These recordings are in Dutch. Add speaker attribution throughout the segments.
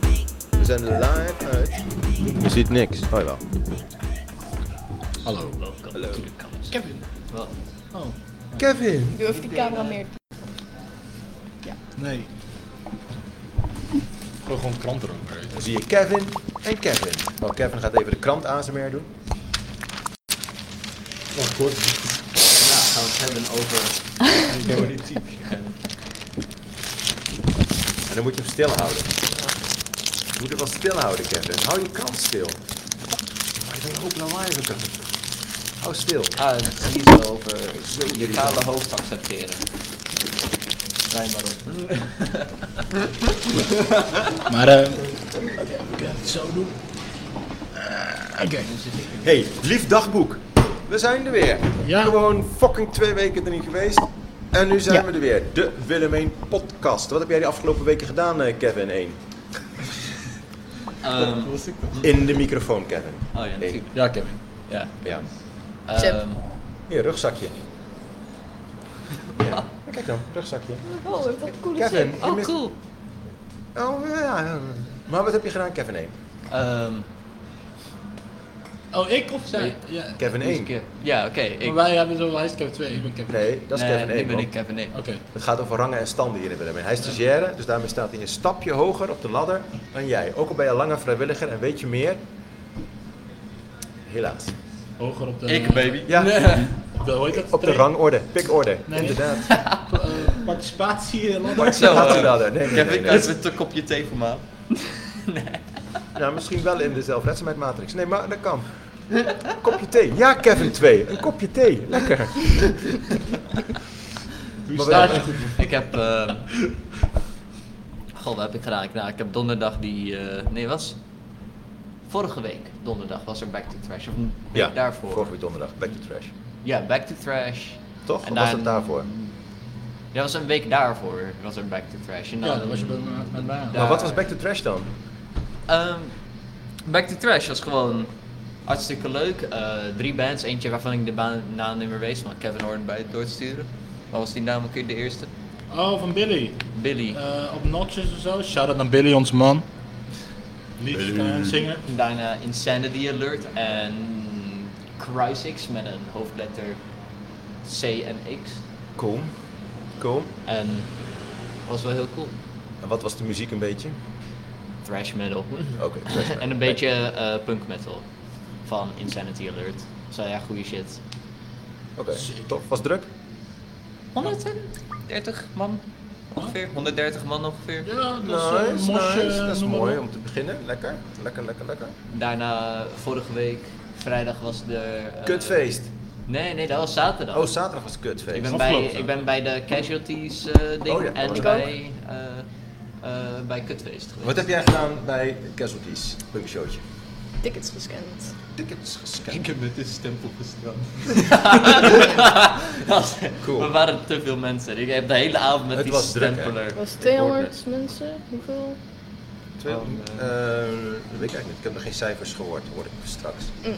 Speaker 1: We zijn er live uit. Je ziet niks. Oh wel.
Speaker 2: Hallo.
Speaker 1: Hallo.
Speaker 2: Kevin. Wat? Oh,
Speaker 3: Kevin.
Speaker 4: Durf die camera meer.
Speaker 2: nee. Gooi gewoon krant erover.
Speaker 1: Dan zie je Kevin en Kevin. Oh, Kevin gaat even de krant ASMR doen.
Speaker 2: Wat kort. Ja, gaan we het hebben over politiek.
Speaker 1: En dan moet je hem stil houden. Je moet hem wel stil houden, Kevin. Hou je krant stil. Maar dan ook lawaai kan. Hou stil.
Speaker 5: Ah, het is niet zo over je kale hoofd accepteren. Rij maar op.
Speaker 2: Maar, eh. ik kan het zo doen. Eh, Oké.
Speaker 1: Hey, lief dagboek. We zijn er weer.
Speaker 2: Ja.
Speaker 1: Gewoon fucking twee weken er niet geweest. En nu zijn
Speaker 4: Ja.
Speaker 1: we er weer. De Willemijn podcast. Wat heb jij de afgelopen weken gedaan, eh, Kevin 1?
Speaker 5: Ehm,
Speaker 1: In de microfoon, Kevin.
Speaker 5: oh ja,
Speaker 1: Hey.
Speaker 5: natuurlijk.
Speaker 2: Ja, Kevin.
Speaker 5: Ja.
Speaker 1: Ja.
Speaker 4: Zep.
Speaker 5: Ehm,
Speaker 1: Hier, rugzakje. Ja. Kijk dan, rugzakje.
Speaker 4: Oh, wat cool is
Speaker 1: Kevin,
Speaker 4: dit.
Speaker 1: je
Speaker 4: Oh,
Speaker 1: mist-
Speaker 4: cool.
Speaker 1: Oh ja. Maar wat heb je gedaan, Kevin 1?
Speaker 5: ehm,
Speaker 2: Oh, ik of zij?
Speaker 5: Nee.
Speaker 2: Ja.
Speaker 1: Kevin
Speaker 5: eens
Speaker 1: 1.
Speaker 5: een keer. Ja, oké. ik-
Speaker 2: Maar wij hebben zo, hij is Kevin 2, ik ben Kevin
Speaker 1: Nee, dat is
Speaker 5: nee,
Speaker 1: Kevin 1.
Speaker 5: nu ben
Speaker 1: man.
Speaker 5: ik Kevin 1.
Speaker 2: Oké.
Speaker 1: Het gaat over rangen en standen hier in Willemijn. Hij is stagiaire, dus daarmee staat hij een stapje hoger op de ladder dan jij. Ook al ben je langer vrijwilliger en weet je meer. Helaas.
Speaker 2: Hoger op de...
Speaker 5: Ik, baby.
Speaker 1: Ja,
Speaker 2: Nee. Op de, hoe heet dat?
Speaker 1: op de
Speaker 2: Tree.
Speaker 1: rangorde, pikorde.
Speaker 2: Nee.
Speaker 1: Inderdaad.
Speaker 2: Eh, participatie. eh, land.
Speaker 5: Zo,
Speaker 1: Gaat
Speaker 5: eh,
Speaker 1: hij ladder? Nee, nee, nee,
Speaker 5: Kevin,
Speaker 1: nee.
Speaker 5: kan je met een kopje thee voor me?
Speaker 1: Nou, misschien wel in de zelfredzaamheidmatrix. Nee, maar dat kan. Een kopje thee. Ja, Kevin 2. Een kopje thee. Lekker.
Speaker 2: Hoe
Speaker 1: Maar
Speaker 2: staat
Speaker 1: wel-
Speaker 2: je?
Speaker 5: Ik heb... ehm, Goh, wat heb ik gedaan? Ik, nou, ik heb donderdag die... eh, nee, was... Vorige week, donderdag, was er Back to Trash. Of een week
Speaker 1: Ja,
Speaker 5: daarvoor.
Speaker 1: Vorige week donderdag. Back to trash.
Speaker 5: Ja, Back to Trash.
Speaker 1: Toch? Of
Speaker 5: En
Speaker 1: was
Speaker 5: daar-
Speaker 1: het daarvoor?
Speaker 5: Ja, was een week daarvoor was er Back to Trash. En
Speaker 2: Ja,
Speaker 5: dan-
Speaker 2: dat was je bij me- met mij aan.
Speaker 5: Ja.
Speaker 1: Maar wat was back to trash dan?
Speaker 5: Ehm, Back to Trash was gewoon hartstikke leuk. Eh, drie bands, eentje waarvan ik de baan, naam niet meer weet, maar Kevin hoorde bij het doorsturen. Wat was die naam ook weer de eerste?
Speaker 2: Oh, van Billy.
Speaker 5: Billy.
Speaker 2: Eh, op Notches of zo. Shout-out naar Billy, ons man. Liedjes zingen.
Speaker 5: Daarna Insanity Alert en Crysix met een hoofdletter C en X.
Speaker 1: Kom. Kom.
Speaker 5: En was wel heel cool.
Speaker 1: En wat was de muziek een beetje?
Speaker 5: Thrash metal.
Speaker 1: Oké. trash.
Speaker 5: en een beetje eh, punk metal van Insanity Alert. Zo ja, goede shit.
Speaker 1: Oké. Top. Was het druk?
Speaker 5: 130 man ongeveer. 130 man ongeveer.
Speaker 2: Ja, dat is eh, mosje,
Speaker 1: Dat is
Speaker 2: noem maar
Speaker 1: mooi
Speaker 2: op.
Speaker 1: om te beginnen. Lekker. Lekker, lekker, lekker.
Speaker 5: Daarna, vorige week, vrijdag was de... eh,
Speaker 1: Kutfeest.
Speaker 5: Nee, nee, dat was zaterdag.
Speaker 1: Oh, zaterdag was het
Speaker 5: ik,
Speaker 1: kutfeest.
Speaker 5: ben bij,
Speaker 2: Afgelopen.
Speaker 5: ik ben bij de casualties eh, ding
Speaker 1: Oh ja,
Speaker 5: en
Speaker 1: ik
Speaker 5: bij, eh, eh, bij Kutfeest geweest.
Speaker 1: Wat heb jij gedaan bij Casualties? Punk showtje.
Speaker 2: Ah.
Speaker 4: Tickets gescand.
Speaker 1: Tickets gescand.
Speaker 2: heb met dit stempel gesteld.
Speaker 1: Cool.
Speaker 5: We waren te veel mensen. Ik heb de hele avond met
Speaker 1: Het
Speaker 5: die
Speaker 1: was druk, hè?
Speaker 5: stempeler.
Speaker 4: Was het
Speaker 1: Ik hoorde
Speaker 4: 200 mensen? Hoeveel?
Speaker 1: Twee,
Speaker 5: Oh, nee.
Speaker 1: eh, dat weet ik eigenlijk niet. Ik heb nog geen cijfers gehoord, hoor ik straks.
Speaker 4: Nou,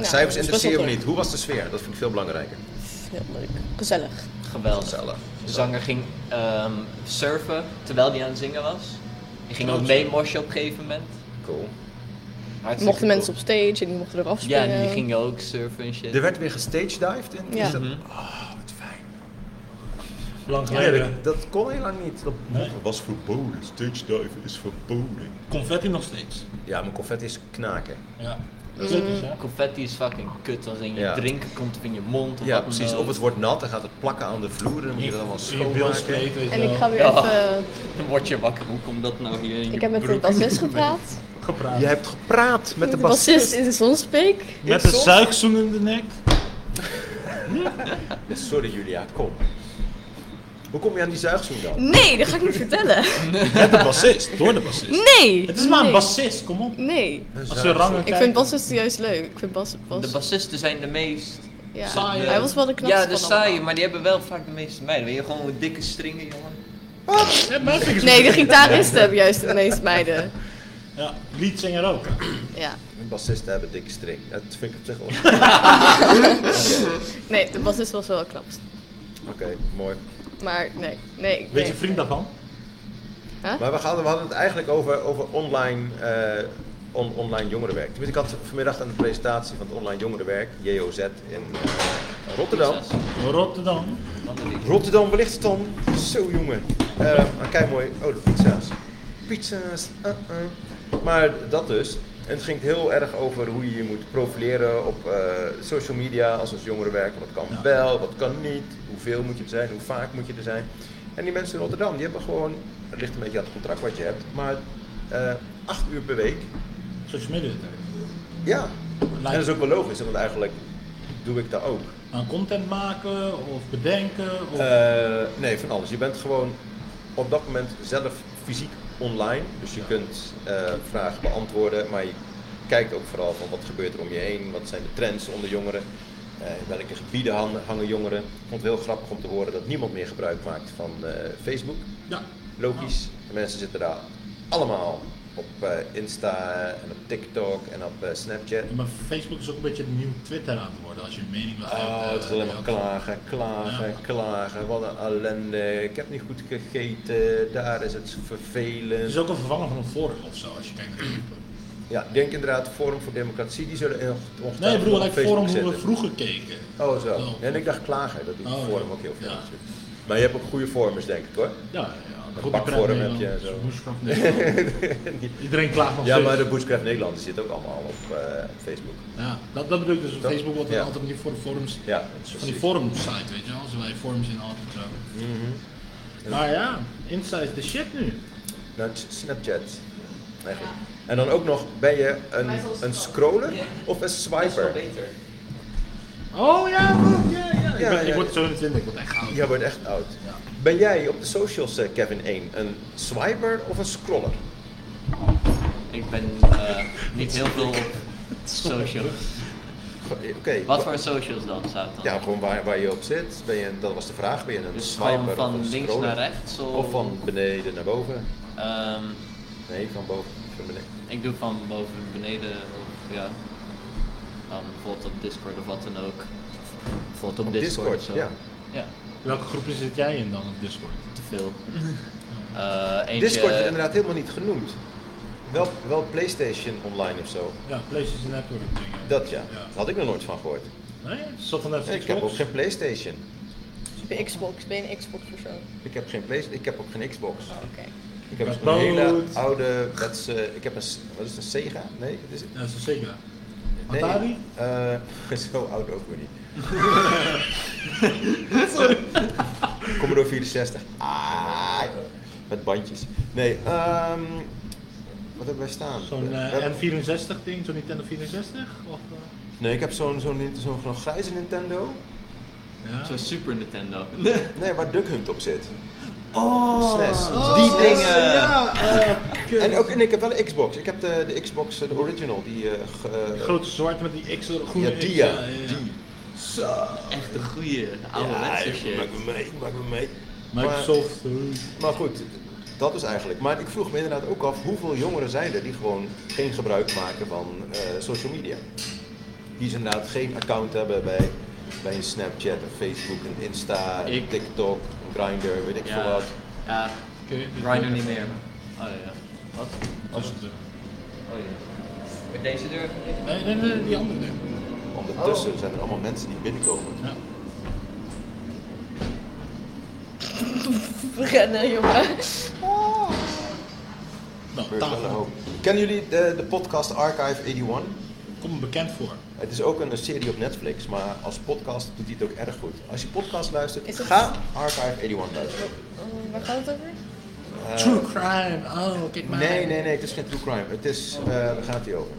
Speaker 1: cijfers
Speaker 4: dat
Speaker 1: interesseren me
Speaker 2: druk.
Speaker 1: niet. Hoe was de sfeer? Dat vind ik veel belangrijker.
Speaker 4: is Heel leuk. Gezellig.
Speaker 5: Geweldig.
Speaker 1: Gezellig.
Speaker 5: De zanger ging ehm, surfen terwijl hij aan het zingen was. Hij ging ook mee moshen op een gegeven moment.
Speaker 1: Cool.
Speaker 5: Hartstikke
Speaker 4: Mochten
Speaker 5: cool.
Speaker 4: mensen op stage en die mochten eraf
Speaker 5: Ja,
Speaker 4: springen.
Speaker 5: en die gingen ook surfen en shit.
Speaker 1: Er werd weer gestagedived in.
Speaker 4: Ja.
Speaker 1: Is dat...
Speaker 5: Mhm.
Speaker 1: Oh, wat fijn.
Speaker 2: Lang
Speaker 1: Ja,
Speaker 2: geleden.
Speaker 1: dat, dat kon heel lang niet. Dat-
Speaker 2: Nee.
Speaker 6: was verboden. Stage dive is verboden.
Speaker 2: Confetti nog steeds.
Speaker 1: Ja, mijn confetti is knaken.
Speaker 2: Ja.
Speaker 1: Eh,
Speaker 2: Zeker, ja.
Speaker 5: Confetti is fucking kut als in je
Speaker 1: Ja.
Speaker 5: drinken komt of in je mond of
Speaker 1: Ja,
Speaker 5: wat dan
Speaker 1: precies.
Speaker 5: ook.
Speaker 1: Of het wordt nat, dan gaat het plakken aan de vloer. en Dan moet nou? je dat allemaal
Speaker 2: Je wil
Speaker 1: schoonmaken.
Speaker 2: spleet, weet je
Speaker 4: En ik
Speaker 2: wel.
Speaker 4: ga weer
Speaker 5: Ja.
Speaker 4: even...
Speaker 5: Dan word je wakker. Hoe komt dat nou hier in je
Speaker 4: Ik heb met de
Speaker 5: broek?
Speaker 4: bassist gepraat.
Speaker 2: gepraat.
Speaker 1: Je hebt gepraat met de
Speaker 4: De bassist
Speaker 1: bassist.
Speaker 4: in Zonspeek.
Speaker 2: Met een zuigzoen in de nek.
Speaker 1: Ja, Sorry Julia, kom. Hoe kom je aan die zuigzoen dan?
Speaker 4: Nee, dat ga ik niet vertellen.
Speaker 2: Met de bassist. Door de bassist.
Speaker 4: Nee!
Speaker 2: Het is maar een
Speaker 4: Nee.
Speaker 2: bassist, kom op.
Speaker 4: Nee.
Speaker 2: Als ze rangen
Speaker 4: Ik vind bassisten juist leuk. Ik vind bas... bas
Speaker 5: De bassisten zijn de meest...
Speaker 4: ja.
Speaker 2: saaie-
Speaker 4: Hij was wel de knapste
Speaker 5: Ja, de
Speaker 4: van
Speaker 5: saaie,
Speaker 4: allemaal.
Speaker 5: maar die hebben wel vaak de meeste meiden. Weet je, gewoon met dikke stringen, jongen.
Speaker 4: Nee, de gitaristen hebben juist de meeste meiden.
Speaker 2: Ja, liedzanger ook.
Speaker 4: Ja.
Speaker 1: Bassisten hebben dikke string. Dat vind ik op zich wel. Oké,
Speaker 4: Nee, de bassist was wel knapst.
Speaker 1: mooi.
Speaker 4: Maar nee, nee.
Speaker 2: Weet
Speaker 4: nee.
Speaker 2: je vriend daarvan?
Speaker 4: Huh?
Speaker 1: Maar we, gaan, we hadden het eigenlijk over, over online, eh, on- online jongerenwerk. Tenminste, ik had vanmiddag een presentatie van het online jongerenwerk, JOZ, in eh, Rotterdam.
Speaker 2: Rotterdam.
Speaker 1: Rotterdam wellicht dan. Zo jongen. Eh kijk mooi. Oh, de pizza's. Pizza's. Uh -uh. Maar dat dus. En het ging heel erg over hoe je je moet profileren op eh, social media als als jongerenwerk. Wat kan wel, wat kan niet. Hoeveel moet je er zijn, hoe vaak moet je er zijn. En die mensen in Rotterdam, die hebben gewoon, het ligt een beetje aan het contract wat je hebt, maar eh, acht uur per week.
Speaker 2: Zoals midden.
Speaker 1: Ja. En dat is
Speaker 2: Lijkt-
Speaker 1: ook wel logisch, want eigenlijk doe ik dat ook.
Speaker 2: Aan content maken of bedenken. Of...
Speaker 1: Eh, nee, van alles. Je bent gewoon op dat moment zelf fysiek online. Dus je kunt eh, vragen beantwoorden, maar je kijkt ook vooral van wat gebeurt er om je heen. Wat zijn de trends onder jongeren? Eh, in welke gebieden han- hangen jongeren? Ik vond het heel grappig om te horen dat niemand meer gebruik maakt van eh, Facebook.
Speaker 2: Ja.
Speaker 1: Logisch. De mensen zitten daar allemaal op eh, Insta en op TikTok en op eh, Snapchat.
Speaker 2: Ja, Maar Facebook is ook een beetje het nieuw Twitter aan het worden als je een mening wilt hebben.
Speaker 1: Oh, het is alleen maar klagen, klagen,
Speaker 2: Ja.
Speaker 1: klagen. Wat een ellende. Ik heb niet goed gegeten. Daar is het
Speaker 2: Het
Speaker 1: vervelend.
Speaker 2: is ook een vervanger van een forum of zo, als je kijkt naar YouTube.
Speaker 1: Ja, ik denk inderdaad Forum voor Democratie. Die zullen heel ongetwijfeld
Speaker 2: Nee, ik bedoel,
Speaker 1: op
Speaker 2: like
Speaker 1: Facebook
Speaker 2: forum hoe we
Speaker 1: zetten.
Speaker 2: vroeger keken.
Speaker 1: Oh, zo.
Speaker 2: Oh.
Speaker 1: En ik dacht klagen. Dat die
Speaker 2: Oh, ja.
Speaker 1: Forum ook heel veel
Speaker 2: Ja.
Speaker 1: is. Maar je hebt ook goede formers, denk ik hoor.
Speaker 2: Ja, ja. goed
Speaker 1: bakvorm
Speaker 2: bekend
Speaker 1: heb je
Speaker 2: Nederland, dus
Speaker 1: en zo.
Speaker 2: Bushcraft Nederland.
Speaker 1: Die-
Speaker 2: Iedereen klaagt nog
Speaker 1: ja,
Speaker 2: steeds.
Speaker 1: maar de Bushcraft Nederland die zit ook allemaal op eh, Facebook.
Speaker 2: Ja, dat, dat bedoel ik dus op
Speaker 1: Toch?
Speaker 2: Facebook wordt er
Speaker 1: Ja.
Speaker 2: altijd niet voor de forums.
Speaker 1: Ja,
Speaker 2: Van die
Speaker 1: precies. Mhm.
Speaker 2: forum site, weet je wel, zo wij forums in altijd zo. Maar Nou ja, Insta is de shit nu.
Speaker 1: Nou, t- Snapchat. Eigenlijk. En dan ook nog, ben je een, een scroller of een swiper?
Speaker 2: Oh ja, goed, ja, ja. Ik,
Speaker 1: Ja,
Speaker 2: ben,
Speaker 1: ja,
Speaker 2: ik word
Speaker 1: ja.
Speaker 2: 27, ik word echt oud.
Speaker 1: Jij wordt echt oud.
Speaker 2: Ja.
Speaker 1: Ben jij op de socials, eh, Kevin 1, een swiper of een scroller?
Speaker 5: Ik ben eh, niet heel veel op socials.
Speaker 1: Go- eh, Oké.
Speaker 5: Wat
Speaker 1: wa-
Speaker 5: voor socials dan, zou het dan?
Speaker 1: Ja, gewoon waar, waar je op zit. Ben je, een- dat was de vraag. Ben je een
Speaker 5: Dus
Speaker 1: swiper
Speaker 5: gewoon van
Speaker 1: of een
Speaker 5: links
Speaker 1: scroller?
Speaker 5: naar rechts, of-
Speaker 1: Of van beneden naar boven?
Speaker 5: Ehm,
Speaker 1: Nee, van boven naar beneden.
Speaker 5: ik doe van boven beneden, of ja. Dan bijvoorbeeld op Discord of wat dan ook. Bijvoorbeeld op,
Speaker 1: Op
Speaker 5: Discord,
Speaker 1: Discord,
Speaker 5: of zo.
Speaker 1: ja.
Speaker 5: Ja,
Speaker 2: Welke groepen zit jij in dan op Discord?
Speaker 5: te veel. Eh, eentje,
Speaker 1: Discord is inderdaad helemaal niet genoemd. Wel, wel PlayStation online of zo.
Speaker 2: Ja, PlayStation Network dingen.
Speaker 1: Dat ja.
Speaker 2: Ja.
Speaker 1: Daar had ik nog nooit van gehoord.
Speaker 2: Nee, het is toch vanuit
Speaker 1: Ik heb ook
Speaker 2: Xbox?
Speaker 1: geen PlayStation.
Speaker 4: Xbox, ben je een Xbox persoon?
Speaker 1: Ik heb geen PlayStation. Ik heb ook geen Xbox.
Speaker 4: Oh, Oké.
Speaker 1: Ik heb
Speaker 2: Dat
Speaker 1: een hele
Speaker 2: moet.
Speaker 1: oude. Dat is, eh, ik heb een. s- Wat is het, een Sega? Nee, wat is het?
Speaker 2: Ja, dat is zeker.
Speaker 1: Nee.
Speaker 2: Atari?
Speaker 1: Eh, zo oud ook weer niet. Commodore 64. Ah, met bandjes. Nee, ehm wat hebben wij staan?
Speaker 2: Zo'n
Speaker 1: We
Speaker 2: eh,
Speaker 1: hebben-
Speaker 2: N64 ding, zo'n Nintendo 64? Of,
Speaker 1: Nee, ik heb zo'n zo'n Nint- zo'n zo'n grijze Nintendo.
Speaker 2: eh, ja.
Speaker 5: Zo'n Super Nintendo.
Speaker 1: Nee, waar Duck Hunt op zit.
Speaker 2: Oh,
Speaker 1: SNES.
Speaker 2: oh,
Speaker 1: Die dingen.
Speaker 2: Ja, eh,
Speaker 1: En, ook, en ik heb wel een Xbox. Ik heb de, de Xbox, eh, de original, die... eh ge-
Speaker 2: Grote zwart met die X, groene
Speaker 1: ja, die
Speaker 2: X,
Speaker 1: ja.
Speaker 2: ja, ja.
Speaker 1: Die.
Speaker 5: Echt een goede oude
Speaker 1: ja,
Speaker 5: shit.
Speaker 1: maak me mee, maak me mee.
Speaker 2: Microsoft. eh,
Speaker 1: Maar goed, dat is eigenlijk. Maar ik vroeg me inderdaad ook af hoeveel jongeren zijn er die gewoon geen gebruik maken van eh, social media. Die ze inderdaad geen account hebben bij, bij een Snapchat, een Facebook, een Insta, een
Speaker 5: Ik.
Speaker 1: TikTok, een Grindr, weet ik veel
Speaker 5: Ja,
Speaker 1: wat.
Speaker 5: ja.
Speaker 2: oké, dit
Speaker 5: Rhino
Speaker 2: is-
Speaker 5: niet meer. Oh ja. Wat?
Speaker 2: dat is het, eh.
Speaker 5: Oh ja. Met deze deur?
Speaker 2: Nee, nee, nee, die andere ding.
Speaker 1: Ondertussen zijn er allemaal mensen die binnenkomen.
Speaker 2: Ja.
Speaker 4: Rennen, jongen.
Speaker 2: Nou,
Speaker 1: Er is wel een
Speaker 2: tafel.
Speaker 1: hoop. Kennen jullie de, de podcast Archive 81?
Speaker 2: Kom me bekend voor.
Speaker 1: Het is ook een serie op Netflix, maar als podcast doet hij het ook erg goed. Als je podcast luistert,
Speaker 4: Is het-
Speaker 1: ga Archive 81 luisteren.
Speaker 4: Oh, waar gaat het over?
Speaker 2: True crime. Oh, kijk maar.
Speaker 1: Eh, Nee, nee, nee, het is geen true crime. Het is, eh waar gaat hij over?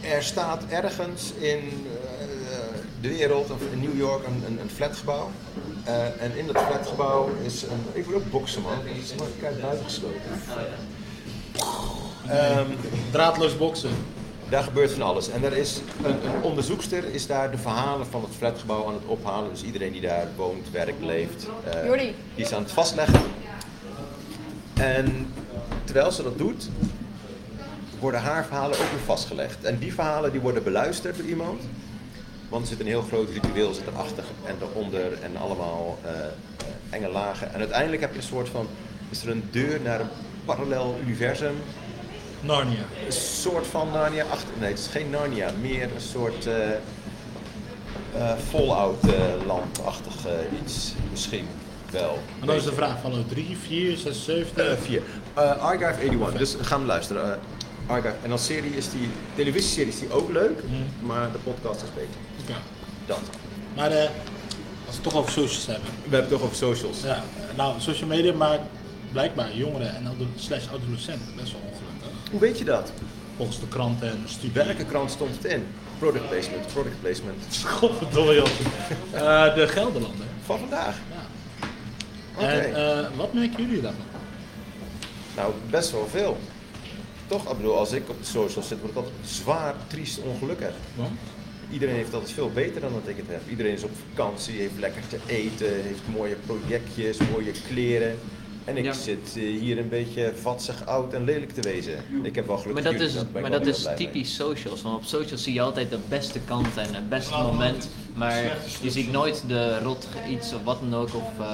Speaker 1: Er staat ergens in eh, de wereld, of in New York, een, een, een flatgebouw. Eh, en in dat flatgebouw is een. Ik wil ook boksen, man. Dat is maar kijk buitengesloten. Ehm,
Speaker 2: Draadloos boksen.
Speaker 1: daar gebeurt van alles. En er is een, een onderzoekster is daar de verhalen van het flatgebouw aan het ophalen. Dus iedereen die daar woont, werkt, leeft, eh,
Speaker 4: Jordi.
Speaker 1: die is aan het vastleggen. En terwijl ze dat doet, worden haar verhalen ook weer vastgelegd. En die verhalen die worden beluisterd door iemand. Want er zit een heel groot ritueel zit erachter en daaronder en allemaal eh, eh, enge lagen. En uiteindelijk heb je een soort van, is er een deur naar een parallel universum.
Speaker 2: Narnia.
Speaker 1: Een soort van Narnia achter. Nee, het is geen Narnia, meer een soort eh, eh, Fallout eh, landachtig eh, iets. Misschien wel.
Speaker 2: En dan is de vraag, Fallout 3, 4, 6, 7?
Speaker 1: Eh, vier. Eh, Archive 81, dus ga hem luisteren. eh, Archive. En als serie is die, televisieserie is die ook leuk,
Speaker 2: Mm.
Speaker 1: maar de podcast is beter.
Speaker 2: Ja.
Speaker 1: Mhm. Dat.
Speaker 2: Maar eh, als we het toch over socials hebben.
Speaker 1: We hebben het toch over socials.
Speaker 2: Ja, eh, nou, social media maakt blijkbaar jongeren en ouder, slash adolescenten best wel ongelukkig.
Speaker 1: Hoe weet je dat?
Speaker 2: Volgens de kranten en de studie.
Speaker 1: Welke krant stond het in? Product placement, product placement.
Speaker 2: Godverdomme joh. Eh, de Gelderlander.
Speaker 1: Van vandaag.
Speaker 2: Ja.
Speaker 1: Oké.
Speaker 2: En eh, wat merken jullie daarvan?
Speaker 1: Nou, best wel veel. Toch, ik bedoel, als ik op de socials zit, word ik altijd zwaar triest ongelukkig.
Speaker 2: Want?
Speaker 1: Iedereen heeft altijd veel beter dan dat ik het heb. Iedereen is op vakantie, heeft lekker te eten, heeft mooie projectjes, mooie kleren. En ik
Speaker 5: Ja.
Speaker 1: zit eh, hier een beetje vatsig, oud en lelijk te wezen. Ik heb wel geluk
Speaker 5: Maar dat
Speaker 1: natuurlijk,
Speaker 5: is,
Speaker 1: daar ben ik wel
Speaker 5: maar dat
Speaker 1: heel
Speaker 5: is
Speaker 1: blij mee.
Speaker 5: typisch socials. Want op socials zie je altijd de beste kant en het beste moment. Maar je ziet nooit de rot iets of wat dan ook. Of eh,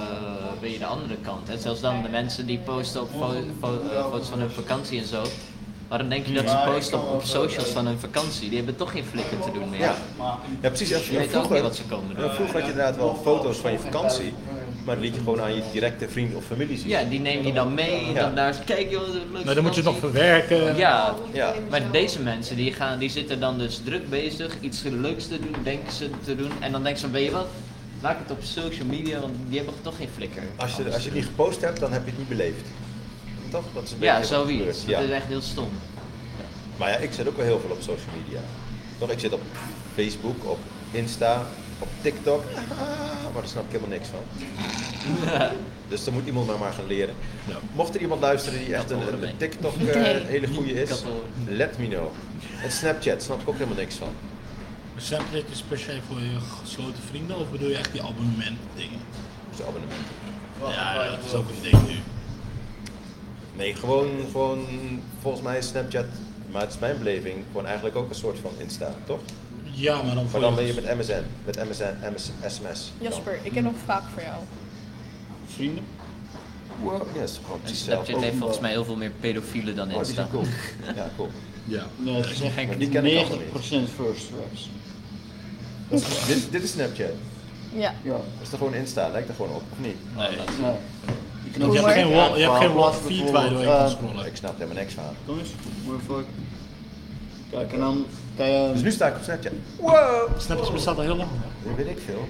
Speaker 5: weet je, de andere kant. En zelfs dan de mensen die posten op fo- fo- eh, foto's van hun vakantie en zo. Maar dan denk je dat ze posten op, op socials van hun vakantie. Die hebben toch geen flikken te doen meer.
Speaker 1: Ja, ja precies. echt.
Speaker 5: Je weet ook
Speaker 1: vroeger,
Speaker 5: niet wat ze komen doen.
Speaker 1: ja, Vroeger had je inderdaad wel foto's van je vakantie, maar die liet je gewoon aan je directe vrienden of familie zien.
Speaker 5: Ja, die neem je dan mee.
Speaker 1: Ja.
Speaker 5: Dan daar, kijk joh, leuk.
Speaker 2: Nou, dan moet je het nog verwerken.
Speaker 5: Ja,
Speaker 1: Ja.
Speaker 5: Maar deze mensen die, gaan, die zitten dan dus druk bezig, iets leuks te doen, denken ze te doen. En dan denken ze, weet je wat, maak het op social media, want die hebben toch geen flikker.
Speaker 1: Als je, als je het niet gepost hebt, dan heb je het niet beleefd. Toch? Dat is een beetje
Speaker 5: Ja,
Speaker 1: wat gebeurt.
Speaker 5: zoiets.
Speaker 1: Ja.
Speaker 5: Dat is echt heel stom.
Speaker 1: Maar ja, ik zit ook wel heel veel op social media. Toch, ik zit op Facebook, op Insta, op TikTok. Ah, maar daar snap ik helemaal niks van. Dus dan moet iemand maar maar gaan leren.
Speaker 2: Ja.
Speaker 1: Mocht er iemand luisteren die echt een, een TikTok eh,
Speaker 4: Nee.
Speaker 1: hele goede
Speaker 5: Dat
Speaker 1: is,
Speaker 5: wel.
Speaker 1: let me know. En Snapchat snap ik ook helemaal niks van.
Speaker 2: Snapchat is per se voor je gesloten vrienden of bedoel je echt die abonnement dingen?
Speaker 1: Dus abonnementen.
Speaker 2: Ja, dat is ook een ding nu.
Speaker 1: Nee, gewoon, gewoon volgens mij is Snapchat, maar het is mijn beleving, gewoon eigenlijk ook een soort van Insta, toch?
Speaker 2: Ja, maar dan voor
Speaker 1: Maar dan ben je met MSN, met MSN, MS, SMS. dan.
Speaker 4: Jasper, ik heb nog een vraag voor jou.
Speaker 2: vrienden.
Speaker 1: Wow, ja, dat is toch gewoon
Speaker 5: En
Speaker 1: precies
Speaker 5: Snapchat
Speaker 1: hetzelfde.
Speaker 5: heeft volgens mij heel veel meer pedofielen dan
Speaker 1: Oh, die
Speaker 5: Insta.
Speaker 1: zijn cool. Ja, cool.
Speaker 2: Ja.
Speaker 3: Nee, het is echt
Speaker 1: Maar die ken ik allemaal
Speaker 3: 90% first stress.
Speaker 1: Dit, dit is Snapchat.
Speaker 4: Ja.
Speaker 3: Ja.
Speaker 1: Dat is toch gewoon Insta? Lijkt er gewoon op, of niet?
Speaker 5: Nee, dat-
Speaker 3: ja. Je, kan ook
Speaker 2: Je hebt
Speaker 3: zeggen,
Speaker 2: geen, wall, je hebt geen wall
Speaker 3: bijvoorbeeld,
Speaker 2: feed waar je doorheen
Speaker 3: eh,
Speaker 2: kan scrollen.
Speaker 1: Ik snap er helemaal niks van.
Speaker 3: Kom eens, moet je voor- Kijk, en dan kan je...
Speaker 1: Dus nu sta ik op Snapchat.
Speaker 2: Snapchat bestaat al heel lang.
Speaker 1: Dat weet ik veel.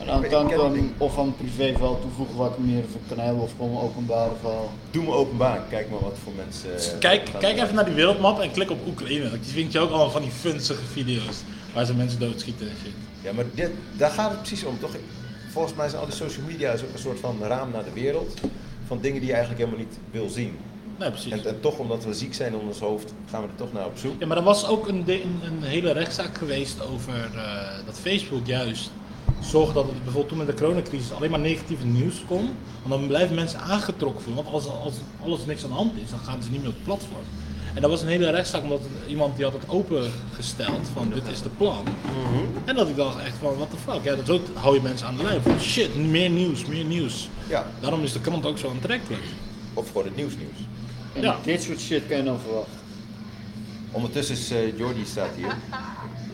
Speaker 3: En dan
Speaker 1: Ik
Speaker 3: kan ik
Speaker 1: ken het
Speaker 3: hem
Speaker 1: niet.
Speaker 3: of aan privé wel toevoegen wat ik meer voor kan hebben of gewoon openbare verhaal.
Speaker 1: Doe me openbaar. Kijk maar wat voor mensen... eh,
Speaker 2: Kijk,
Speaker 1: gaan
Speaker 2: kijk
Speaker 1: doen.
Speaker 2: even naar die wereldmap en klik op Oekraïne. want Die vind je ook allemaal van die funzige video's waar ze mensen doodschieten en shit.
Speaker 1: Ja, maar dit, daar gaat het precies om, toch? Volgens mij zijn al die social media is ook een soort van raam naar de wereld. Van dingen die je eigenlijk helemaal niet wil zien.
Speaker 2: Nee, precies.
Speaker 1: En, en toch, omdat we ziek zijn in ons hoofd, gaan we er toch naar op zoek.
Speaker 2: Ja, maar er was ook een, di- een, een hele rechtszaak geweest over eh, dat Facebook juist zorgde dat het bijvoorbeeld toen met de coronacrisis alleen maar negatief nieuws kon. Want dan blijven mensen aangetrokken van, want als, als alles niks aan de hand is, dan gaan ze niet meer op het platform. En dat was een hele rechtszaak omdat iemand die had het opengesteld van dit is de plan. En dat ik dacht echt van, what the fuck, ja, dat zo hou je mensen aan de lijn van shit, meer nieuws, meer nieuws.
Speaker 1: Ja,
Speaker 2: Daarom is de krant ook zo aantrekkelijk.
Speaker 1: of gewoon het nieuws nieuws.
Speaker 3: En
Speaker 2: Ja.
Speaker 3: dit soort shit kan je dan verwachten.
Speaker 1: Ondertussen is eh, Jordi staat hier.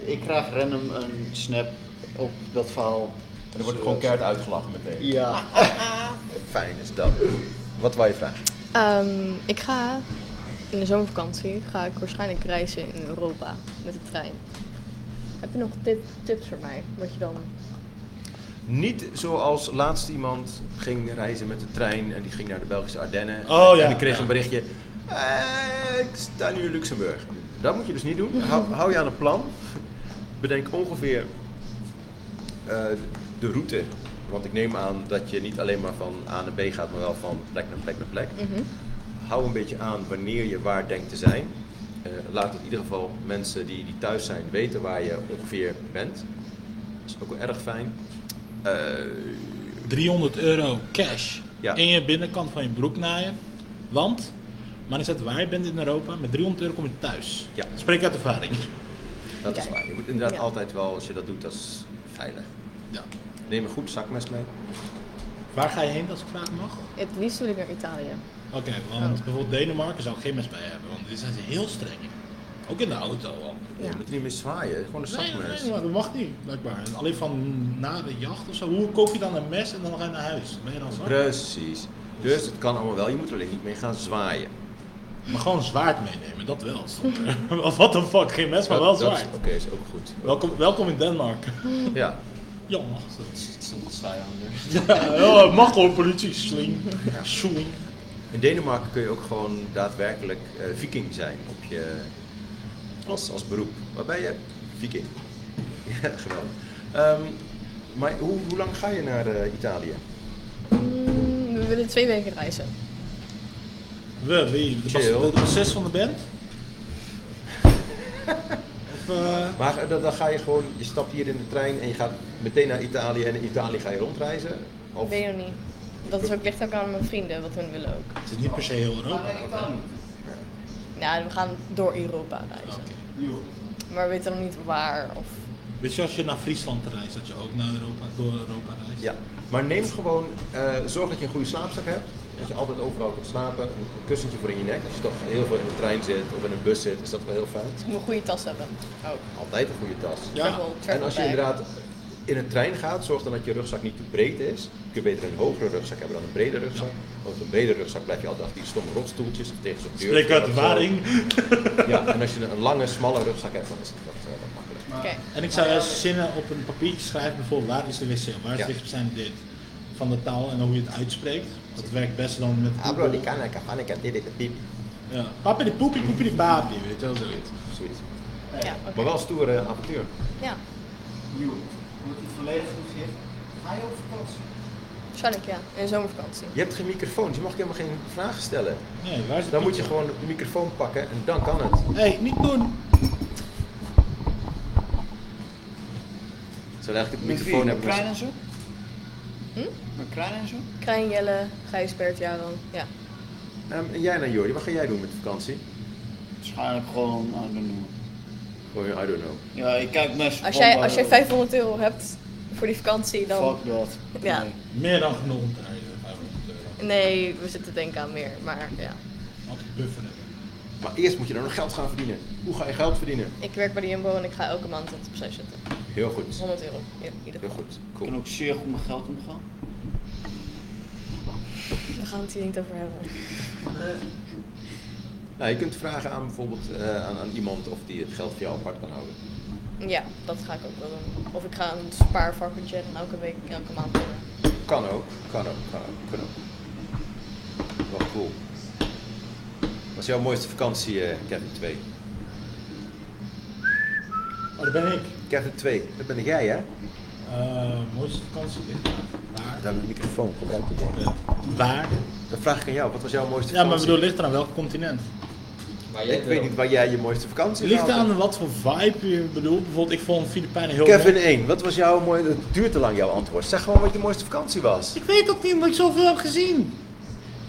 Speaker 3: Ik krijg random een snap op dat verhaal. Dus,
Speaker 1: En er wordt gewoon keihard uitgelachen meteen.
Speaker 3: Ja.
Speaker 1: Fijn is dat. Wat wou je vragen?
Speaker 4: Ehm, ik ga in de zomervakantie ga ik waarschijnlijk reizen in Europa met de trein. Heb je nog tip- tips voor mij? Wat je dan.
Speaker 1: Niet zoals laatst iemand ging reizen met de trein en die ging naar de Belgische Ardennen.
Speaker 2: Oh, ja.
Speaker 1: En die kreeg
Speaker 2: Ja.
Speaker 1: een berichtje. "Eh, ik sta nu in Luxemburg. Dat moet je dus niet doen. Hou, hou je aan een plan. Bedenk ongeveer eh, de route. Want ik neem aan dat je niet alleen maar van A naar B gaat, maar wel van plek naar plek naar plek.
Speaker 4: Mhm.
Speaker 1: Hou een beetje aan wanneer je waar denkt te zijn. Eh, laat in ieder geval mensen die, die thuis zijn weten waar je ongeveer bent. Dat is ook wel erg fijn. Eh,
Speaker 2: 300 euro cash
Speaker 1: Ja.
Speaker 2: in je binnenkant van je broek naaien. Want, maar is het waar je bent in Europa, met 300 euro kom je thuis.
Speaker 1: Ja.
Speaker 2: Spreek uit ervaring.
Speaker 1: Dat is
Speaker 4: Oké.
Speaker 1: waar. Je moet inderdaad
Speaker 4: Ja.
Speaker 1: altijd wel, als je dat doet, dat is veilig.
Speaker 2: Ja.
Speaker 1: Neem een goed zakmes mee.
Speaker 2: Waar ga je heen als ik vragen mag?
Speaker 4: Het liefst wil ik naar Italië.
Speaker 2: Oké, want bijvoorbeeld Denemarken zou ik geen mes bij hebben, want die zijn ze heel streng. in. Ook in de auto al.
Speaker 4: Ja.
Speaker 1: Je moet niet meer zwaaien, gewoon een
Speaker 2: Nee,
Speaker 1: zakmes.
Speaker 2: nee, maar dat mag niet, blijkbaar. En Alleen van na de jacht of zo. Hoe koop je dan een mes en dan ga je naar huis? Ben je dan zwart?
Speaker 1: Precies. Dus het kan allemaal wel, je moet alleen niet meer gaan zwaaien.
Speaker 2: Maar gewoon zwaard meenemen, dat wel. stond er. Of what the fuck, geen mes, maar wel
Speaker 1: Dat- dat is-
Speaker 2: zwaard.
Speaker 1: Oké, is ook goed.
Speaker 2: Welkom, welkom in Denemarken.
Speaker 1: Ja.
Speaker 2: Ja, mag
Speaker 5: Zonder vijanden.
Speaker 2: Oh, mag hoor, politie. Sling. Sling.
Speaker 1: In Denemarken kun je ook gewoon daadwerkelijk eh, viking zijn op je, als, als beroep. Waar ben je? Viking. Ja, geweldig. Ehm, maar hoe, hoe lang ga je naar eh, Italië?
Speaker 4: Mm, we willen twee weken reizen.
Speaker 2: We, wie? De, bas,
Speaker 1: Chill.
Speaker 2: de bassist van de band? Of, eh,
Speaker 1: Maar eh, dan, dan ga je gewoon, je stapt hier in de trein en je gaat meteen naar Italië en in Italië ga je rondreizen? Of
Speaker 4: Weet je nog niet. Dat is ook ligt ook aan mijn vrienden, wat hun willen ook.
Speaker 2: het is niet per se heel Europa.
Speaker 4: Ja, Nou, we gaan door Europa
Speaker 2: Oh.
Speaker 4: reizen. Maar we weten nog niet waar of...
Speaker 2: Weet je, als je naar Friesland reist, dat je ook naar Europa, door Europa reist?
Speaker 1: Ja, maar neem gewoon, eh, zorg dat je een goede slaapzak hebt. Dat je altijd overal kunt slapen. Een kussentje voor in je nek. Als je toch heel veel in de trein zit of in een bus zit, is dat wel heel fijn.
Speaker 4: Ik moet een goede tas hebben. Oh,
Speaker 1: Altijd een goede tas.
Speaker 2: Ja.
Speaker 4: travel, travel
Speaker 1: En als je
Speaker 4: bag.
Speaker 1: inderdaad in een trein gaat, zorg dan dat je rugzak niet te breed is. Je kunt beter een hogere rugzak hebben dan een brede rugzak. Want op een brede rugzak blijf je altijd achter die stomme rotstoeltjes of tegen zo'n deur.
Speaker 2: Spreek uit
Speaker 1: of zo.
Speaker 2: ervaring.
Speaker 1: Ja, en als je een lange, smalle rugzak hebt, dan is dat eh, wat makkelijker.
Speaker 4: Oké,
Speaker 2: En ik zou juist zinnen op een papiertje schrijven, bijvoorbeeld waar is de wc, waar is
Speaker 1: Ja.
Speaker 2: het zijn dit van de taal en hoe je het uitspreekt. Dat werkt best dan met
Speaker 1: Abro, Ah, die
Speaker 2: Google.
Speaker 1: kan, ik kan, ik kan, dit, dit, dit,
Speaker 2: Ja. Papi de poepie, poepie de papi, weet je wel zoiets.
Speaker 1: zoiets.
Speaker 4: ja, oké.
Speaker 1: Maar wel een stoere avontuur.
Speaker 4: Ja,
Speaker 3: Moet het volledig gezicht. Ga je op vakantie?
Speaker 4: waarschijnlijk ja. In de zomervakantie.
Speaker 1: Je hebt geen microfoon, dus je mag helemaal geen vragen stellen.
Speaker 2: Nee, waar is het
Speaker 1: Dus Dan moet je gewoon de microfoon pakken en dan kan het.
Speaker 2: Hé, hey, niet doen!
Speaker 1: Zou eigenlijk de
Speaker 3: Met
Speaker 1: microfoon
Speaker 3: wie? Met
Speaker 1: hebben.
Speaker 3: Krijn en zo?
Speaker 4: Hm?
Speaker 3: Met Krijn en zo?
Speaker 4: Krijn, Jelle, Gijsbert, Jaron. Ja.
Speaker 1: Ehm, en jij nou Jordi, wat ga jij doen met de vakantie?
Speaker 3: Waarschijnlijk gewoon aan de noemer.
Speaker 1: Oh, I don't know.
Speaker 3: Ja, ik kijk mes.
Speaker 4: Als jij,
Speaker 1: eh,
Speaker 4: als jij 500 euro hebt voor die vakantie, dan...
Speaker 3: Fuck dat.
Speaker 4: Ja.
Speaker 3: Nee.
Speaker 2: Meer dan genoeg om te rijden, 500 euro.
Speaker 4: Nee, we zitten denken aan meer, maar ja.
Speaker 2: Altijd bufferen.
Speaker 1: Maar eerst moet je dan nog geld gaan verdienen. Hoe ga je geld verdienen?
Speaker 4: Ik werk bij de Jumbo en ik ga elke maand het opzij zetten.
Speaker 1: Heel goed.
Speaker 4: 100 euro in ieder
Speaker 1: Heel
Speaker 4: geval.
Speaker 1: goed.
Speaker 3: Ik kan
Speaker 1: Cool.
Speaker 3: ook zeer goed met geld omgaan.
Speaker 4: We gaan het hier niet over hebben.
Speaker 1: Nou, je kunt vragen aan bijvoorbeeld eh, aan, aan iemand of die het geld voor jou apart kan houden.
Speaker 4: Ja, dat ga ik ook wel doen. Of ik ga een spaarvarkentje en elke week, elke maand doen.
Speaker 1: Kan ook. Kan ook. Kan ook. Kan ook. Wel cool. Wat is jouw mooiste vakantie, eh Kevin 2?
Speaker 2: Oh, daar ben ik.
Speaker 1: Kevin 2, dat ben jij hè?
Speaker 2: Eh, mooiste vakantie. Waar?
Speaker 1: Daar heb ik de Nou, microfoon gebruikt.
Speaker 2: Ja. Waar?
Speaker 1: Dan vraag ik aan jou, wat was jouw mooiste
Speaker 2: Ja, maar ik
Speaker 1: vakantie?
Speaker 2: bedoel, ligt eraan welk continent?
Speaker 5: Maar
Speaker 1: ik weet niet waar jij je mooiste vakantie
Speaker 2: Het ligt
Speaker 1: gehaald
Speaker 2: aan wat voor vibe je bedoelt. Bijvoorbeeld, ik vond Filipijnen heel
Speaker 1: hebt. Kevin
Speaker 2: mooi.
Speaker 1: 1, wat was jouw mooie... Het duurt te lang jouw antwoord. Zeg gewoon wat je mooiste vakantie was.
Speaker 2: Ik weet ook niet omdat ik zoveel heb gezien.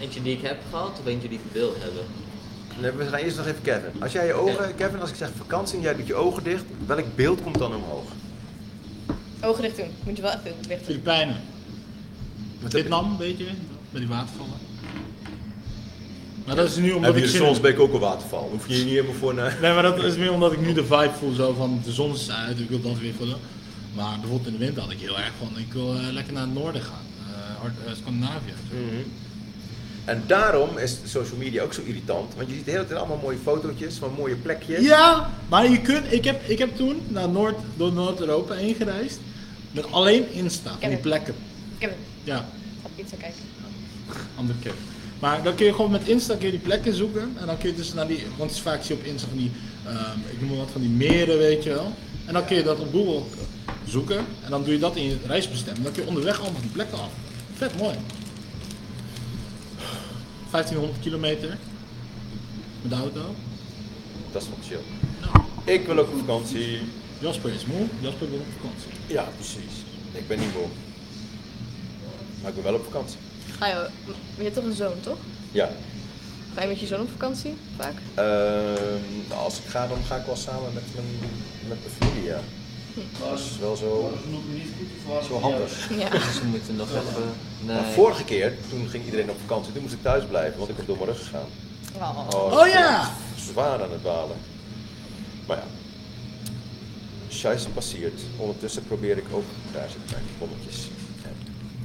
Speaker 5: Eentje die ik heb gehad of eentje die ik wil hebben?
Speaker 1: Nee, we gaan eerst nog even Kevin. Als jij je ogen, Kevin, als ik zeg vakantie en jij doet je ogen dicht, welk beeld komt dan omhoog?
Speaker 4: Ogen dicht doen. Moet je wel echt doen. Licht doen.
Speaker 2: Filipijnen. Vietnam, een beetje. Met die watervallen. Maar dat is nu omdat ik zin heb.
Speaker 1: ook een waterval? Hoef je hier niet helemaal voor naar...
Speaker 2: Nee, maar dat is meer omdat ik nu de vibe voel zo van de zon is uit, ik wil dat weer vullen. Maar bijvoorbeeld in de winter had ik heel erg van, ik wil eh, lekker naar het noorden gaan. Eh, Hard- eh, Scandinavië.
Speaker 1: En daarom is social media ook zo irritant, want je ziet de hele tijd allemaal mooie fotootjes van mooie plekjes.
Speaker 2: Ja, maar je kunt, ik heb, ik heb toen naar Noord, door Noord-Europa heen gereisd. Met alleen Insta, van die
Speaker 4: Kevin.
Speaker 2: plekken.
Speaker 4: Kevin,
Speaker 2: Ja,
Speaker 4: ga ik iets aan kijken.
Speaker 2: andere keer. Maar dan kun je gewoon met Insta kun je die plekken zoeken. En dan kun je dus naar die. Want het is vaak zie je op Insta van die. ehm, ik noem maar wat van die meren, weet je wel. En dan kun je dat op Google zoeken. En dan doe je dat in je reisbestemming. Dan kun je onderweg allemaal die plekken af. Vet mooi. 1500 kilometer. Met de auto.
Speaker 1: Dat is wel chill.
Speaker 2: Nou,
Speaker 1: Ik wil ook op vakantie.
Speaker 2: Jasper is moe. Jasper wil op vakantie.
Speaker 1: Ja, precies. Ik ben niet moe. Maar ik ben wel op vakantie.
Speaker 4: Ga je, je hebt toch een zoon, toch?
Speaker 1: Ja.
Speaker 4: Ga je met je zoon op vakantie vaak?
Speaker 1: Ehm, nou, als ik ga, dan ga ik wel samen met mijn, met de familie, ja. Dat is wel zo, zo handig.
Speaker 4: Ja.
Speaker 5: Ze Dus moeten nog even.
Speaker 1: Maar
Speaker 5: Nee.
Speaker 1: vorige keer, toen ging iedereen op vakantie, toen moest ik thuis blijven, want ik was door mijn rug gegaan.
Speaker 4: Oh.
Speaker 2: Oh
Speaker 1: dat
Speaker 2: ja!
Speaker 1: was Zwaar aan het balen. Maar ja. Scheiße passeert. Ondertussen probeer ik ook, daar zitten mijn bonnetjes. Ja.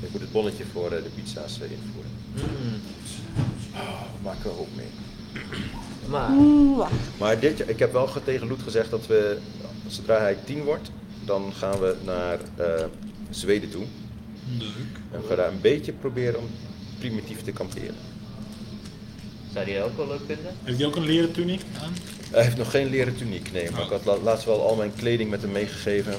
Speaker 1: Ik moet het bonnetje voor eh, de pizza's eh, invoeren.
Speaker 2: Hmm.
Speaker 1: Ah, we maken er hoop mee.
Speaker 5: Maar
Speaker 1: Maar dit, jaar- ik heb wel ge- tegen Loet gezegd dat we, zodra hij tien wordt, dan gaan we naar eh, Zweden toe.
Speaker 2: Leuk.
Speaker 1: En we gaan daar een beetje proberen om primitief te kamperen.
Speaker 5: zou die ook wel leuk vinden?
Speaker 2: Heeft hij ook een leren tunic aan?
Speaker 1: Hij heeft nog geen leren tuniek, nee.
Speaker 2: Oh.
Speaker 1: Maar ik had la- laatst wel al mijn kleding met hem meegegeven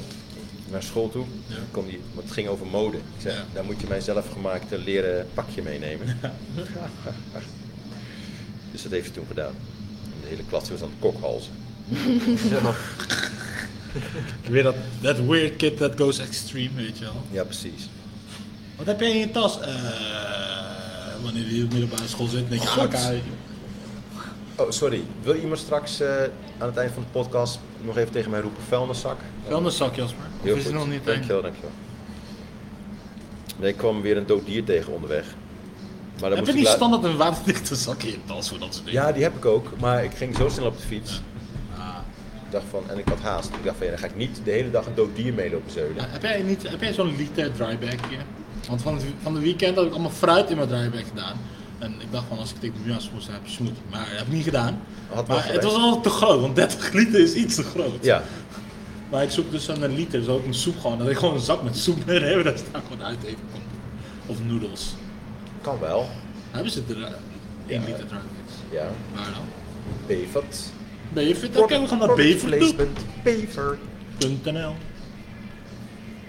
Speaker 1: naar school toe.
Speaker 2: Ja.
Speaker 1: Dan kwam die, want het ging over mode. Ik zei,
Speaker 2: Ja.
Speaker 1: daar moet je mijn zelfgemaakte leren pakje meenemen. dus dat heeft hij toen gedaan. En De hele klas was aan het kokhalzen.
Speaker 2: Weer dat that weird kid that goes extreme, weet je wel.
Speaker 1: Ja, precies.
Speaker 2: Wat heb jij in je tas? Eh, wanneer je op middelbare school zit, denk je aan
Speaker 1: God.
Speaker 2: elkaar.
Speaker 1: Oh, sorry. Wil iemand straks eh, aan het eind van de podcast nog even tegen mij roepen vuilniszak?
Speaker 2: Vuilniszak, Jasper. Of
Speaker 1: Heel
Speaker 2: is
Speaker 1: goed.
Speaker 2: het nog niet een?
Speaker 1: dankjewel, dankjewel. Nee, ik kwam weer een dood dier tegen onderweg. Maar dan
Speaker 2: Heb
Speaker 1: moest
Speaker 2: je
Speaker 1: ik
Speaker 2: niet
Speaker 1: la-
Speaker 2: standaard een waterdichte zak in je tas voor dat soort dingen?
Speaker 1: Ja, die heb ik ook, maar ik ging zo snel op de fiets.
Speaker 2: Ah.
Speaker 1: Ik dacht van, en ik had haast. Ik dacht van, ja, dan ga ik niet de hele dag een dood dier meelopen zeulen.
Speaker 2: Ja, heb jij, niet- heb jij zo'n liter drybagje? Want van het, van het weekend had ik allemaal fruit in mijn drybag gedaan. En ik dacht van als ik dit nu aan smoes heb, smoes. Maar dat heb ik niet gedaan.
Speaker 1: Had wel
Speaker 2: maar het
Speaker 1: geweest.
Speaker 2: was wel te groot, want 30 liter is iets te groot.
Speaker 1: Ja,
Speaker 2: Maar ik zoek dus een liter, zo ook een soep gewoon. Dat ik gewoon een zak met soep mee heb, dat daar gewoon uit even komt. Of noedels.
Speaker 1: kan wel.
Speaker 2: Hebben ze er eh, 1
Speaker 1: Ja.
Speaker 2: liter drybag?
Speaker 1: Ja,
Speaker 2: Waar dan?
Speaker 1: Bevert.
Speaker 2: Bevert, dan kunnen we gewoon naar
Speaker 1: Bever.
Speaker 2: bevert.nl.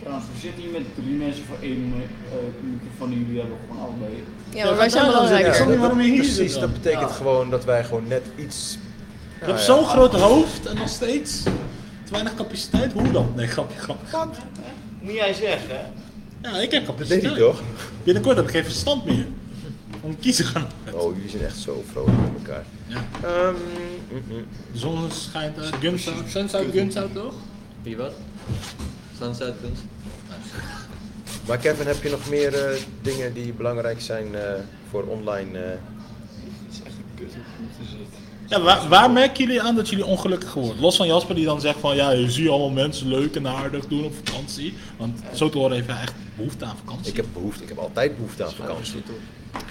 Speaker 3: Trouwens, we zitten hier met drie mensen voor één eh, microfoon en jullie hebben gewoon allebei.
Speaker 4: Ja, maar wij zijn
Speaker 2: Ik
Speaker 4: belangrijk.
Speaker 2: snap niet waarom je hier zit
Speaker 1: Precies,
Speaker 2: dan.
Speaker 1: dat betekent
Speaker 3: Ja.
Speaker 1: gewoon dat wij gewoon net iets...
Speaker 2: Je
Speaker 1: Nou
Speaker 2: hebt
Speaker 1: ja.
Speaker 2: zo'n groot hoofd en nog steeds te weinig capaciteit. Hoe dan? Nee, grapje, grapje.
Speaker 3: Moet jij zeggen, hè?
Speaker 2: Ja, ik heb
Speaker 1: Dat deed
Speaker 2: capaciteit.
Speaker 1: hij toch?
Speaker 2: Binnenkort heb ik geen verstand meer. Om kiezen gaan.
Speaker 1: Oh, jullie zijn echt zo vrolijk met elkaar.
Speaker 2: Ja.
Speaker 1: Ehm, mm, mm.
Speaker 2: De zon schijnt uit Guns out. Suns out, Guns out toch?
Speaker 5: Wie wat? Sunset Guns?
Speaker 1: Maar Kevin, heb je nog meer eh, dingen die belangrijk zijn eh, voor online... eh,
Speaker 2: Ja, waar, waar merken jullie aan dat jullie ongelukkig worden? Los van Jasper die dan zegt van ja, je ziet allemaal mensen leuk en aardig doen op vakantie. Want zo te horen heeft hij echt behoefte aan vakantie.
Speaker 1: ik heb behoefte, ik heb altijd behoefte aan vakantie.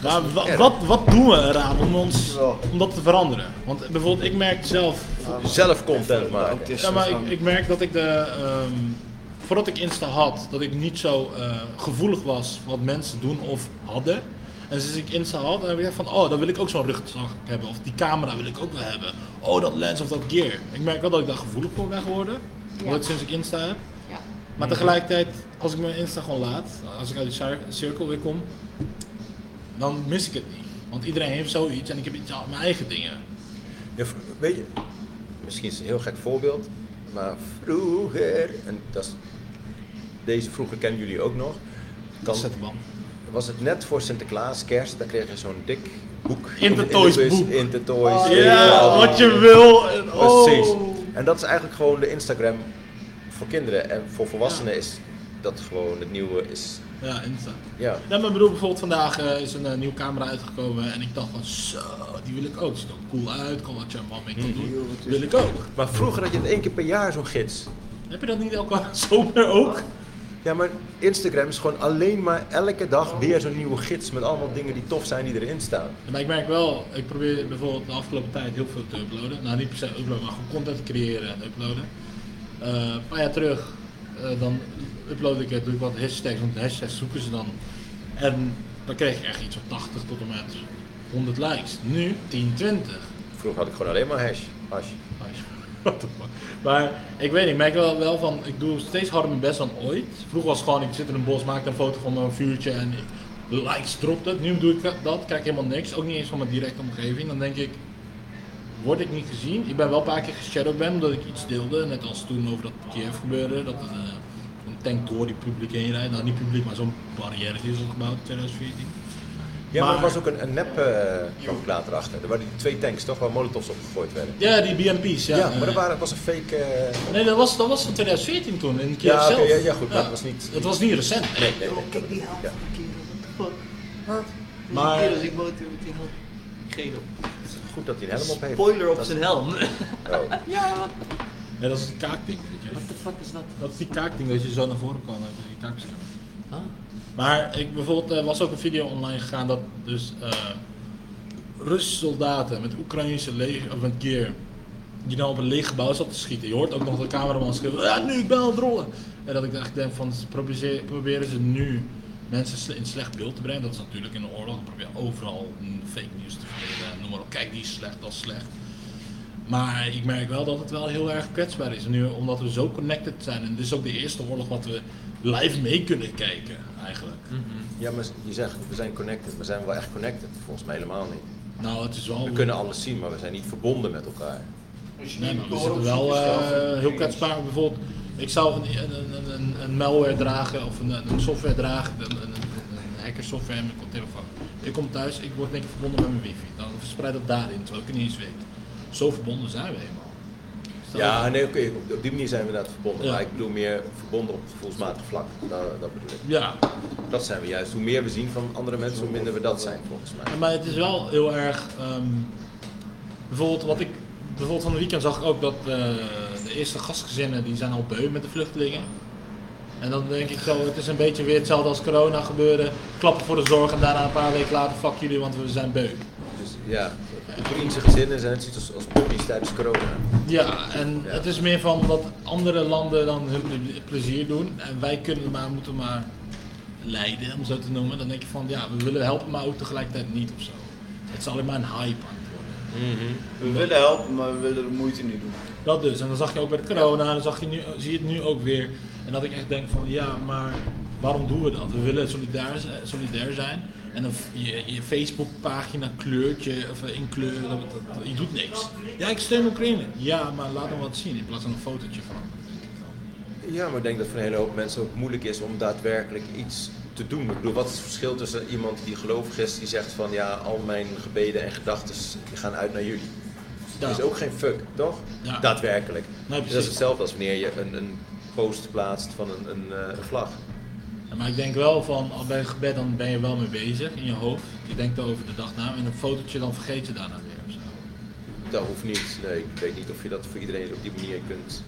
Speaker 2: Maar wa-
Speaker 1: erg.
Speaker 2: wat, wat doen we eraan om, ons, om dat te veranderen? Want bijvoorbeeld, ik merk zelf
Speaker 1: Zelf content maken.
Speaker 3: is
Speaker 2: Ja, maar ik, ik merk dat ik de. ehm, voordat ik Insta had, dat ik niet zo eh, gevoelig was wat mensen doen of hadden. En sinds ik Insta had, dan heb ik echt van, oh, dan wil ik ook zo'n rugzak hebben. Of die camera wil ik ook wel hebben. Oh, dat lens of dat gear. Ik merk wel dat ik daar gevoelig voor ben geworden. Omdat ik sinds ik Insta heb.
Speaker 4: Ja.
Speaker 2: Maar tegelijkertijd, als ik mijn Insta gewoon laat, als ik uit die cir- cirkel weer kom, dan mis ik het niet. Want iedereen heeft zoiets en ik heb iets aan mijn eigen dingen.
Speaker 1: Ja, v- weet je, misschien is het een heel gek voorbeeld, maar vroeger, en dat is, deze vroeger kennen jullie ook nog, kan,
Speaker 2: Dat zet de man.
Speaker 1: was het net voor Sinterklaas, kerst, dan kreeg je zo'n dik boek.
Speaker 2: Intertoys
Speaker 1: de bus,
Speaker 2: boek. Oh,
Speaker 1: Intertoys. eh,
Speaker 2: Ja,
Speaker 1: helemaal.
Speaker 2: wat je wil. en- oh.
Speaker 1: Precies. En dat is eigenlijk gewoon de Instagram voor kinderen. En voor volwassenen is dat gewoon het nieuwe is,
Speaker 2: Ja, Insta.
Speaker 1: ja.
Speaker 2: Ja, maar ik bedoel, bijvoorbeeld vandaag eh, is een eh, nieuwe camera uitgekomen en ik dacht van zo, die wil ik ook. Ziet er cool uit, kan wat je allemaal mee
Speaker 1: Mhm.
Speaker 2: kan doen. Wil ik ook.
Speaker 1: Maar vroeger had je het één keer per jaar zo'n gids.
Speaker 2: Heb je dat niet elke zomer ook?
Speaker 1: Ja, maar Instagram is gewoon alleen maar elke dag weer zo'n nieuwe gids met allemaal dingen die tof zijn die erin staan.
Speaker 2: Maar ik merk wel, ik probeer bijvoorbeeld de afgelopen tijd heel veel te uploaden. Nou, niet per se uploaden, maar gewoon content creëren en uploaden. Eh, een paar jaar terug, eh, dan upload ik het, doe ik wat hashtags, want de hashtags zoeken ze dan. En dan kreeg ik echt iets van 80 tot en met 100 likes. Nu 10, 20.
Speaker 1: Vroeger had ik gewoon alleen maar hash. hash.
Speaker 2: What the fuck? Maar ik weet niet, ik merk wel, wel van, ik doe steeds harder mijn best dan ooit. Vroeger was het gewoon, ik zit in een bos, maak een foto van mijn vuurtje en ik, likes dropt het. Nu doe ik dat, krijg ik helemaal niks, ook niet eens van mijn directe omgeving. Dan denk ik, word ik niet gezien? Ik ben wel een paar keer geshadowband omdat ik iets deelde, net als toen over dat Kiev gebeuren, dat er eh, een tank door die publiek heen rijdt. Nou niet publiek, maar zo'n barrière die is opgebouwd in 2014.
Speaker 1: Ja, maar, er
Speaker 2: Maar-
Speaker 1: was ook een, een nep eh kalkulator achter. Er waren die twee tanks toch waar molotovs op gegooid werden.
Speaker 2: Ja, die BMP's, ja.
Speaker 1: Ja, maar dat,
Speaker 2: eh.
Speaker 1: waren, dat was een fake... eh,
Speaker 2: Nee, dat was, dat was van 2014 toen, in Kiev
Speaker 1: Ja, oké,
Speaker 2: zelf.
Speaker 1: ja, ja, goed, maar het was niet-
Speaker 2: Het was niet recent. Nee.
Speaker 1: nee, nee.
Speaker 7: Kijk die helft
Speaker 1: Ja.
Speaker 7: van de kerel. What the fuck? Wat?
Speaker 2: Maar-
Speaker 7: Als ik motor met die helft. Geen op.
Speaker 1: Goed dat hij een helm op heeft.
Speaker 5: Spoiler op
Speaker 1: Dat-
Speaker 5: zijn helm.
Speaker 1: Oh.
Speaker 2: Ja, dat is die kaakding.
Speaker 5: What the fuck is dat?
Speaker 2: Dat is die kaakding dat je zo naar voren kan. eh, Die kaakbescherming.
Speaker 5: Huh?
Speaker 2: Maar ik bijvoorbeeld eh, was ook een video online gegaan dat dus eh Russische soldaten met Oekraïnse leger of een keer die nou op een leeg gebouw zat te schieten. Je hoort ook nog de cameraman schreeuwen, ja nu ik ben aan het rollen. En dat ik echt denk van ze probeer- proberen ze nu mensen sle- in slecht beeld te brengen. Dat is natuurlijk in de oorlog, dan probeer je overal mm, fake news te verdelen. Noem maar op, kijk die is slecht, dat is slecht. Maar ik merk wel dat het wel heel erg kwetsbaar is nu, omdat we zo connected zijn. En dit is ook de eerste oorlog wat we live mee kunnen kijken, eigenlijk.
Speaker 1: Ja, maar je zegt, we zijn connected. Maar zijn we wel echt connected? Volgens mij helemaal niet.
Speaker 2: Nou, het is wel...
Speaker 1: Hm. We kunnen alles zien, maar we zijn niet verbonden met elkaar.
Speaker 3: Als je
Speaker 2: Nee,
Speaker 3: niet
Speaker 2: maar we
Speaker 3: door
Speaker 2: zitten
Speaker 3: op
Speaker 2: wel
Speaker 3: zoek is, zelf-
Speaker 2: eh, heel kwetsbaar. Bijvoorbeeld, ik zou een, een, een- een, een malware dragen of een, een software dragen, een, een, een hackersoftware in mijn telefoon. Ik kom thuis, ik word niks verbonden met mijn wifi. Dan verspreid dat daarin, terwijl ik het niet eens weet. Zo verbonden zijn we helemaal.
Speaker 1: Ja, nee, oké. op- Op die manier zijn we inderdaad verbonden.
Speaker 2: Ja.
Speaker 1: Maar ik bedoel meer verbonden op gevoelsmatig vlak. Dat, dat bedoel ik.
Speaker 2: Ja,
Speaker 1: Dat zijn we juist. Hoe meer we zien van andere mensen, hoe minder we dat zijn, volgens mij.
Speaker 2: Ja, Maar het is wel heel erg. ehm, bijvoorbeeld wat ik. Bijvoorbeeld van het weekend zag ik ook dat eh, de eerste gastgezinnen die zijn al beu met de vluchtelingen. En dan denk ik zo, het is een beetje weer hetzelfde als corona gebeurde. Klappen voor de zorg en daarna een paar weken later, fuck jullie, want we zijn beu.
Speaker 1: Dus ja, Oekraïnse gezinnen zijn net zoiets als, als puppies tijdens corona.
Speaker 2: Ja, en het is meer van dat andere landen dan hun ple- plezier doen. En wij kunnen maar, moeten maar leiden, om zo te noemen. Dan denk je van, ja, we willen helpen, maar ook tegelijkertijd niet of zo. Het is alleen maar een hype aan het worden.
Speaker 3: We willen helpen, maar we willen de moeite niet doen.
Speaker 2: Dat dus. En dan zag je ook bij de corona, en dan zag je nu, zie je het nu ook weer. En dat ik echt denk van, ja, maar waarom doen we dat? We willen solidair, zi- solidair zijn. En dan f- je, je Facebookpagina kleurtje, of eh, in kleur, dat, dat- dat- je doet niks. Ja, ik steun Oekraïne. Ja, maar laat hem wat zien in plaats van een fotootje van.
Speaker 1: Ja, maar ik denk dat voor een hele hoop mensen ook moeilijk is om daadwerkelijk iets te doen. Ik bedoel, wat is het verschil tussen iemand die gelovig is, die zegt van ja, al mijn gebeden en gedachten gaan uit naar jullie.
Speaker 2: Ja.
Speaker 1: Dat is ook geen fuck, toch?
Speaker 2: Ja.
Speaker 1: Daadwerkelijk.
Speaker 2: precies.
Speaker 1: dat is hetzelfde als wanneer je een, een post plaatst van een, een, eh, een vlag.
Speaker 2: Ja, Maar ik denk wel van, al bij een gebed dan ben je wel mee bezig in je hoofd. Je denkt over de dag na en een fotootje dan vergeet je daarna weer. of zo.
Speaker 1: Dat hoeft niet. Nee, ik weet niet of je dat voor iedereen op die manier kunt.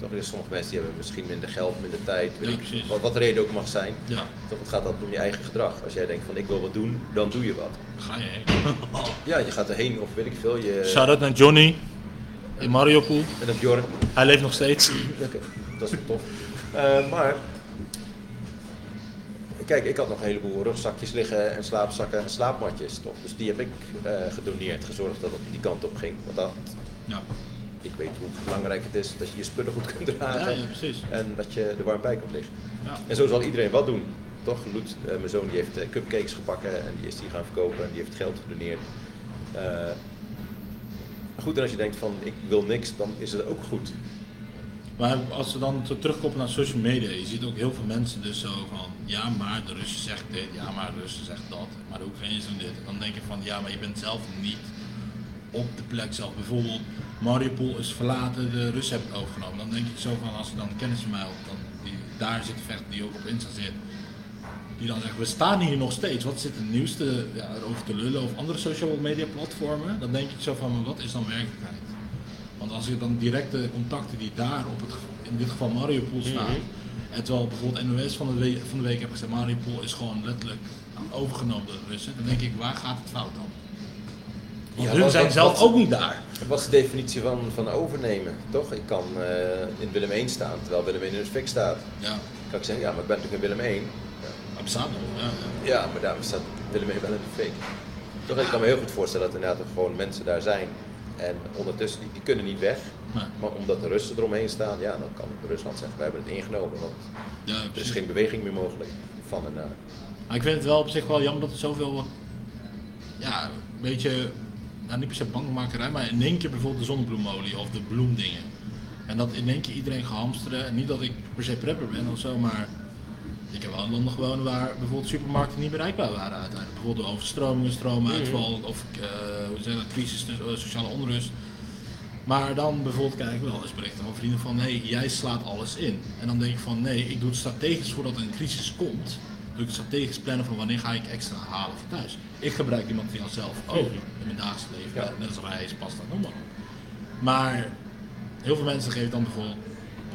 Speaker 1: Toch er is sommige mensen die hebben misschien minder geld, minder tijd, weet
Speaker 2: Ja,
Speaker 1: ik,
Speaker 2: precies.
Speaker 1: wat, wat de reden ook mag zijn.
Speaker 2: Ja,
Speaker 1: Toch het gaat altijd om je eigen gedrag. Als jij denkt van ik wil wat doen, dan doe je wat.
Speaker 2: daar ga je heen.
Speaker 1: Ja, je gaat erheen of weet ik veel. Je...
Speaker 2: Shout-out naar Johnny in Mariupol.
Speaker 1: En dat Bjorn.
Speaker 2: Hij leeft nog steeds.
Speaker 1: Oké, dat is wel tof. Eh, maar. Kijk, ik had nog een heleboel rugzakjes liggen en slaapzakken en slaapmatjes, toch? Dus die heb ik eh, gedoneerd, gezorgd dat het die kant op ging. Want dat,
Speaker 2: Ja,
Speaker 1: ik weet hoe belangrijk het is dat je je spullen goed kunt
Speaker 2: ja,
Speaker 1: dragen.
Speaker 2: ja precies.
Speaker 1: En dat je er warm bij kan liggen.
Speaker 2: Ja.
Speaker 1: En zo zal iedereen wat doen. Toch? Loet, eh, mijn zoon die heeft eh, cupcakes gebakken en die is die gaan verkopen en die heeft geld gedoneerd. Eh, goed, en als je denkt van ik wil niks, dan is het ook goed.
Speaker 2: Maar als we dan zo terugkoppelen naar social media, je ziet ook heel veel mensen dus zo van, ja maar de Russen zegt dit, ja maar de Russen zegt dat, maar de Oekraïners doen dit. En dan denk je van, ja maar je bent zelf niet op de plek zelf. Bijvoorbeeld Mariupol is verlaten, de Russen hebben het overgenomen. Dan denk ik zo van, als je dan kennis van mij had, dan die daar zit vecht, die ook op Insta zit, die dan zegt, we staan hier nog steeds. Wat zit het nieuws te, ja, erover te lullen of andere social media platformen? Dan denk ik zo van, maar wat is dan werkelijkheid? Want als je dan directe contacten die daar op het, ge- in dit geval Mariupol staan, en terwijl bijvoorbeeld NOS van de, week, van de week heb gezegd, Mariupol is gewoon letterlijk overgenomen door de Russen, dan denk ik, waar gaat het fout dan? Want
Speaker 1: Ja,
Speaker 2: hun
Speaker 1: wat-
Speaker 2: zijn
Speaker 1: wat-
Speaker 2: zelf
Speaker 1: wat-
Speaker 2: ook niet daar.
Speaker 1: Wat is de definitie van, van overnemen? Toch? Ik kan eh, in Willem 1 staan, terwijl Willem 1 in het fik staat.
Speaker 2: Ja,
Speaker 1: Dan kan ik zeggen, ja, maar ik ben natuurlijk in Willem 1.
Speaker 2: maar bestaat nog. Ja, ja.
Speaker 1: Ja, maar daar staat Willem 1 wel in het fik. Toch? Ik kan me heel goed voorstellen dat inderdaad er gewoon mensen daar zijn. En ondertussen, die, die kunnen niet weg.
Speaker 2: Nee.
Speaker 1: Maar omdat de Russen eromheen staan, ja, dan kan Rusland zeggen, wij hebben het ingenomen. Want
Speaker 2: Ja,
Speaker 1: er is
Speaker 2: precies.
Speaker 1: geen beweging meer mogelijk van eh, en naar.
Speaker 2: Maar ik vind het wel op zich wel jammer dat er zoveel, ja, een beetje, nou niet per se bankmakerij, maar in één keer bijvoorbeeld de zonnebloemolie of de bloemdingen. En dat in één keer iedereen gehamsteren. En niet dat ik per se prepper ben of zo, maar Ik heb wel in Londen gewoond waar bijvoorbeeld supermarkten niet bereikbaar waren uiteindelijk. Bijvoorbeeld door overstromingen, stroomuitval of eh, hoe zeg je dat, crisis, dus, eh, sociale onrust. Maar dan bijvoorbeeld krijg ik wel eens berichten van vrienden van, hey, jij slaat alles in. En dan denk ik van, nee, ik doe het strategisch voordat er een crisis komt. Doe ik het strategisch plannen van wanneer ga ik extra halen voor thuis. Ik gebruik die materiaal zelf ook in mijn dagelijks leven.
Speaker 1: Ja.
Speaker 2: Net als rijst, pasta, noem maar op. Maar heel veel mensen geven dan bijvoorbeeld,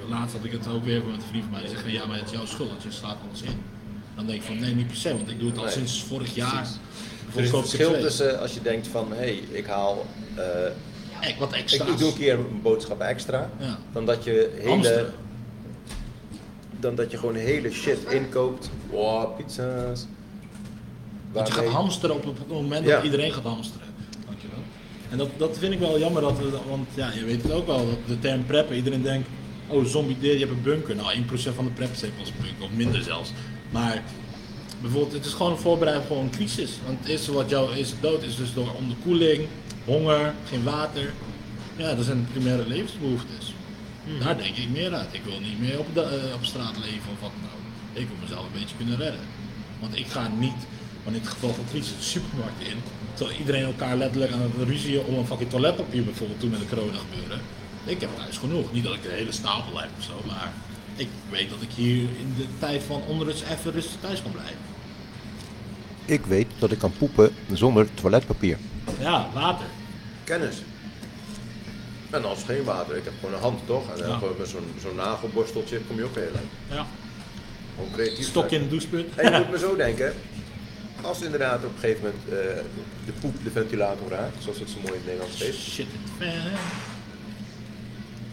Speaker 2: laatst had ik het ook weer met een vriend van mij, die zegt, ja, maar het is jouw schuld, je slaat alles in. Dan denk ik van, nee, niet per se, want ik doe het al
Speaker 1: Nee.
Speaker 2: sinds vorig jaar.
Speaker 1: Er is een
Speaker 2: Bijvoorbeeld koop
Speaker 1: verschil
Speaker 2: ik twee.
Speaker 1: tussen eh, als je denkt van, hé, hey, ik haal, eh,
Speaker 2: Echt wat
Speaker 1: ik,
Speaker 2: extra's.
Speaker 1: ik doe een keer een boodschap extra,
Speaker 2: Ja.
Speaker 1: dan dat je hele,
Speaker 2: Hamsteren.
Speaker 1: dan dat je gewoon hele shit inkoopt. Wow, pizza's.
Speaker 2: Dat je gaat
Speaker 1: Waarmee-
Speaker 2: hamsteren op het moment
Speaker 1: Ja.
Speaker 2: dat iedereen gaat hamsteren. Dankjewel. En dat, dat vind ik wel jammer, dat we, want ja, je weet het ook wel, dat de term preppen, iedereen denkt, oh zombie deer, je hebt een bunker. Nou, 1% van de prep staat als een bunker, of minder zelfs. Maar bijvoorbeeld, het is gewoon een voorbereiding voor een crisis. Want het eerste wat jou is dood is dus door onderkoeling, honger, geen water. Ja, dat zijn de primaire levensbehoeftes. Daar denk ik meer uit. Ik wil niet meer op, de, eh, op straat leven of wat dan ook. Ik wil mezelf een beetje kunnen redden. Want ik ga niet, want in het geval van crisis, de supermarkt in. Terwijl iedereen elkaar letterlijk aan het ruzie om een fucking toiletpapier bijvoorbeeld toen met de corona gebeuren. Ik heb thuis genoeg. Niet dat ik de hele stapel heb of zo, maar ik weet dat ik hier in de tijd van onrust even rustig thuis kan blijven.
Speaker 8: Ik weet dat ik kan poepen zonder toiletpapier.
Speaker 2: Ja, water.
Speaker 1: Kennis. En als geen water, ik heb gewoon een hand toch? En dan
Speaker 2: Ja.
Speaker 1: gewoon met zo'n zo'n nagelborsteltje kom je ook heel eind.
Speaker 2: Ja.
Speaker 1: Gewoon creatief.
Speaker 2: Stok in
Speaker 1: zijn.
Speaker 2: de doucheput.
Speaker 1: En je moet maar zo denken, als inderdaad op een gegeven moment eh, de poep de ventilator raakt, zoals het zo mooi in het Nederlands heet,
Speaker 2: Shit in the fan.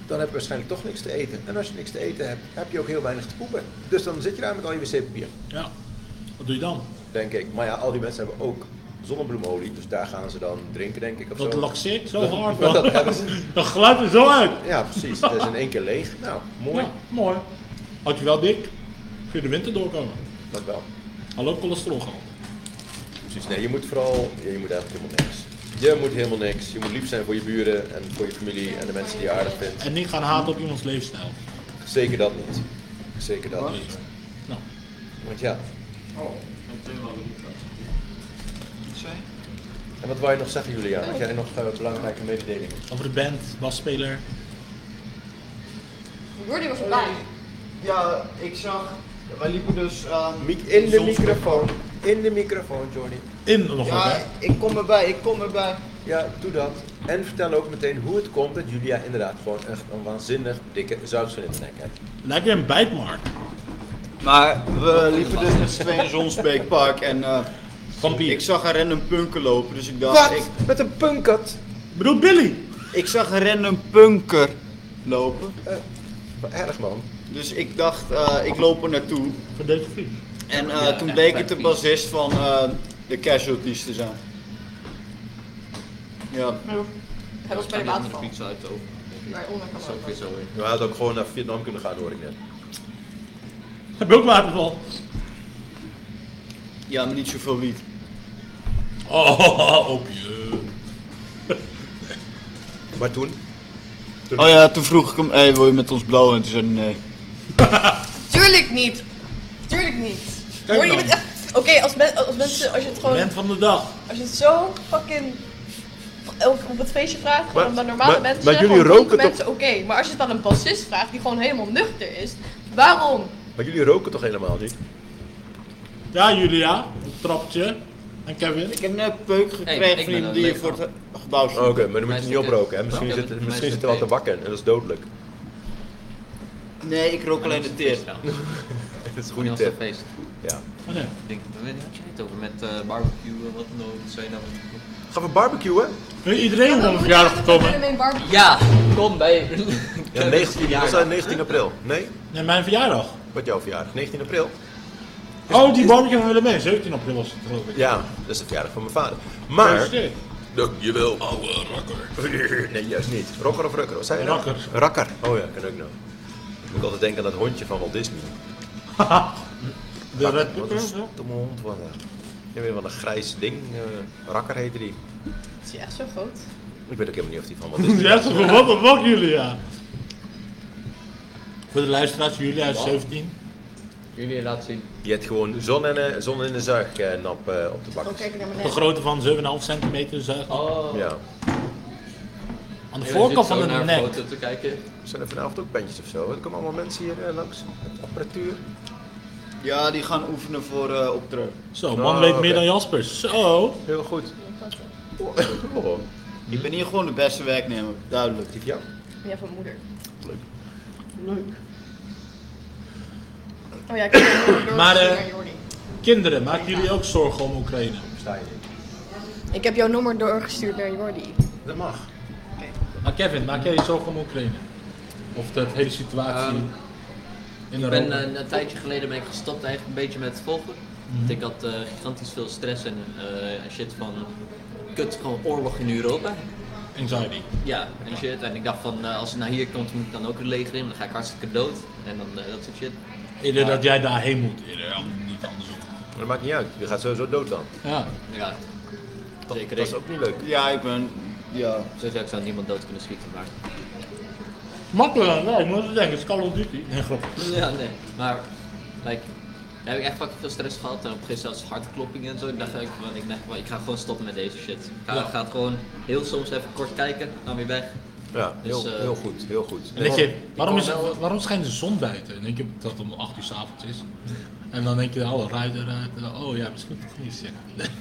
Speaker 1: dan heb je waarschijnlijk toch niks te eten. En als je niks te eten hebt, heb je ook heel weinig te poepen. Dus dan zit je daar met al je wc-papier,
Speaker 2: Ja. Wat doe je dan?
Speaker 1: denk ik. Maar ja, al die mensen hebben ook zonnebloemolie, dus daar gaan ze dan drinken, denk ik. Of
Speaker 2: Dat
Speaker 1: zo.
Speaker 2: laxeert zo hard.
Speaker 1: Maar
Speaker 2: man.
Speaker 1: dat hebben ze.
Speaker 2: Dat glijdt er zo uit.
Speaker 1: Ja, precies. Het is in één keer leeg. Nou, mooi.
Speaker 2: Ja, mooi. Had je wel dik, kun je de winter doorkomen.
Speaker 1: Dat wel.
Speaker 2: Hallo cholesterolgehalte.
Speaker 1: Precies, nee, je moet vooral, ja, je moet eigenlijk helemaal niks. Je moet helemaal niks. Je moet lief zijn voor je buren en voor je familie en de mensen die je aardig vindt.
Speaker 2: En niet gaan haten op iemands leefstijl.
Speaker 1: Zeker dat niet. Zeker dat niet.
Speaker 2: Nou,
Speaker 1: Want ja,
Speaker 3: Dat is wel niet dat.
Speaker 7: Zij?
Speaker 1: en wat wou je nog zeggen Julia? Had jij nog eh, belangrijke mededelingen?
Speaker 2: over de band, basspeler.
Speaker 4: Jordi was erbij.
Speaker 7: Ja, ik zag. Wij liepen dus aan.
Speaker 1: Mic- In de
Speaker 7: Soms-
Speaker 1: microfoon. In de microfoon, Johnny.
Speaker 2: In nog wel,
Speaker 7: Ja,
Speaker 2: hè?
Speaker 7: ik kom erbij, ik kom erbij.
Speaker 1: Ja, doe dat. En vertel ook meteen hoe het komt dat Julia inderdaad gewoon echt een waanzinnig dikke zuigsel in de nek heeft.
Speaker 2: Lijkt weer een bijtmark.
Speaker 7: Maar we liepen dus met z'n tweeën in Zonsbeekpark en eh, ik zag een random punker lopen, dus ik dacht... Ik,
Speaker 1: Met een punkat?
Speaker 2: Ik bedoel Billy.
Speaker 7: ik zag een random punker lopen,
Speaker 1: Wat erg man.
Speaker 7: dus ik dacht, eh, ik loop er naartoe.
Speaker 2: Van deze film.
Speaker 7: En eh,
Speaker 5: Ja,
Speaker 7: toen
Speaker 5: echt
Speaker 7: bleek
Speaker 5: waar,
Speaker 7: het de
Speaker 5: Piet.
Speaker 7: bassist van eh, de Casualties te zijn. Ja,
Speaker 4: Hij was bij de
Speaker 5: andere
Speaker 4: waterval.
Speaker 5: pizza uit ook.
Speaker 4: Maar onderkant
Speaker 5: Dat is ook weer zo weer.
Speaker 1: We hadden ook gewoon naar Vietnam kunnen gaan hoor ik net.
Speaker 2: Heb je ook waterval?
Speaker 7: ja, maar niet zoveel wiet.
Speaker 2: Oh, op je.
Speaker 1: Maar toen?
Speaker 7: Oh ja, toen vroeg ik hem, hey, wil je met ons blauw? En toen zei hij nee.
Speaker 4: Tuurlijk niet! Tuurlijk niet! Jordi, je
Speaker 2: dan.
Speaker 4: bent echt... Oké, als, men- als mensen... Als je het gewoon...
Speaker 2: Band van de dag.
Speaker 4: Als je het zo fucking op op het feestje vraagt, gewoon
Speaker 1: Maar-
Speaker 4: aan normale
Speaker 1: maar-
Speaker 4: mensen.
Speaker 1: maar jullie
Speaker 4: gewoon
Speaker 1: roken
Speaker 4: dronken
Speaker 1: toch-
Speaker 4: mensen, oké. Maar als je het aan een bassist vraagt die gewoon helemaal nuchter is, waarom?
Speaker 1: Maar jullie roken toch helemaal niet?
Speaker 2: Ja, Julia. Een trapje. En Kevin.
Speaker 7: Ik heb net peuk gekregen
Speaker 5: Hey, ik
Speaker 7: van
Speaker 5: ben
Speaker 7: iemand
Speaker 5: een
Speaker 7: die hier
Speaker 5: leeg
Speaker 7: voor
Speaker 5: man.
Speaker 7: het gebouw
Speaker 1: Oh, Oké,
Speaker 7: stond.
Speaker 1: maar dan moet je
Speaker 5: Mensen
Speaker 1: niet oproken, hè?
Speaker 5: kunnen-
Speaker 1: Misschien
Speaker 5: Ja,
Speaker 1: zit,
Speaker 5: mensen
Speaker 1: misschien zit er wel
Speaker 5: kunnen-
Speaker 1: te bakken en dat is dodelijk.
Speaker 7: Nee, ik rook alleen de teer.
Speaker 1: Dat is een
Speaker 5: Goeie
Speaker 1: goede
Speaker 5: tip.
Speaker 1: tip.
Speaker 5: feest.
Speaker 1: Ja.
Speaker 2: Oh, nee.
Speaker 5: Ik denk, waar had je het over? Met eh, barbecue en wat dan ook. Wat zei je nou?
Speaker 1: Gaan we barbecuen?
Speaker 2: Nu is iedereen op een verjaardag gekomen.
Speaker 4: komen.
Speaker 5: Ja, kom bij.
Speaker 1: Ja, 19, dat was eh, 19 april. Nee?
Speaker 2: Nee, mijn verjaardag.
Speaker 1: Wat jouw verjaardag? 19 april?
Speaker 2: Oh, die barbecue van Willemijn. 17 april was het geloof ik.
Speaker 1: Ja, dat is de verjaardag van mijn vader. Maar...
Speaker 2: Gefeliciteerd.
Speaker 1: Dankjewel. Oude rakker. Nee, juist niet. Rocker of rukker? Wat zei je nou?
Speaker 2: Rakker.
Speaker 1: Rakker. Oh ja, kan ook nog. Moet ik altijd denken aan dat hondje van Walt Disney.
Speaker 2: De
Speaker 1: Rakker,
Speaker 2: Red
Speaker 1: Wat een
Speaker 2: Pepper. hè?
Speaker 1: stomme hond was dat. Ik weet wel een grijs ding. eh, rakker heette die.
Speaker 4: Het is echt zo groot.
Speaker 1: Ik weet ook helemaal niet of die van Walt Disney
Speaker 2: Ja, toch wat de fuck Julia? Voor de luisteraars, Julia is 17.
Speaker 5: Jullie laten zien.
Speaker 1: Je hebt gewoon zon en, eh, zon en een zuignap eh, op de bak.
Speaker 4: Gewoon kijken naar
Speaker 2: De
Speaker 4: beneden.
Speaker 2: grootte van 7,5 centimeter zuigt.
Speaker 5: Oh,
Speaker 1: Ja.
Speaker 2: Aan de voorkant van de
Speaker 5: naar
Speaker 2: nek.
Speaker 5: foto te kijken.
Speaker 1: Zijn er vanavond ook bandjes of zo? Er komen allemaal mensen hier eh, langs. Met apparatuur.
Speaker 7: Ja, die gaan oefenen voor eh optreden.
Speaker 2: Zo,
Speaker 1: Oh,
Speaker 2: man weet
Speaker 1: oké.
Speaker 2: meer dan Jasper. Zo.
Speaker 1: Heel goed. Oh, oh.
Speaker 5: Hm.
Speaker 7: Ik ben hier gewoon de beste werknemer, duidelijk.
Speaker 1: Ja.
Speaker 4: Ja, van moeder. Leuk. Leuk. Oh ja, ik heb door- door-
Speaker 2: Maar, eh,
Speaker 4: naar Jordi.
Speaker 2: Kinderen, maken jullie ook zorgen om Oekraïne?
Speaker 1: Sta je in.
Speaker 4: Ik heb jouw nummer doorgestuurd naar Jordi.
Speaker 1: Dat mag.
Speaker 2: Maar Kevin, maak jij je zorgen om Oekraïne? Of de hele situatie
Speaker 5: Ehm,
Speaker 2: in
Speaker 5: Ik
Speaker 2: Europa?
Speaker 5: ben eh, een tijdje geleden ben ik gestopt eigenlijk een beetje met het volgen. Want ik had eh, gigantisch veel stress en eh, shit van kut, gewoon oorlog in Europa.
Speaker 2: Anxiety.
Speaker 5: eh, Ja, en shit. En ik dacht van eh, als het naar hier komt, moet ik dan ook een leger in, dan ga ik hartstikke dood. En dan eh, dat soort shit.
Speaker 2: Eerder dat jij daarheen moet, eerder an- niet andersom.
Speaker 1: Maar dat maakt niet uit. Je gaat sowieso dood dan.
Speaker 2: Ja.
Speaker 5: Ja,
Speaker 1: Dat,
Speaker 5: Zeker
Speaker 1: dat is
Speaker 5: ik.
Speaker 1: ook niet leuk.
Speaker 7: Ja, ik ben. Ja.
Speaker 5: zo zou ik zou niemand dood kunnen schieten, maar...
Speaker 2: Makkelijk, nee, ik moet het denken, het is Call of Duty. Nee, grap.
Speaker 5: Ja, nee. Maar, like, daar heb ik echt fucking veel stress gehad. En op een gegeven moment zelfs hartkloppingen en zo. Ik dacht, eigenlijk van, ik, dacht van, ik ga gewoon stoppen met deze shit. Ik ga,
Speaker 2: Ja.
Speaker 5: ga het gewoon heel soms even kort kijken, dan weer weg.
Speaker 1: Ja, heel,
Speaker 5: Dus, eh,
Speaker 1: heel goed. Heel goed.
Speaker 2: En denk je, waarom,
Speaker 5: kon
Speaker 2: is,
Speaker 5: wel-
Speaker 2: waarom schijnt de zon buiten? En denk je dat het om 8 uur 's avonds is? En dan denk je, alle ruit eruit. en, Oh ja, misschien moet ik het niet zeggen. Nee.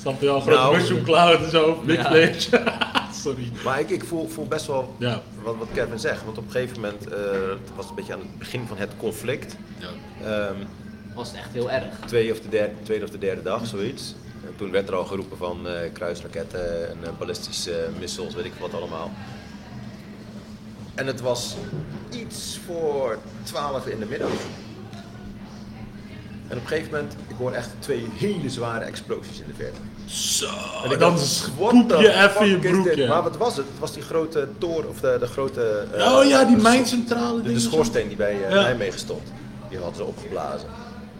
Speaker 2: Snap je al? Grote
Speaker 1: Nou,
Speaker 2: mushroom cloud en zo. Big
Speaker 5: ja.
Speaker 2: fish. Sorry.
Speaker 1: Maar ik, ik voel, voel best wel
Speaker 2: Ja.
Speaker 1: wat, wat Kevin zegt. Want op een gegeven moment, eh, het was een beetje aan het begin van het conflict.
Speaker 2: ja.
Speaker 1: Ehm,
Speaker 5: Was het echt heel erg.
Speaker 1: twee of de derde, tweede of de derde dag, zoiets. En toen werd er al geroepen van eh, kruisraketten en eh, ballistische eh, missiles, weet ik wat allemaal. En het was iets voor 12 in de middag. En op een gegeven moment, ik hoor echt twee hele zware explosies in de verte.
Speaker 2: Zo.
Speaker 1: En
Speaker 2: En
Speaker 1: ik
Speaker 2: dan
Speaker 1: dacht,
Speaker 2: scoop
Speaker 1: what
Speaker 2: je
Speaker 1: the
Speaker 2: even je
Speaker 1: fuck is dit?
Speaker 2: broekje.
Speaker 1: Maar wat was het? Het was die grote toren, of de, de grote... eh,
Speaker 2: Oh ja, die
Speaker 1: de
Speaker 2: mijncentrale
Speaker 1: de, de
Speaker 2: dingen.
Speaker 1: schoorsteen die bij eh,
Speaker 2: Ja.
Speaker 1: Nijmegen stond, die hadden ze opgeblazen.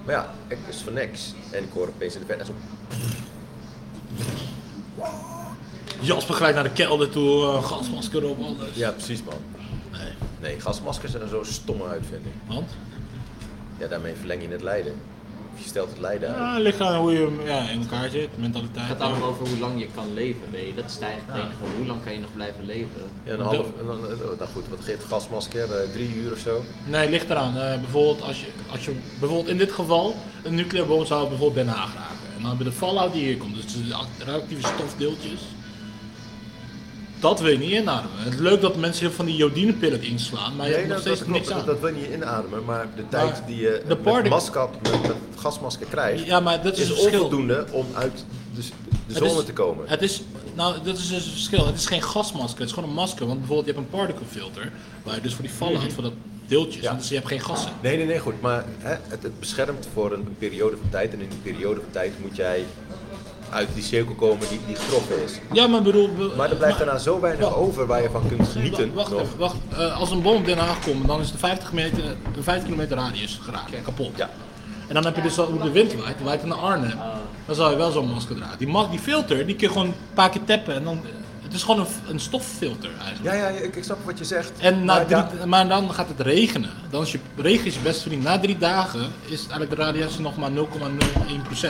Speaker 1: Maar ja, ik is voor niks. En ik hoor opeens in de verte echt zo...
Speaker 2: Jasper gelijk naar de kelder toe, eh, gasmasker op, alles.
Speaker 1: Ja, precies man.
Speaker 2: Nee.
Speaker 1: Nee, gasmaskers zijn zo stomme uitvinding.
Speaker 2: Want?
Speaker 1: Ja, daarmee verleng je het lijden. Of je stelt het lijden uit.
Speaker 2: Ja, het ligt aan hoe je hem, ja, in elkaar zit, mentaliteit.
Speaker 5: Het gaat allemaal over hoe lang je kan leven, weet je. Dat is eigenlijk het enige. Hoe lang kan je nog blijven leven?
Speaker 1: Ja, een half... en dan- Nou goed, wat geeft gasmasker? eh, drie uur of zo?
Speaker 2: Nee, het ligt eraan. Eh, bijvoorbeeld, als je, als je bijvoorbeeld in dit geval een nucleaire bom zou bijvoorbeeld Den Haag raken. En dan hebben we de fallout die hier komt, dus de act- radioactieve stofdeeltjes. Dat wil je niet inademen. Het is leuk dat mensen heel van die jodinepillen inslaan, maar je hebt nog steeds
Speaker 1: klopt.
Speaker 2: niks aan.
Speaker 1: Dat, dat wil je niet inademen, maar de tijd die je
Speaker 2: de
Speaker 1: met,
Speaker 2: party-
Speaker 1: maskap, met, met gasmasker krijgt,
Speaker 2: Ja, maar dat is
Speaker 1: is
Speaker 2: het verschil.
Speaker 1: onvoldoende om uit de, de
Speaker 2: Het
Speaker 1: zone
Speaker 2: is-
Speaker 1: te komen.
Speaker 2: Het is, nou, dat is dus het verschil. Het is geen gasmasker, het is gewoon een masker. Want bijvoorbeeld, je hebt een particle filter, waar je dus voor die fallout van dat deeltjes,
Speaker 1: Mhm. Ja.
Speaker 2: dus je hebt geen gassen.
Speaker 1: Nee, nee, nee, goed. Maar hè, het, het beschermt voor een, een periode van tijd. En in die periode van tijd moet jij uit die cirkel komen die, die grof is.
Speaker 2: Ja, maar ik bedoel... be-
Speaker 1: Maar er blijft daarna zo weinig
Speaker 2: Wacht.
Speaker 1: over waar je van kunt genieten.
Speaker 2: Wacht
Speaker 1: nog.
Speaker 2: even, wacht. Eh, als een bom op Den Haag komt, dan is de 50, meter, de 50 kilometer radius geraakt, kapot.
Speaker 1: Ja.
Speaker 2: En dan heb je dus al hoe de wind waait, waait het naar Arnhem. Dan zou je wel zo'n masker dragen. Die, mas- die filter, die kun je gewoon een paar keer tappen en dan... Het is gewoon een, f- een stoffilter eigenlijk.
Speaker 1: Ja, ja, ik, ik snap wat je zegt.
Speaker 2: En na
Speaker 1: maar
Speaker 2: drie,
Speaker 1: da-
Speaker 2: maar dan gaat het regenen. Dan is je, regen is je beste vriend. Na drie dagen is eigenlijk de radiatie nog maar 0,01%.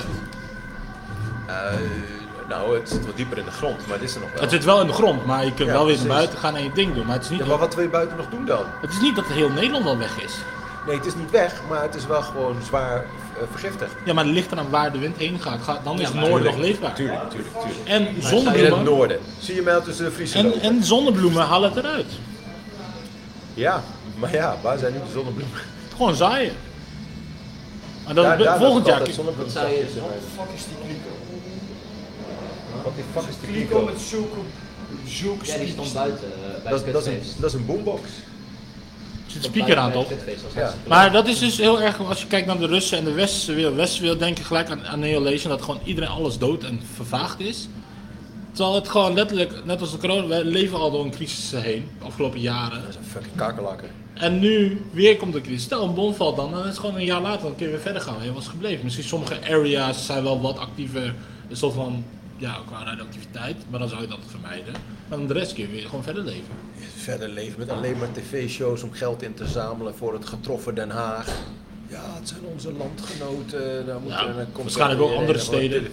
Speaker 1: Eh, nou, het zit wat dieper in de grond, maar het is er nog wel.
Speaker 2: Het zit wel in de grond, maar je kunt
Speaker 1: Ja,
Speaker 2: wel weer
Speaker 1: precies.
Speaker 2: naar buiten gaan en je ding doen. Maar het is, niet,
Speaker 1: Ja, maar wat wil je buiten nog doen dan?
Speaker 2: het is niet dat heel Nederland al weg is.
Speaker 1: Nee, het is niet weg, maar het is wel gewoon zwaar eh, vergiftigd.
Speaker 2: Ja, maar het ligt eraan waar de wind heen gaat. Gaat- Dan is
Speaker 5: Ja,
Speaker 2: het
Speaker 5: maar
Speaker 2: noorden nog
Speaker 1: tuurlijk,
Speaker 2: leefbaar.
Speaker 1: Tuurlijk, tuurlijk, tuurlijk.
Speaker 2: En
Speaker 1: In het
Speaker 2: zonnebloemen,
Speaker 1: noorden. Zie je mij tussen de Friese
Speaker 2: en,
Speaker 1: lopen?
Speaker 2: en zonnebloemen halen het eruit.
Speaker 1: Ja, maar ja, waar zijn nu de zonnebloemen?
Speaker 2: Gewoon zaaien. En dan,
Speaker 1: Daar- daar
Speaker 2: volgend
Speaker 1: heb
Speaker 2: jaar...
Speaker 1: ik altijd
Speaker 5: Wat
Speaker 1: zonnebloemen.
Speaker 5: zou je...
Speaker 7: Fuck is die kliko?
Speaker 1: Wat die fuck is die
Speaker 7: Kliko
Speaker 1: kliko?
Speaker 7: met zulke. zulke
Speaker 5: Ja, die stond
Speaker 7: speeches.
Speaker 5: buiten eh, bij
Speaker 1: Dat
Speaker 5: het
Speaker 1: is, dat, is
Speaker 5: kutfeest.
Speaker 1: een, dat is een boombox.
Speaker 2: zit de speaker aan, toch?
Speaker 1: Ja.
Speaker 2: Maar dat is dus heel erg, als je kijkt naar de Russen en de Westerse wereld. Westerse wereld denk je gelijk aan annihilation, dat gewoon iedereen alles dood en vervaagd is. Terwijl het gewoon letterlijk, net als de corona, we leven al door een crisis heen, de afgelopen jaren.
Speaker 1: Dat is een fucking kakerlakker.
Speaker 2: En nu weer komt de crisis. Stel een bom valt dan, dan is het gewoon een jaar later, dan kun je weer verder gaan. waar Je was gebleven. Misschien sommige areas zijn wel wat actiever, een soort van ja, qua radioactiviteit, maar dan zou je dat vermijden. Maar dan de rest kun je weer gewoon verder leven.
Speaker 1: Verder leven met alleen maar tv-shows om geld in te zamelen voor het getroffen Den Haag. Ja, het zijn onze landgenoten. Daar moeten,
Speaker 2: Ja,
Speaker 1: dan komt
Speaker 2: waarschijnlijk
Speaker 1: er
Speaker 2: ook
Speaker 1: weer
Speaker 2: andere
Speaker 1: een of andere-
Speaker 2: steden.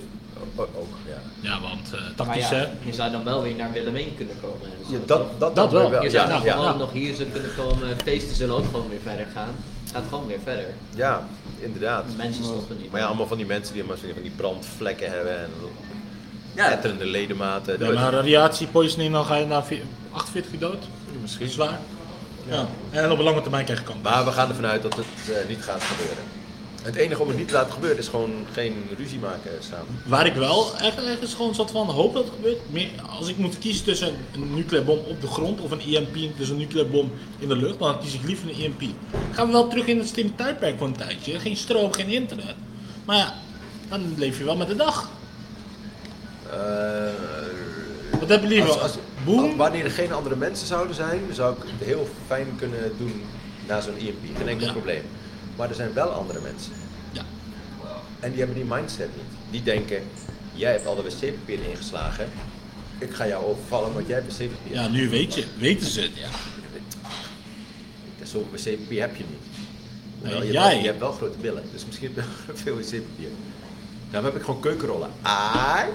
Speaker 1: O- o- ook, Oh, ja.
Speaker 2: Ja, want eh
Speaker 5: Maar
Speaker 2: tactisch hè.
Speaker 5: ja, je zou dan wel weer naar Willemijn kunnen komen. en zo,
Speaker 1: Ja,
Speaker 5: toch?
Speaker 1: dat, dat,
Speaker 2: Dat
Speaker 1: dan
Speaker 2: wel.
Speaker 1: weer
Speaker 5: Je
Speaker 1: Ja,
Speaker 5: zou
Speaker 1: ja,
Speaker 5: dan
Speaker 1: ja,
Speaker 5: gewoon nog hier zo kunnen komen. Feesten zullen ook gewoon weer verder gaan. Gaat gewoon weer verder.
Speaker 1: inderdaad.
Speaker 5: Mensen stoppen niet.
Speaker 1: Maar ja, allemaal van die mensen die maar van die brandvlekken hebben en
Speaker 5: Ja,
Speaker 1: etterende ledematen.
Speaker 2: Ja, maar radiatie poisoning, dan ga je na vi- 48 uur dood. Misschien. Zwaar. Ja. En op een lange termijn krijg je kanker.
Speaker 1: Maar we gaan ervan uit dat het eh, niet gaat gebeuren. Het enige om het niet te laten gebeuren is gewoon geen ruzie maken samen.
Speaker 2: Waar ik wel echt ergens gewoon zat van hoop dat het gebeurt. Meer- Als ik moet kiezen tussen een nucleaire bom op de grond of een EMP, dus een nucleaire bom in de lucht, dan kies ik liever een EMP. Gaan we wel terug in het slimme tijdperk voor een tijdje. Geen stroom, geen internet. Maar ja, dan leef je wel met de dag.
Speaker 1: Eh,
Speaker 2: Wat hebben jullie
Speaker 1: als-
Speaker 2: wel?
Speaker 1: als-
Speaker 2: Boom.
Speaker 1: Wanneer er geen andere mensen zouden zijn, zou ik het heel fijn kunnen doen na zo'n E EMP. Geen enkel
Speaker 2: Ja.
Speaker 1: probleem. Maar er zijn wel andere mensen.
Speaker 2: Ja.
Speaker 1: En die hebben die mindset niet. Die denken, jij hebt al de wc-papier ingeslagen. Ik ga jou overvallen, want jij hebt wc-papier.
Speaker 2: ja, nu weet je, weten ze het. Ja.
Speaker 1: Zo'n wc-papier heb je niet. Hoewel,
Speaker 2: Nee,
Speaker 1: je, hebt wel-
Speaker 2: jij.
Speaker 1: je hebt wel grote billen, dus misschien heb je veel wc-papier. Daarom heb ik gewoon keukenrollen. Aai.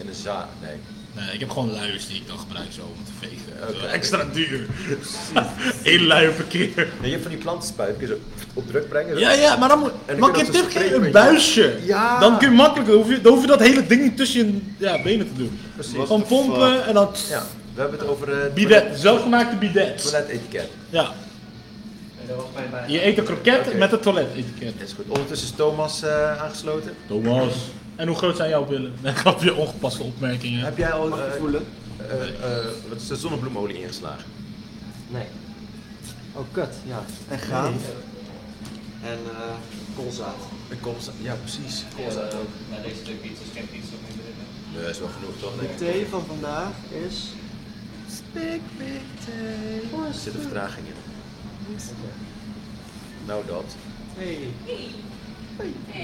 Speaker 1: En een za. Nee.
Speaker 2: Nee, ik heb gewoon luiers die ik dan gebruik zo om te vegen.
Speaker 1: Oké.
Speaker 2: Zo Extra duur. Eén luier per keer.
Speaker 1: Nee, je hebt van die plantenspuit, kun je zo op druk brengen. zo.
Speaker 2: Ja, ja, maar dan moet.
Speaker 1: dan
Speaker 2: Mag ik
Speaker 1: kun
Speaker 2: je
Speaker 1: je
Speaker 2: een
Speaker 1: dat
Speaker 2: tip
Speaker 1: zo
Speaker 2: geven? Een
Speaker 1: spreken.
Speaker 2: buisje.
Speaker 1: Ja.
Speaker 2: Dan kun je makkelijk, dan hoef je, dan hoef je dat hele ding niet tussen je ja, benen te doen.
Speaker 1: Precies.
Speaker 2: Gewoon pompen en dan.
Speaker 1: Ja, we hebben het over eh,
Speaker 2: Bidet, zelfgemaakte bidet.
Speaker 1: toiletetiket.
Speaker 2: Ja.
Speaker 9: Dat was mij bij.
Speaker 2: Je eet een kroket
Speaker 1: Oké.
Speaker 2: met een toilet-etiket.
Speaker 1: Dat is goed. Ondertussen is Thomas eh, aangesloten.
Speaker 2: Thomas. En hoe groot zijn jouw billen? Nee, grapje, ongepaste opmerkingen.
Speaker 1: Heb jij al
Speaker 7: Mag ik
Speaker 1: eh,
Speaker 7: voelen?
Speaker 1: eh, eh, wat is de zonnebloemolie ingeslagen?
Speaker 5: Nee.
Speaker 7: Oh, kut, ja. En gaan. En eh koolzaad.
Speaker 1: Ik kom Ja, precies.
Speaker 5: Maar eh, deze stuk pizza's geen pizza meer binnen.
Speaker 1: Nee, is wel genoeg toch?
Speaker 7: De thee van vandaag is...
Speaker 1: Er zit een vertraging in. Nou dat.
Speaker 7: Hey.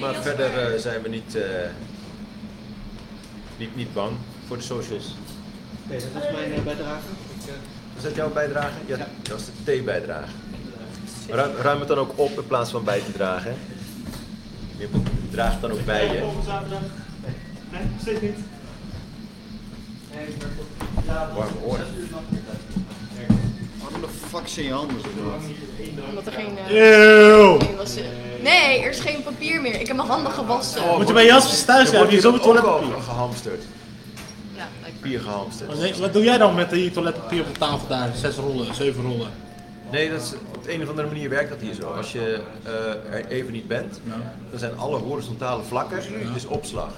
Speaker 1: Maar verder eh, zijn we niet, eh, niet, niet bang voor de socials.
Speaker 7: Oké, dat was mijn eh, bijdrage.
Speaker 1: Is dat jouw bijdrage? Ja, dat was de T-bijdrage. Ruim, ruim het dan ook op in plaats van bij te dragen. Je draagt dan ook bij je.
Speaker 9: Nee, steeds niet.
Speaker 1: Warme oren.
Speaker 7: Waarom de fuck zijn je handen zo nat?
Speaker 4: Omdat er geen... eh,
Speaker 2: Eeuw!
Speaker 4: geen wassen- Nee, er is geen papier meer. Ik heb mijn handen gewassen.
Speaker 2: Moet je bij Jaspers thuis hebben, je zo met
Speaker 1: ook al
Speaker 2: toiletpapier.
Speaker 1: gehamsterd.
Speaker 4: Ja, lijkt me.
Speaker 1: Bier
Speaker 2: Maar
Speaker 1: gehamsterd.
Speaker 2: nee, Wat doe jij dan met die toiletpapier op de tafel daar? Zes rollen, zeven rollen.
Speaker 1: Nee, dat is, op de een of andere manier werkt dat hier zo. Als je eh, er even niet bent, dan zijn alle horizontale vlakken dus opslag.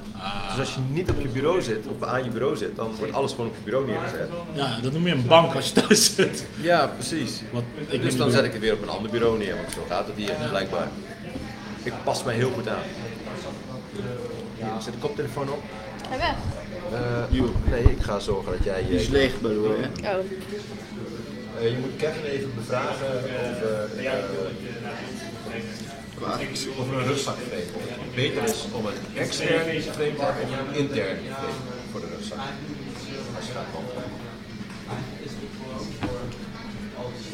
Speaker 1: Dus als je niet op je bureau zit, of aan je bureau zit, dan wordt alles gewoon op je bureau neergezet.
Speaker 2: Ja, dat noem je een bank als je thuis zit.
Speaker 1: Ja, precies.
Speaker 2: Wat ik
Speaker 1: dus
Speaker 2: niet
Speaker 1: dan
Speaker 2: doe.
Speaker 1: zet ik het weer op een ander bureau neer, want zo gaat het hier blijkbaar. Ik pas mij heel goed aan. Hier, zet de koptelefoon op.
Speaker 4: Ga weg.
Speaker 1: Eh, nee, ik ga zorgen dat jij... eh,
Speaker 7: Die is
Speaker 1: Je,
Speaker 7: leeg, by the way. hè?
Speaker 4: Oh.
Speaker 1: Eh, je moet Kevin even bevragen over, eh, of er een rugzak framework beter is om een extern framework of een intern framework voor de rugzak. Als je gaat wandelen.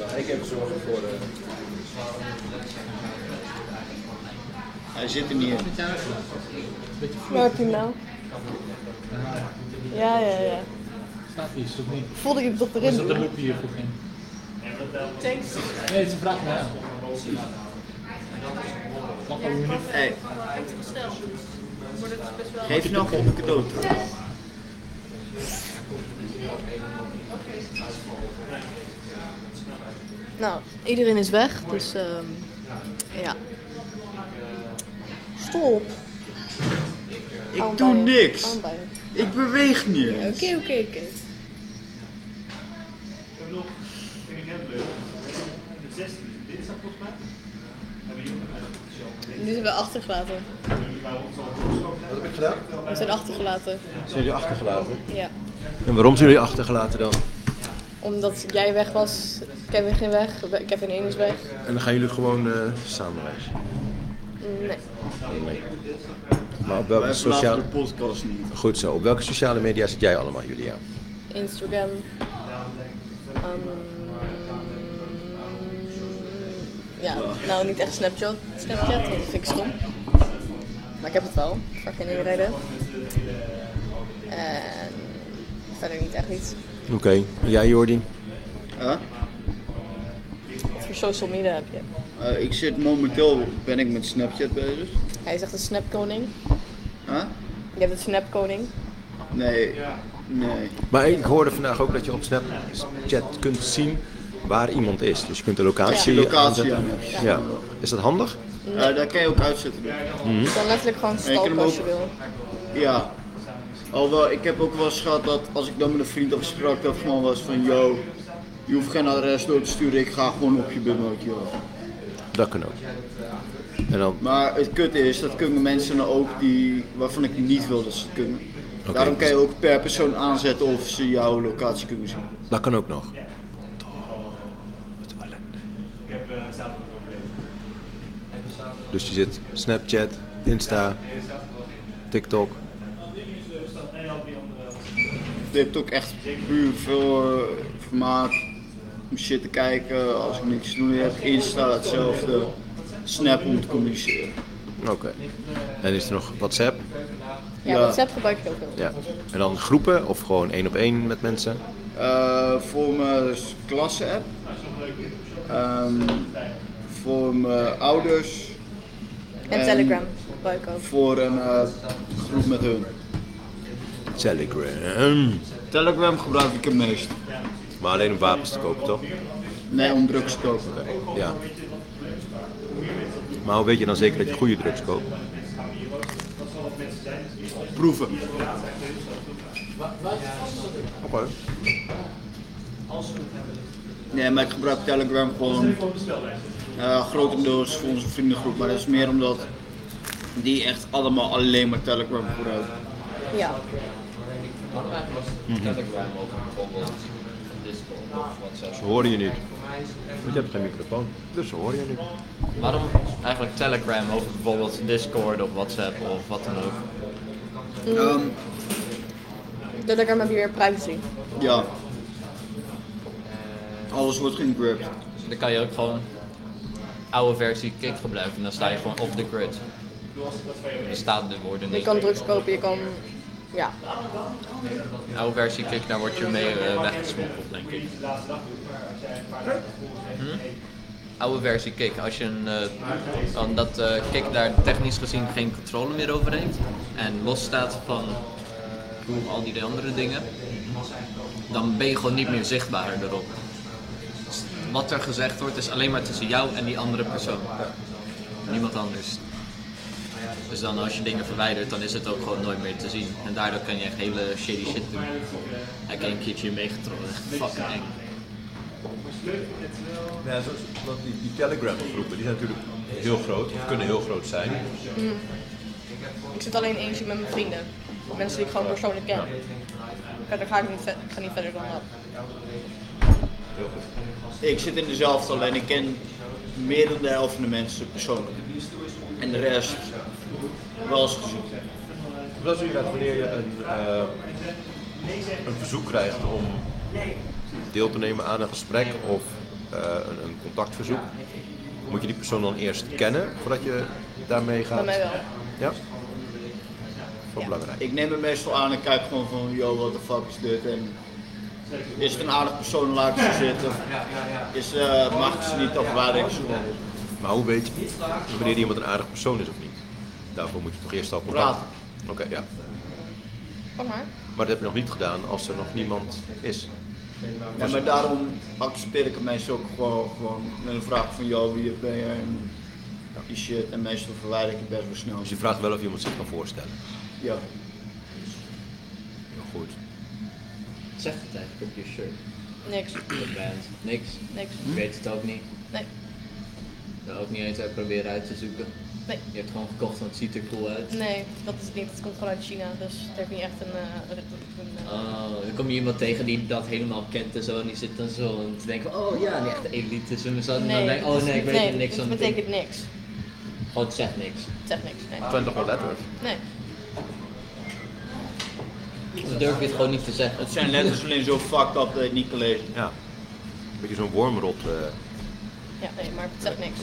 Speaker 1: Ga Ik even zorgen voor... eh,
Speaker 7: Hij zit er niet in.
Speaker 4: Waar heb je hem nou? Ja, ja, ja.
Speaker 2: Staat iets of niet?
Speaker 4: Voelde ik het toch
Speaker 2: Is dat de
Speaker 4: erin?
Speaker 2: loop hier voor ging?
Speaker 4: Thanks.
Speaker 2: Nee, het is een vraag naar jou. Mag wel niet.
Speaker 7: Hey,
Speaker 4: Maar dat is best wel...
Speaker 7: geef je nou gewoon een cadeau terug.
Speaker 4: Nou, iedereen is weg, dus ehm ja. Stop.
Speaker 7: Ik doe niks.
Speaker 4: Oké,
Speaker 7: Ik beweeg niet. eens.
Speaker 4: oké, oké. Die zijn we achtergelaten.
Speaker 1: Wat heb ik gedaan?
Speaker 4: We zijn achtergelaten.
Speaker 1: Zijn jullie achtergelaten?
Speaker 4: Ja.
Speaker 1: En waarom zijn jullie achtergelaten dan?
Speaker 4: Omdat jij weg was, Kevin ging weg, Kevin 1 is weg.
Speaker 1: En dan gaan jullie gewoon eh samen weg.
Speaker 4: Nee.
Speaker 1: Maar op
Speaker 7: Wij
Speaker 1: welke
Speaker 7: verlaten
Speaker 1: sociale...
Speaker 7: de podcast niet.
Speaker 1: Goed zo. Op welke sociale media zit jij allemaal, Julia?
Speaker 4: Instagram. Ehm, ja, nou niet echt Snapchat. Snapchat, want dat vind ik stom. Maar ik heb het wel, voor geen enkele reden. En verder niet echt iets.
Speaker 1: Oké. Jij, Jordi?
Speaker 7: Ja?
Speaker 4: Wat voor social media heb je?
Speaker 7: Eh, ik zit momenteel, ben ik met Snapchat bezig.
Speaker 4: Hij is echt een snapkoning.
Speaker 7: Huh?
Speaker 4: Je hebt een snapkoning.
Speaker 7: Nee, nee.
Speaker 1: Maar ik hoorde vandaag ook dat je op Snapchat kunt zien waar iemand is. Dus je kunt de locatie,
Speaker 7: Ja, de locatie,
Speaker 1: aanzetten.
Speaker 7: ja.
Speaker 1: Ja. Is dat handig?
Speaker 7: Eh, daar kan je ook uitzetten.
Speaker 4: Je kan letterlijk gewoon
Speaker 7: kan hem
Speaker 4: stalken als je
Speaker 7: ook-
Speaker 4: wil.
Speaker 7: Ja. Alhoewel, ik heb ook wel eens gehad dat als ik dan met een vriend afsprak, dat het gewoon was van, yo, je hoeft geen adres door te sturen, ik ga gewoon op je bummeltje.
Speaker 1: Dat kan ook. En dan,
Speaker 7: Maar het kut is, dat kunnen mensen nou ook die, waarvan ik niet wil dat ze het kunnen. Daarom kan je ook per persoon aanzetten of ze jouw locatie kunnen zien.
Speaker 1: dat kan ook nog. Dus je zit Snapchat, Insta, TikTok.
Speaker 7: Je hebt ook echt puur veel eh, vermaak om shit te kijken. Als ik niks te doen heb, Insta hetzelfde. Snap om te communiceren.
Speaker 1: Oké. En is er nog WhatsApp?
Speaker 4: Ja,
Speaker 7: Ja.
Speaker 4: WhatsApp gebruik ik ook heel veel.
Speaker 1: Ja. En dan groepen of gewoon één op één met mensen?
Speaker 7: Eh, voor mijn klasse-app. Ehm, voor mijn ouders.
Speaker 4: En Telegram gebruik ik ook.
Speaker 7: Voor een eh, groep met hun.
Speaker 1: Telegram.
Speaker 7: Telegram gebruik ik het meest.
Speaker 1: Maar alleen om wapens te kopen, toch?
Speaker 7: Nee, om drugs te kopen.
Speaker 1: Ja. Maar hoe weet je dan zeker dat je goede drugs koopt?
Speaker 7: Proeven.
Speaker 1: Oké.
Speaker 7: Nee, maar ik gebruik Telegram gewoon eh, grotendeels voor onze vriendengroep. Maar dat is meer omdat die echt allemaal alleen maar Telegram gebruiken.
Speaker 4: Ja.
Speaker 5: Oh,
Speaker 1: Mhm.
Speaker 5: Telegram ook bijvoorbeeld Discord of WhatsApp.
Speaker 1: Ze horen je niet. Want je hebt geen microfoon. Dus ze horen je niet.
Speaker 5: Waarom eigenlijk Telegram over bijvoorbeeld Discord of WhatsApp of wat dan ook?
Speaker 7: Ehm,
Speaker 4: Telegram heb je weer privacy.
Speaker 7: ja. Alles wordt geëncrypt.
Speaker 5: Dus Dan kan je ook gewoon oude versie Kik gebruiken en dan sta je gewoon off the grid. Dan staan de woorden
Speaker 4: Je
Speaker 5: niet.
Speaker 4: kan drugs kopen, je kan... Ja.
Speaker 5: Oude versie Kik, daar word je mee eh, weggesmokkeld, denk ik. Hm? Oude versie Kik, als je een. eh, omdat eh Kik daar technisch gezien geen controle meer over heeft en los staat van al die andere dingen, dan ben je gewoon niet meer zichtbaar erop. Wat er gezegd wordt is alleen maar tussen jou en die andere persoon. Niemand anders. Dus dan als je dingen verwijdert, dan is het ook gewoon nooit meer te zien. En daardoor kan je echt hele shady shit doen. Heb ik een keertje meegetrokken. Fucking eng.
Speaker 10: Ja, zo- want die, die Telegram-groepen die zijn natuurlijk heel groot, of kunnen heel groot zijn.
Speaker 4: Ik zit alleen eentje met mijn vrienden. Mensen die ik gewoon persoonlijk ken. Verder ga ik niet, ve- ik ga niet verder dan dat.
Speaker 7: Ik zit in dezelfde, alleen ik ken meer dan de helft van de mensen persoonlijk. En de rest wel eens gezien.
Speaker 10: Dat is inderdaad wanneer je een, eh,
Speaker 1: eh,
Speaker 10: een verzoek krijgt om
Speaker 1: Deel te nemen aan een gesprek of eh, een, een contactverzoek. Moet je die persoon dan eerst kennen voordat je daarmee gaat?
Speaker 4: Bij mij wel.
Speaker 1: Ja? Voor belangrijk.
Speaker 7: Ik neem het meestal aan en kijk gewoon van, yo, what the fuck is dit? En is het een aardig persoon, laat ik ze zitten. Is, eh, mag ik ze niet afwaarden? Ik ze gewoon
Speaker 1: Maar hoe weet je wanneer iemand een aardig persoon is of niet? Daarvoor moet je toch eerst al contact.
Speaker 7: praten.
Speaker 1: Oké, ja.
Speaker 4: Kom maar.
Speaker 1: Maar dat heb je nog niet gedaan als er nog niemand is.
Speaker 7: Ja, maar daarom accepteer ik het meestal ook gewoon, gewoon met een vraag van, yo, wie ben je? En die shit. En meestal verwijder ik het best wel snel.
Speaker 1: Dus je vraagt wel of iemand zich kan voorstellen.
Speaker 7: Ja.
Speaker 1: Heel goed.
Speaker 5: Zeg het eigenlijk op je shirt.
Speaker 4: Niks.
Speaker 5: De band. Niks.
Speaker 4: Niks.
Speaker 5: Ik weet het ook niet.
Speaker 4: Nee.
Speaker 5: Dat ook niet eens uit proberen uit te zoeken.
Speaker 4: Nee.
Speaker 5: Je hebt gewoon gekocht, want het ziet er cool uit.
Speaker 4: Nee, dat is het niet. Het komt gewoon uit China, dus daar heb je niet echt een... eh, een, eh,
Speaker 5: Oh, dan kom je iemand tegen die dat helemaal kent en zo. En die zit dan zo en te denken: oh ja, die echte elite is en zo. En dan
Speaker 4: nee,
Speaker 5: denk ik,
Speaker 4: dat
Speaker 5: oh
Speaker 4: is-
Speaker 5: nee, ik weet er
Speaker 4: nee,
Speaker 5: niks
Speaker 4: dat
Speaker 5: van.
Speaker 4: betekent niks.
Speaker 11: Gewoon het zegt niks.
Speaker 4: Het zegt niks. Nee.
Speaker 1: Twintig wel letterlijk.
Speaker 4: nee.
Speaker 11: Dan durf je het gewoon niet te zeggen.
Speaker 7: Het zijn letters alleen zo fucked up dat je het niet kan lezen.
Speaker 1: Ja. Een beetje zo'n wormrot. eh.
Speaker 4: Ja, nee, maar het zegt niks.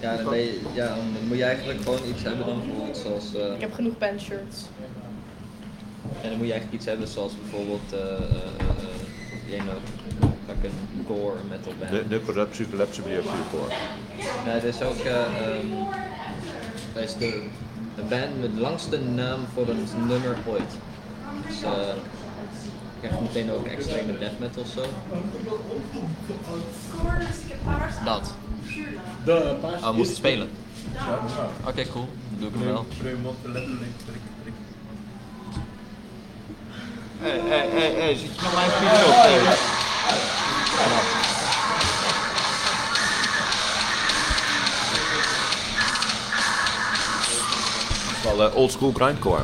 Speaker 5: Ja, dan, ben je, ja, dan moet je eigenlijk gewoon iets hebben dan voor iets zoals... eh,
Speaker 4: Ik heb genoeg bandshirts.
Speaker 5: En dan moet je eigenlijk iets hebben zoals bijvoorbeeld, eh, eh, eh, jij nou, fucking gore metal band.
Speaker 1: De nupperlap, superlap, superlap, superlap.
Speaker 5: Nee, er is ook, eh, ehm, dat is de, de band met de langste naam voor een nummer ooit. Dus eh, ik krijg meteen ook extreme death metal of zo.
Speaker 11: Dat.
Speaker 2: De paars.
Speaker 11: Oh, we moesten spelen. Oké, cool. Dan doe ik hem wel.
Speaker 7: Hé, hé, hé, hé, zit je nou nog mijn video op te
Speaker 1: Dat is wel eh, oldschool grindcore.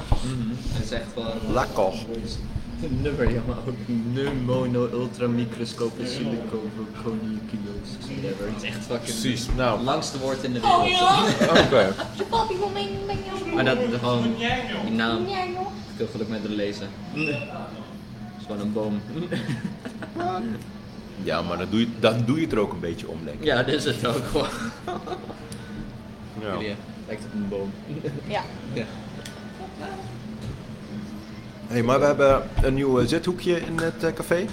Speaker 5: Het is echt wel
Speaker 1: Lekker.
Speaker 5: een nummer, ja, maar ook pneumono ultra microscope silicovoconucleus. Het is echt fucking
Speaker 1: Precies, nou.
Speaker 5: het langste woord in de wereld.
Speaker 1: Oké.
Speaker 5: Maar dat is gewoon die naam. Ik wil geluk met hem lezen. Het is gewoon een boom.
Speaker 1: Ja, maar dan doe, je, dan doe je het er ook een beetje om, denk ik.
Speaker 5: Ja, dit is het ook gewoon.
Speaker 1: Ja.
Speaker 5: Ja, lijkt op een boom.
Speaker 4: Ja.
Speaker 5: Ja.
Speaker 1: hey, maar we hebben een nieuw eh, zithoekje in het eh, café.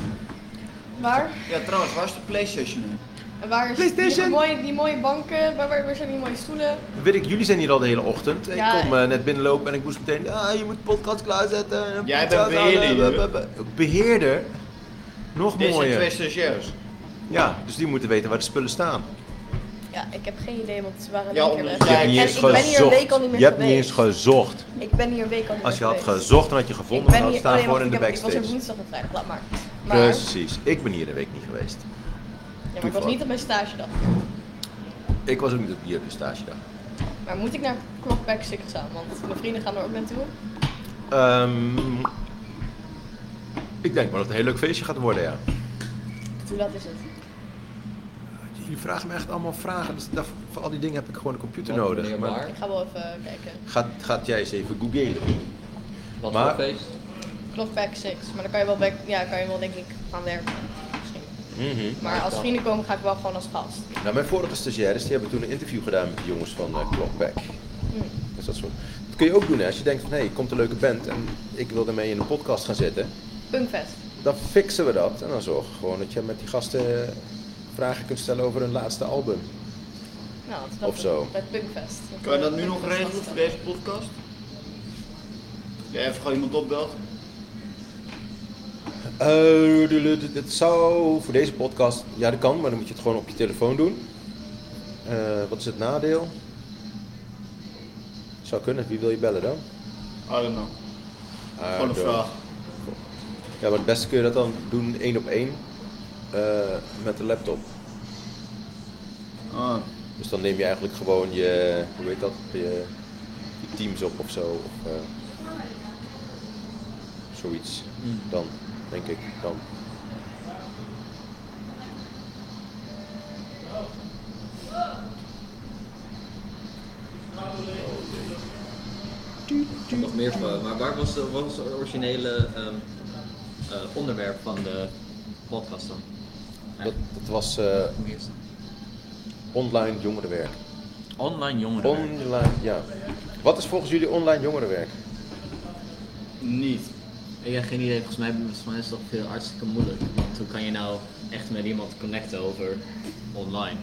Speaker 4: Waar?
Speaker 7: Ja, trouwens, waar is de Playstation nu?
Speaker 4: En waar is die
Speaker 1: PlayStation?
Speaker 4: mooie, die mooie banken? Waar, waar, waar zijn die mooie stoelen?
Speaker 1: Weet ik, jullie zijn hier al de hele ochtend.
Speaker 4: Ja.
Speaker 1: Ik kom eh, net binnenlopen en ik moest meteen, ah, je moet de podcast klaarzetten. en
Speaker 7: Jij
Speaker 1: pizza's
Speaker 7: bent beheerder,
Speaker 1: halen, be-
Speaker 7: joh.
Speaker 1: be- be- Beheerder? Nog
Speaker 7: Dit zijn twee
Speaker 1: mooier.
Speaker 7: stagiairs.
Speaker 1: Ja, dus die moeten weten waar de spullen staan.
Speaker 4: Ja, ik heb geen idee, want ze waren
Speaker 7: Ja,
Speaker 4: een
Speaker 7: omdat
Speaker 4: keer weg.
Speaker 7: jij- Je hebt niet
Speaker 4: en
Speaker 7: eens
Speaker 4: ik ben hier een week al niet meer
Speaker 1: Je hebt niet
Speaker 4: geweest.
Speaker 1: eens gezocht.
Speaker 4: Ik ben hier een week al niet
Speaker 1: Als je
Speaker 4: meer
Speaker 1: had
Speaker 4: geweest.
Speaker 1: gezocht, dan had je
Speaker 4: Ik
Speaker 1: gevonden en
Speaker 4: ben
Speaker 1: had
Speaker 4: hier,
Speaker 1: staan
Speaker 4: oh nee,
Speaker 1: voor
Speaker 4: wacht,
Speaker 1: in
Speaker 4: ik,
Speaker 1: de
Speaker 4: heb, ik was er
Speaker 1: backstage.
Speaker 4: woensdag en vrijdag, laat maar. Maar,
Speaker 1: Precies, ik ben hier de week niet geweest.
Speaker 4: ja, maar ik was niet op mijn stage dag.
Speaker 1: Ik was ook niet op hier op de stagedag.
Speaker 4: Maar moet ik naar Clockback Secret gaan? Want mijn vrienden gaan er ook naartoe.
Speaker 1: Ehm, ik denk maar dat het een heel leuk feestje gaat worden, ja.
Speaker 4: Hoe laat is het?
Speaker 1: Jullie vragen me echt allemaal vragen. Dus daar- voor al die dingen heb ik gewoon een computer
Speaker 5: Wat,
Speaker 1: nodig.
Speaker 5: wanneer,
Speaker 1: maar-
Speaker 5: waar?
Speaker 4: Ik ga wel even kijken.
Speaker 1: Gaat, gaat jij eens even googlen?
Speaker 5: Wat
Speaker 1: Maar-
Speaker 5: voor feest?
Speaker 4: Clockback 6, maar dan kan je wel, back, ja, kan je wel denk ik gaan werken. Misschien.
Speaker 1: Mhm.
Speaker 4: Maar als vrienden komen ga ik wel gewoon als gast.
Speaker 1: Nou, mijn vorige stagiaires die hebben toen een interview gedaan met de jongens van eh, Clockback. Dus dat, soort. dat kun je ook doen hè? als je denkt van hé, hey, komt een leuke band en ik wil daarmee in een podcast gaan zitten.
Speaker 4: Punkfest.
Speaker 1: Dan fixen we dat en dan zorgen we gewoon dat je met die gasten eh, vragen kunt stellen over hun laatste album.
Speaker 4: Nou, dat is dat
Speaker 1: Of zo.
Speaker 4: Bij het Punkfest.
Speaker 7: Kan je dat nu nog regelen voor deze podcast? Ja, even gewoon iemand opbelt.
Speaker 1: Eh, dulu- dit- dit zou voor deze podcast, ja dat kan, maar dan moet je het gewoon op je telefoon doen. Eh, wat is het nadeel? Zou kunnen, wie wil je bellen dan?
Speaker 7: I don't know. Gewoon een
Speaker 1: Ah,
Speaker 7: vraag.
Speaker 1: Ja, maar het beste kun je dat dan doen één op één eh, met de laptop.
Speaker 7: Ah,
Speaker 1: Dus dan neem je eigenlijk gewoon je, hoe heet dat, je, je teams op of zo. Of, eh, zoiets. Dan, denk ik. Dan.
Speaker 5: Nog meer vragen. Maar waar was, de- wat was het originele ehm, eh, onderwerp van de podcast dan?
Speaker 1: Dat, dat was eh, online jongerenwerk.
Speaker 11: Online jongeren.
Speaker 1: Online, ja. Wat is volgens jullie online jongerenwerk?
Speaker 7: niet.
Speaker 11: Ik heb geen idee, volgens mij, volgens mij is dat veel hartstikke moeilijk. Want hoe kan je nou echt met iemand connecten over online?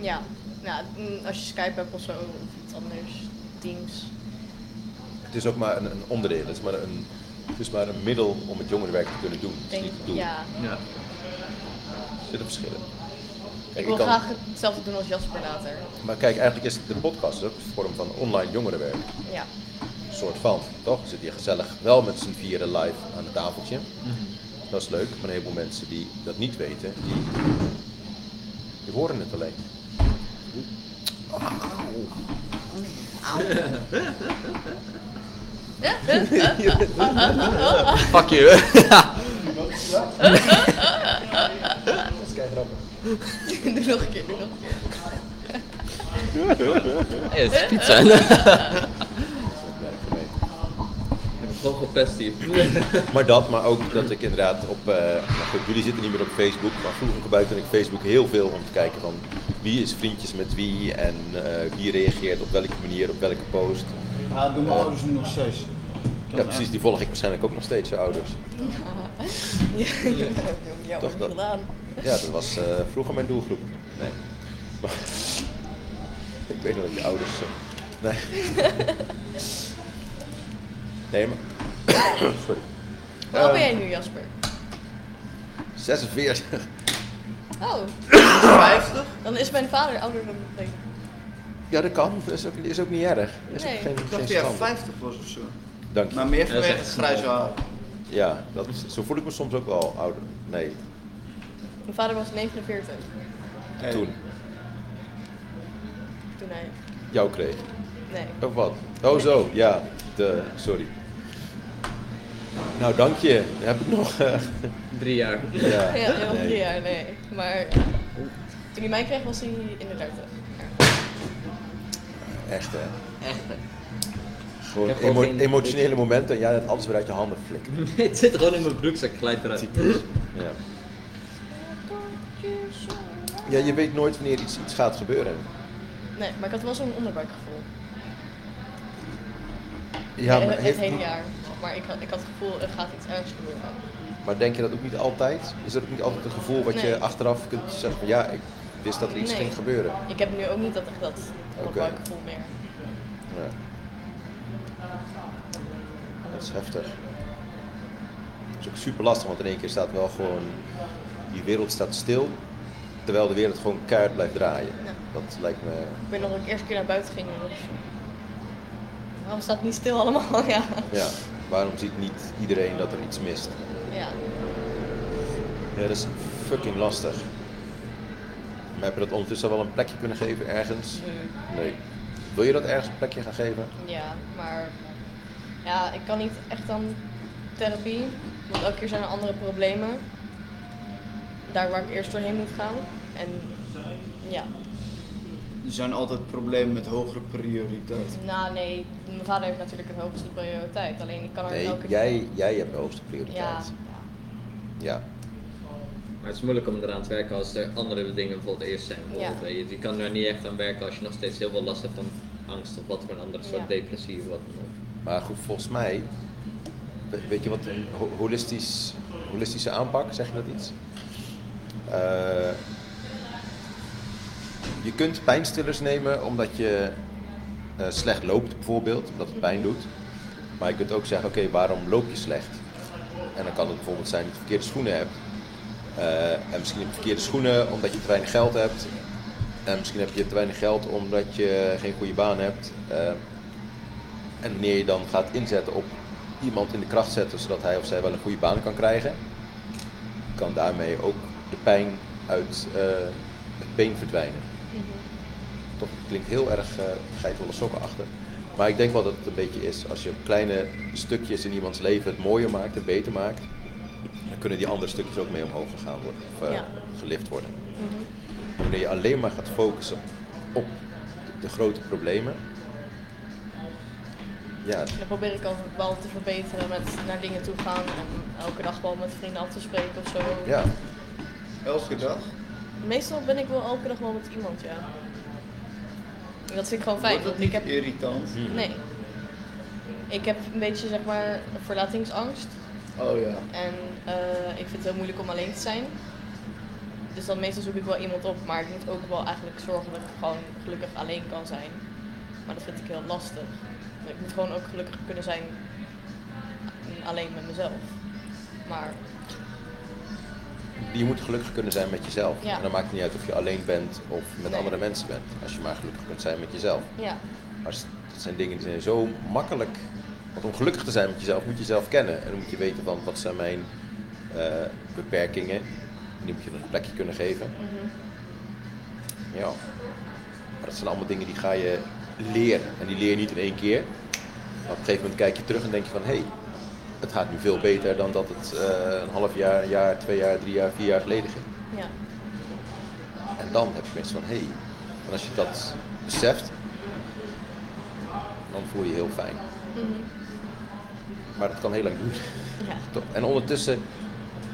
Speaker 4: Ja. Nou, mm, als je Skype hebt of zo, of iets anders. Teams.
Speaker 1: Het is ook maar een, een onderdeel. Het is maar een, het is maar een middel om het jongerenwerk te kunnen doen. Het is
Speaker 4: Denk,
Speaker 1: niet het doel.
Speaker 4: ja.
Speaker 11: Ja.
Speaker 1: Er zitten verschillen. Kijk,
Speaker 4: Ik
Speaker 1: ik
Speaker 4: wil
Speaker 1: kan-
Speaker 4: graag hetzelfde doen als Jasper later.
Speaker 1: Maar kijk, eigenlijk is de podcast ook een vorm van online jongerenwerk.
Speaker 4: Ja.
Speaker 1: Een soort van, toch? We zitten hier gezellig wel met z'n vieren live aan het tafeltje. Dat is leuk, maar een heleboel mensen die dat niet weten, die, die horen het alleen. Fuck je.
Speaker 4: doe nog een keer, doe nog een keer.
Speaker 12: Hey, het is pizza.
Speaker 5: Eh?
Speaker 12: Dat is ook werk voor mij. Ik heb toch gepest hier.
Speaker 1: Maar dat, maar ook dat ik inderdaad op. eh, nou goed, jullie zitten niet meer op Facebook, maar vroeger gebruikte ik Facebook heel veel om te kijken van wie is vriendjes met wie en eh, wie reageert op welke manier, op welke post.
Speaker 3: Ja, dat doen mijn ouders nu nog steeds.
Speaker 1: Ja, precies, die volg ik waarschijnlijk ook nog steeds, je ouders.
Speaker 4: Ja, ik heb het jammer
Speaker 1: Toch dat-
Speaker 4: gedaan.
Speaker 1: Ja, dat was eh, vroeger mijn doelgroep. Nee. Maar- ik weet nog dat je ouders. eh, nee. Nee, maar. Sorry.
Speaker 4: Hoe oud ben
Speaker 1: Ehm,
Speaker 4: jij nu, Jasper?
Speaker 1: 46.
Speaker 4: Oh.
Speaker 1: 50?
Speaker 4: Dan is mijn vader ouder dan ik denk.
Speaker 1: Ja, dat kan. Dat is ook, is ook niet erg. Is
Speaker 4: Nee.
Speaker 1: ook geen,
Speaker 4: Ik
Speaker 7: dacht
Speaker 1: geen
Speaker 7: dat jij
Speaker 1: schande.
Speaker 7: 50 was of zo.
Speaker 1: Dank je.
Speaker 7: Maar meer vanwege het grijze haar.
Speaker 1: Ja, dat, is- zo voel ik me soms ook wel ouder. Nee,
Speaker 4: Mijn vader was 49
Speaker 1: toen.
Speaker 4: toen hij...
Speaker 1: Jou kreeg.
Speaker 4: Nee.
Speaker 1: Of wat? Oh zo, ja. De, sorry. Nou, dank je. Dan heb ik nog... eh,
Speaker 12: Drie jaar.
Speaker 1: ja,
Speaker 4: Ja, heel
Speaker 1: nee.
Speaker 4: drie jaar, nee. Maar toen hij mij kreeg was hij in de 30.
Speaker 1: Echt, hè.
Speaker 5: Echt. hè.
Speaker 1: Gewoon
Speaker 12: Ik heb ook
Speaker 1: emo-
Speaker 12: geen-
Speaker 1: emotionele momenten en jij hebt alles weer uit je handen flikken.
Speaker 12: Het zit gewoon in mijn broekzak, glijdt eruit.
Speaker 1: Ja. ja, je weet nooit wanneer iets, iets gaat gebeuren.
Speaker 4: Nee, maar ik had wel zo'n onderbuikgevoel.
Speaker 1: Ja,
Speaker 4: Eh,
Speaker 1: maar,
Speaker 4: het
Speaker 1: heeft-
Speaker 4: hele jaar. Maar ik had, ik had het gevoel, er gaat iets ergs gebeuren.
Speaker 1: maar denk je dat ook niet altijd? Is dat ook niet altijd een gevoel wat je
Speaker 4: Nee.
Speaker 1: achteraf kunt zeggen van ja, ik wist dat er iets
Speaker 4: Nee.
Speaker 1: ging gebeuren?
Speaker 4: Ik heb nu ook niet dat echt dat onderbuikgevoel meer.
Speaker 1: Ja. Dat is heftig. Dat is ook super lastig, want in één keer staat wel gewoon. Die wereld staat stil, terwijl de wereld gewoon keihard blijft draaien.
Speaker 4: Ja.
Speaker 1: Dat lijkt me.
Speaker 4: Ik weet nog dat ik eerst keer naar buiten ging en dat was van, Waarom staat het niet stil allemaal? Ja.
Speaker 1: Ja, waarom ziet niet iedereen dat er iets mist?
Speaker 4: ja.
Speaker 1: Ja, dat is fucking lastig. Maar heb je dat ondertussen wel een plekje kunnen geven ergens?
Speaker 4: Mm.
Speaker 1: Nee. Wil je dat ergens een plekje gaan geven?
Speaker 4: Ja, maar ja, ik kan niet echt aan therapie, want elke keer zijn er andere problemen. Daar waar ik eerst doorheen moet gaan. En ja,
Speaker 7: Er zijn altijd problemen met hogere prioriteit.
Speaker 4: nou nee, mijn vader heeft natuurlijk een hoogste prioriteit, alleen ik kan er
Speaker 1: Nee,
Speaker 4: elke
Speaker 1: jij, jij hebt de hoogste
Speaker 4: Ja,
Speaker 1: prioriteit. ja.
Speaker 12: Maar het is moeilijk om eraan te werken als er andere dingen bijvoorbeeld eerst zijn. Bijvoorbeeld,
Speaker 4: Ja.
Speaker 12: eh, Je, je kan er niet echt aan werken als je nog steeds heel veel last hebt van angst of wat voor een andere soort
Speaker 4: Ja.
Speaker 12: depressie of wat dan ook.
Speaker 1: Maar goed, volgens mij, we- weet je wat, een ho- holistisch, holistische aanpak, zeg je dat iets? Eh, je kunt pijnstillers nemen omdat je eh, slecht loopt bijvoorbeeld, omdat het pijn doet. Maar je kunt ook zeggen, oké, waarom loop je slecht? En dan kan het bijvoorbeeld zijn dat je verkeerde schoenen hebt. Eh, en misschien heb je verkeerde schoenen omdat je te weinig geld hebt. En misschien heb je te weinig geld omdat je geen goede baan hebt. Eh, en wanneer je dan gaat inzetten op iemand in de kracht zetten zodat hij of zij wel een goede baan kan krijgen, kan daarmee ook de pijn uit eh, het been verdwijnen.
Speaker 4: Mhm.
Speaker 1: Toch het klinkt heel erg eh geitwolle sokken achter. Maar ik denk wel dat het een beetje is. Als je kleine stukjes in iemands leven het mooier maakt, het beter maakt, dan kunnen die andere stukjes ook mee omhoog gegaan worden of eh,
Speaker 4: Ja.
Speaker 1: gelift worden.
Speaker 4: Mhm.
Speaker 1: Wanneer je alleen maar gaat focussen op de- de grote problemen. Ja,
Speaker 4: Dan probeer ik altijd wel te verbeteren met naar dingen toe gaan en elke dag wel met vrienden af te spreken of zo.
Speaker 1: ja.
Speaker 7: Elke dag?
Speaker 4: Meestal ben ik wel elke dag wel met iemand, ja. En dat vind ik gewoon fijn,
Speaker 7: Wordt dat
Speaker 4: want ik
Speaker 7: niet
Speaker 4: heb
Speaker 7: irritant?
Speaker 4: Nee. Ik heb een beetje zeg maar verlatingsangst.
Speaker 7: Oh ja.
Speaker 4: En eh, ik vind het heel moeilijk om alleen te zijn. Dus dan meestal zoek ik wel iemand op, maar ik moet ook wel eigenlijk zorgen dat ik gewoon gelukkig alleen kan zijn. Maar dat vind ik heel lastig. Ik moet gewoon ook gelukkig kunnen zijn alleen met mezelf. Maar
Speaker 1: Je moet gelukkig kunnen zijn met jezelf.
Speaker 4: Ja.
Speaker 1: En dan maakt het niet uit of je alleen bent of met
Speaker 4: Nee.
Speaker 1: andere mensen bent. Als je maar gelukkig kunt zijn met jezelf.
Speaker 4: ja,
Speaker 1: Maar s- dat zijn dingen die zijn zo makkelijk. Want om gelukkig te zijn met jezelf moet je jezelf kennen. En dan moet je weten van wat zijn mijn eh, beperkingen. En die moet je dan een plekje kunnen geven. Ja. Maar dat zijn allemaal dingen die ga je leren. En die leer je niet in één keer. Maar op een gegeven moment kijk je terug en denk je van... hé, hey, het gaat nu veel beter dan dat het eh, een half jaar, een jaar, twee jaar, drie jaar, vier jaar geleden ging.
Speaker 4: ja.
Speaker 1: En dan heb je mensen van... hé, hey, en als je dat beseft, dan voel je je heel fijn. Maar dat kan heel lang duren.
Speaker 4: Ja.
Speaker 1: Toch? En ondertussen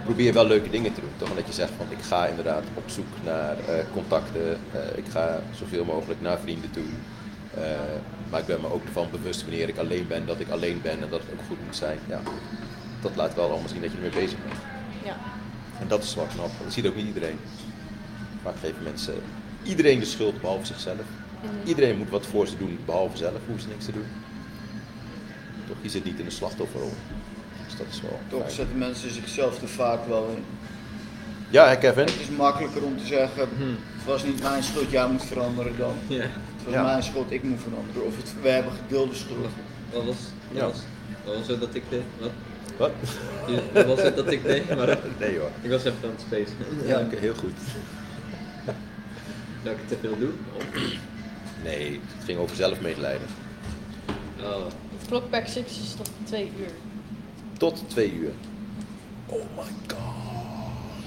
Speaker 1: probeer je wel leuke dingen te doen. Toch? Dat je zegt van ik ga inderdaad op zoek naar eh, contacten. eh, ik ga zoveel mogelijk naar vrienden toe. Eh, maar ik ben me ook ervan bewust wanneer ik alleen ben, dat ik alleen ben en dat het ook goed moet zijn. Ja, dat laat wel allemaal zien dat je ermee bezig bent.
Speaker 4: Ja.
Speaker 1: En dat is wel knap. want Dat ziet ook niet iedereen. Maar ik geef mensen iedereen de schuld behalve zichzelf.
Speaker 4: Mhm.
Speaker 1: Iedereen moet wat voor ze doen behalve zelf. Hoeven ze niks te doen. Toch, je zit niet in de slachtofferrol. Dus dat is wel
Speaker 7: Toch
Speaker 1: fijn.
Speaker 7: zetten mensen zichzelf te vaak wel in.
Speaker 1: Ja, hè, Kevin?
Speaker 7: Het is makkelijker om te zeggen, het was niet mijn schuld, jij moet veranderen dan. Het was
Speaker 1: Ja.
Speaker 7: mijn schuld, ik moet veranderen. Of het, wij hebben gedeelde schuld.
Speaker 5: Wat was, wat
Speaker 7: Ja.
Speaker 5: was, wat was het dat ik deed? Wat?
Speaker 1: Wat?
Speaker 5: Ja, wat was het dat ik deed? Maar,
Speaker 1: nee hoor.
Speaker 5: Ik was even aan het spacen.
Speaker 1: Ja, oké, heel goed.
Speaker 5: Dat ik te veel doe?
Speaker 1: Nee, het ging over zelfmedelijden.
Speaker 5: oh,
Speaker 4: Het klokperk 6 is tot 2 uur.
Speaker 1: Tot twee uur. Oh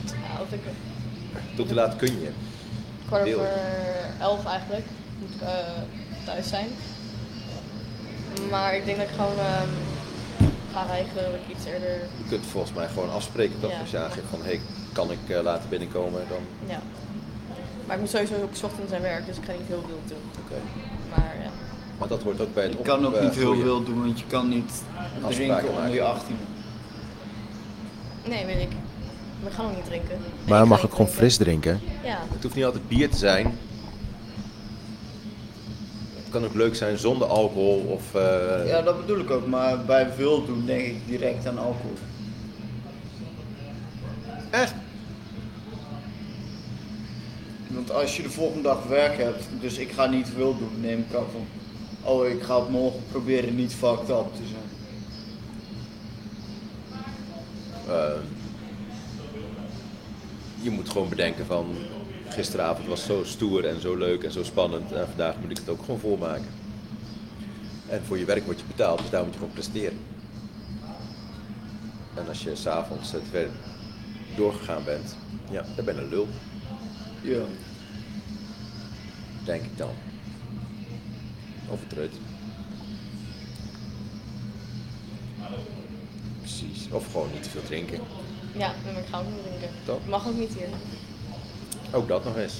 Speaker 4: Ja, of ik
Speaker 1: Tot hoe laat kun je?
Speaker 4: kwart
Speaker 1: Deel.
Speaker 4: over 11 eigenlijk moet ik eh, thuis zijn. Maar ik denk dat ik gewoon ehm, ga regelen dat ik iets eerder.
Speaker 1: Je kunt volgens mij gewoon afspreken toch?
Speaker 4: Ja.
Speaker 1: Als je aangeeft van, hé, kan ik eh, later binnenkomen? Dan,
Speaker 4: Ja. Maar ik moet sowieso ook 's ochtends aan werk, dus ik ga niet heel veel doen.
Speaker 1: oké.
Speaker 4: Maar ja.
Speaker 1: Maar dat hoort ook bij het eh,
Speaker 7: Je kan ook niet heel
Speaker 1: veel
Speaker 7: veel doen, want je kan niet
Speaker 1: Afspraken
Speaker 7: drinken onder je
Speaker 1: maken.
Speaker 7: 18.
Speaker 4: Nee, weet ik. We gaan ook niet drinken.
Speaker 13: Maar mag ik gewoon fris drinken?
Speaker 4: Ja.
Speaker 1: Het hoeft niet altijd bier te zijn. Het kan ook leuk zijn zonder alcohol of... eh,
Speaker 7: Ja, dat bedoel ik ook, maar bij veel doen denk ik direct aan alcohol.
Speaker 1: Echt?
Speaker 7: Want als je de volgende dag werk hebt, dus ik ga niet veel doen, neem ik af van. Oh, ik ga het morgen proberen niet fucked up te zijn.
Speaker 1: Eh, je moet gewoon bedenken van gisteravond was zo stoer en zo leuk en zo spannend en vandaag moet ik het ook gewoon volmaken. En voor je werk word je betaald, dus daar moet je gewoon presteren. En als je s'avonds het werk doorgegaan bent, ja, dan ben je een lul,
Speaker 7: Ja.
Speaker 1: denk ik dan. Of een treut. Precies, of gewoon niet te veel drinken.
Speaker 4: Ja, nee, maar ik ga ook niet drinken.
Speaker 1: Toch?
Speaker 4: Mag ook niet hier.
Speaker 1: Ook dat nog eens.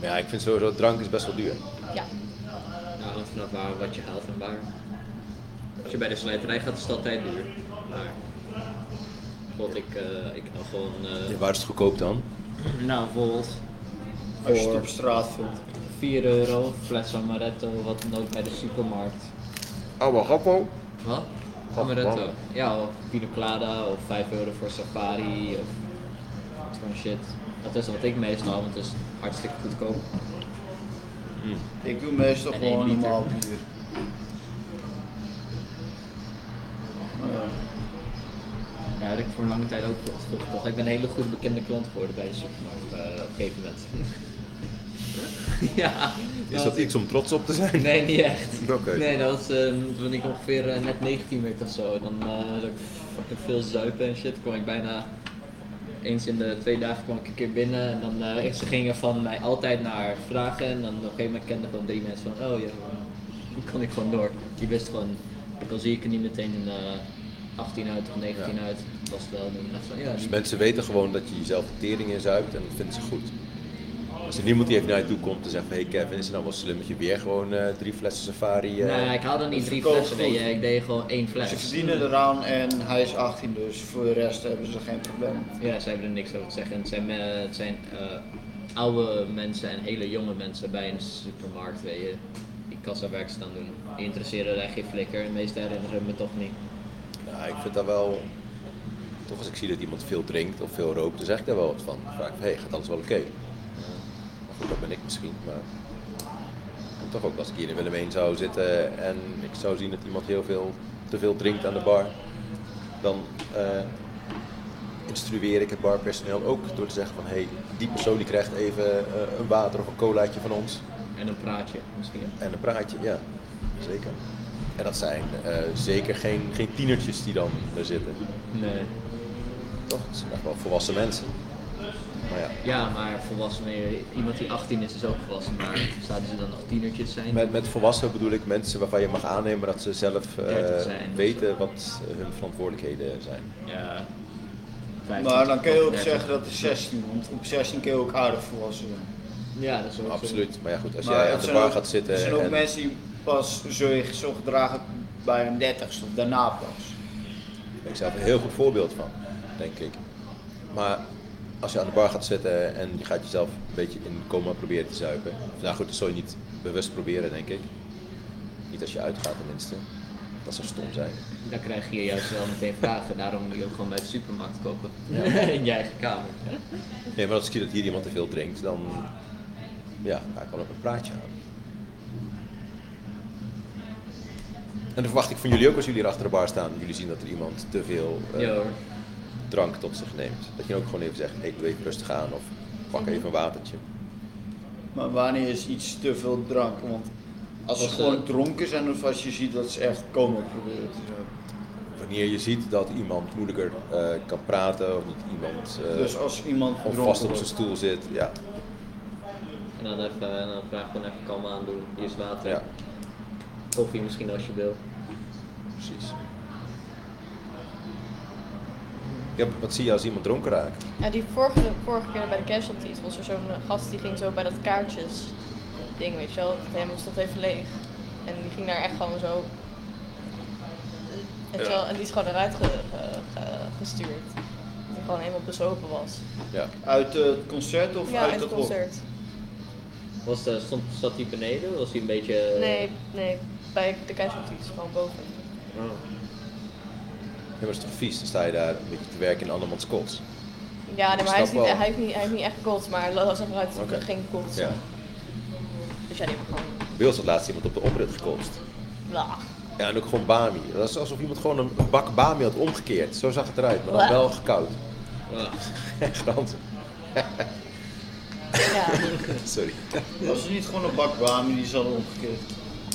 Speaker 1: Maar ja, ik vind sowieso drank is best wel duur.
Speaker 4: Ja.
Speaker 5: Ja, nou, hangt vanaf waar, wat je haalt en waar. Als je bij de slijterij gaat, is het altijd duur. Maar. Bijvoorbeeld, ik, eh ik haal gewoon. eh,
Speaker 1: Ja, waar is het goedkoop dan?
Speaker 5: Nou, bijvoorbeeld.
Speaker 7: Als je het
Speaker 5: voor
Speaker 7: op straat vindt.
Speaker 5: 4 euro, fles amaretto, wat dan ook bij de supermarkt.
Speaker 1: Oude Rappo.
Speaker 5: Wat?
Speaker 1: Wat
Speaker 5: Amaretto.
Speaker 1: dan?
Speaker 5: Ja, of pina colada, of 5 euro voor safari, of dat soort shit. Dat is wat ik meestal haal, want het is hartstikke goedkoop.
Speaker 7: Ik doe meestal
Speaker 5: En
Speaker 7: gewoon
Speaker 5: één liter.
Speaker 7: normaal bier. Maar ja,
Speaker 5: Ja, dat heb ik voor een lange tijd ook veel veel gekocht. Ik ben een hele goede bekende klant geworden bij de supermarkt eh, op een gegeven moment. ja.
Speaker 1: Is dat
Speaker 5: was-
Speaker 1: iets om trots op te zijn?
Speaker 5: Nee, niet echt.
Speaker 1: Oké.
Speaker 5: Nee, dat was eh, toen ik ongeveer eh, net 19 werd of zo. Dan eh dat ik fucking veel zuipen en shit. kwam ik bijna eens in de twee dagen kwam ik een keer binnen. En dan eh, ze gingen van mij altijd naar vragen. En dan op een gegeven moment kende gewoon drie mensen van, oh ja, hoe kan ik gewoon door? Die wist gewoon, ook al zie ik er niet meteen een, eh, 18 uit of 19
Speaker 1: Ja.
Speaker 5: uit, was het wel. Dan dacht ik van, ja,
Speaker 1: Dus
Speaker 5: die-
Speaker 1: mensen weten gewoon dat je jezelf de tering inzuipt en dat vinden ze goed. Als er niemand die even naar je toe komt en zegt van, hey Kevin, is het nou wel slim dat je weer gewoon eh, drie flessen safari... eh,
Speaker 5: Nee, ik had er niet
Speaker 7: het
Speaker 5: drie
Speaker 7: verkoopt
Speaker 5: flessen mee,
Speaker 7: goed.
Speaker 5: hè. ik deed gewoon één
Speaker 1: Dus
Speaker 5: fles.
Speaker 7: Ze verdienen
Speaker 1: Hmm.
Speaker 7: eraan en hij is 18, dus voor de rest hebben ze geen probleem.
Speaker 5: Ja, ze hebben er niks over te zeggen. Het zijn, eh, het zijn eh, oude mensen en hele jonge mensen bij een supermarkt, weet je. Die kassawerk staan doen. Die interesseren daar geen flikker. De meeste herinneren me toch niet.
Speaker 1: Nou, ik vind dat wel... Toch als ik zie dat iemand veel drinkt of veel rookt, dan zeg ik daar wel wat van. Dan vraag ik, hey, gaat alles wel oké? Maar goed, dat ben ik misschien, maar... En toch ook als ik hier in Willem 1 zou zitten en ik zou zien dat iemand heel veel, te veel drinkt aan de bar, dan eh, instrueer ik het barpersoneel ook door te zeggen van, hey, die persoon die krijgt even eh, een water of een colaatje van ons.
Speaker 5: En een praatje misschien.
Speaker 1: En een praatje, ja, zeker. En dat zijn eh, zeker geen, geen tienertjes die dan daar zitten.
Speaker 5: Nee.
Speaker 1: Toch? Het zijn echt wel volwassen mensen.
Speaker 5: Ja, maar volwassenen, iemand die 18 is, is ook volwassen, maar zouden ze dan nog tienertjes zijn?
Speaker 1: Met, met volwassenen bedoel ik mensen waarvan je mag aannemen dat ze zelf eh,
Speaker 5: Dertig zijn.
Speaker 1: weten wat hun verantwoordelijkheden zijn.
Speaker 5: Ja.
Speaker 7: Maar dan kun je ook zeggen dat het 16 want op 16 kun je ook aardig volwassen zijn.
Speaker 5: Ja, dat is ook
Speaker 1: Absoluut, maar ja goed, als
Speaker 7: Maar
Speaker 1: jij
Speaker 7: het
Speaker 1: aan de
Speaker 7: zijn
Speaker 1: bar
Speaker 7: ook-
Speaker 1: gaat zitten
Speaker 7: Er zijn ook
Speaker 1: en-
Speaker 7: mensen die pas zo, zo gedragen bij hun 30ste of daarna pas.
Speaker 1: Daar ben ik zelf een heel goed voorbeeld van, denk ik. Maar als je aan de bar gaat zitten en je gaat jezelf een beetje in coma proberen te zuipen. of Nou goed, dat zul je niet bewust proberen, denk ik. Niet als je uitgaat tenminste. Dat zou stom zijn.
Speaker 5: Dan krijg je juist wel meteen vragen, daarom moet je ook gewoon bij de supermarkt kopen.
Speaker 1: Ja.
Speaker 5: In je eigen kamer.
Speaker 1: Nee, maar als ik zie dat hier iemand te veel drinkt, dan ja, ga ik wel op een praatje aan. En dan verwacht ik van jullie ook als jullie hier achter de bar staan. Jullie zien dat er iemand te veel eh,
Speaker 5: Ja, hoor.
Speaker 1: drank tot zich neemt. Dat je ook gewoon even zegt, hey, doe even rustig aan of pak even een watertje.
Speaker 7: Maar wanneer is iets te veel drank? Want als ze
Speaker 1: Als, eh,
Speaker 7: gewoon dronken zijn of als je ziet dat ze echt komen proberen te zijn.
Speaker 1: Wanneer je ziet dat iemand moeilijker eh, kan praten of niet iemand. eh,
Speaker 7: Dus als iemand
Speaker 1: of
Speaker 7: gedronken
Speaker 1: vast op
Speaker 7: wordt.
Speaker 1: zijn stoel zit, ja.
Speaker 5: En dan even, en dan vraag gewoon even kalm aandoen. Hier is water. Koffie misschien als je wil.
Speaker 1: Precies. ja. Wat zie je als iemand dronken raakt?
Speaker 4: Ja, die vorige, vorige keer bij de casualties was er zo'n eh, gast die ging zo bij dat kaartjes ding, weet je wel. Bij hem was dat even leeg. En die ging daar echt gewoon zo... Weet je wel, en die is gewoon eruit ge- ge- ge- gestuurd. Die gewoon helemaal bezopen was.
Speaker 1: Ja.
Speaker 7: Uit eh, het concert of
Speaker 4: ja,
Speaker 7: uit
Speaker 4: uit
Speaker 7: het
Speaker 4: het
Speaker 7: hok?
Speaker 4: concert.
Speaker 5: Was, de- stond, zat hij beneden? Was hij een beetje... eh,
Speaker 4: Nee, nee, bij de casualties, gewoon boven.
Speaker 5: Oh.
Speaker 1: Ja, maar dat is toch vies? Dan sta je daar een beetje te werken in andermans kots.
Speaker 4: Ja, nee,
Speaker 1: Ik
Speaker 4: maar hij, is
Speaker 1: snap
Speaker 4: niet,
Speaker 1: wel.
Speaker 4: hij, heeft niet, hij heeft niet echt gekotst, maar Lola zag eruit alsof hij
Speaker 1: Oké.
Speaker 4: geen kot.
Speaker 1: Ja.
Speaker 4: Dus ja, die heeft gewoon...
Speaker 1: Bij ons had laatst iemand op de oprit gekotst.
Speaker 4: Blah.
Speaker 1: Ja, en ook gewoon bami. Dat is alsof iemand gewoon een bak bami had omgekeerd. Zo zag het eruit, maar dan
Speaker 4: Blech.
Speaker 1: wel gekoud.
Speaker 5: ah,
Speaker 1: Echt ranzig. Sorry.
Speaker 7: Was het niet gewoon een bak bami die zal omgekeerd?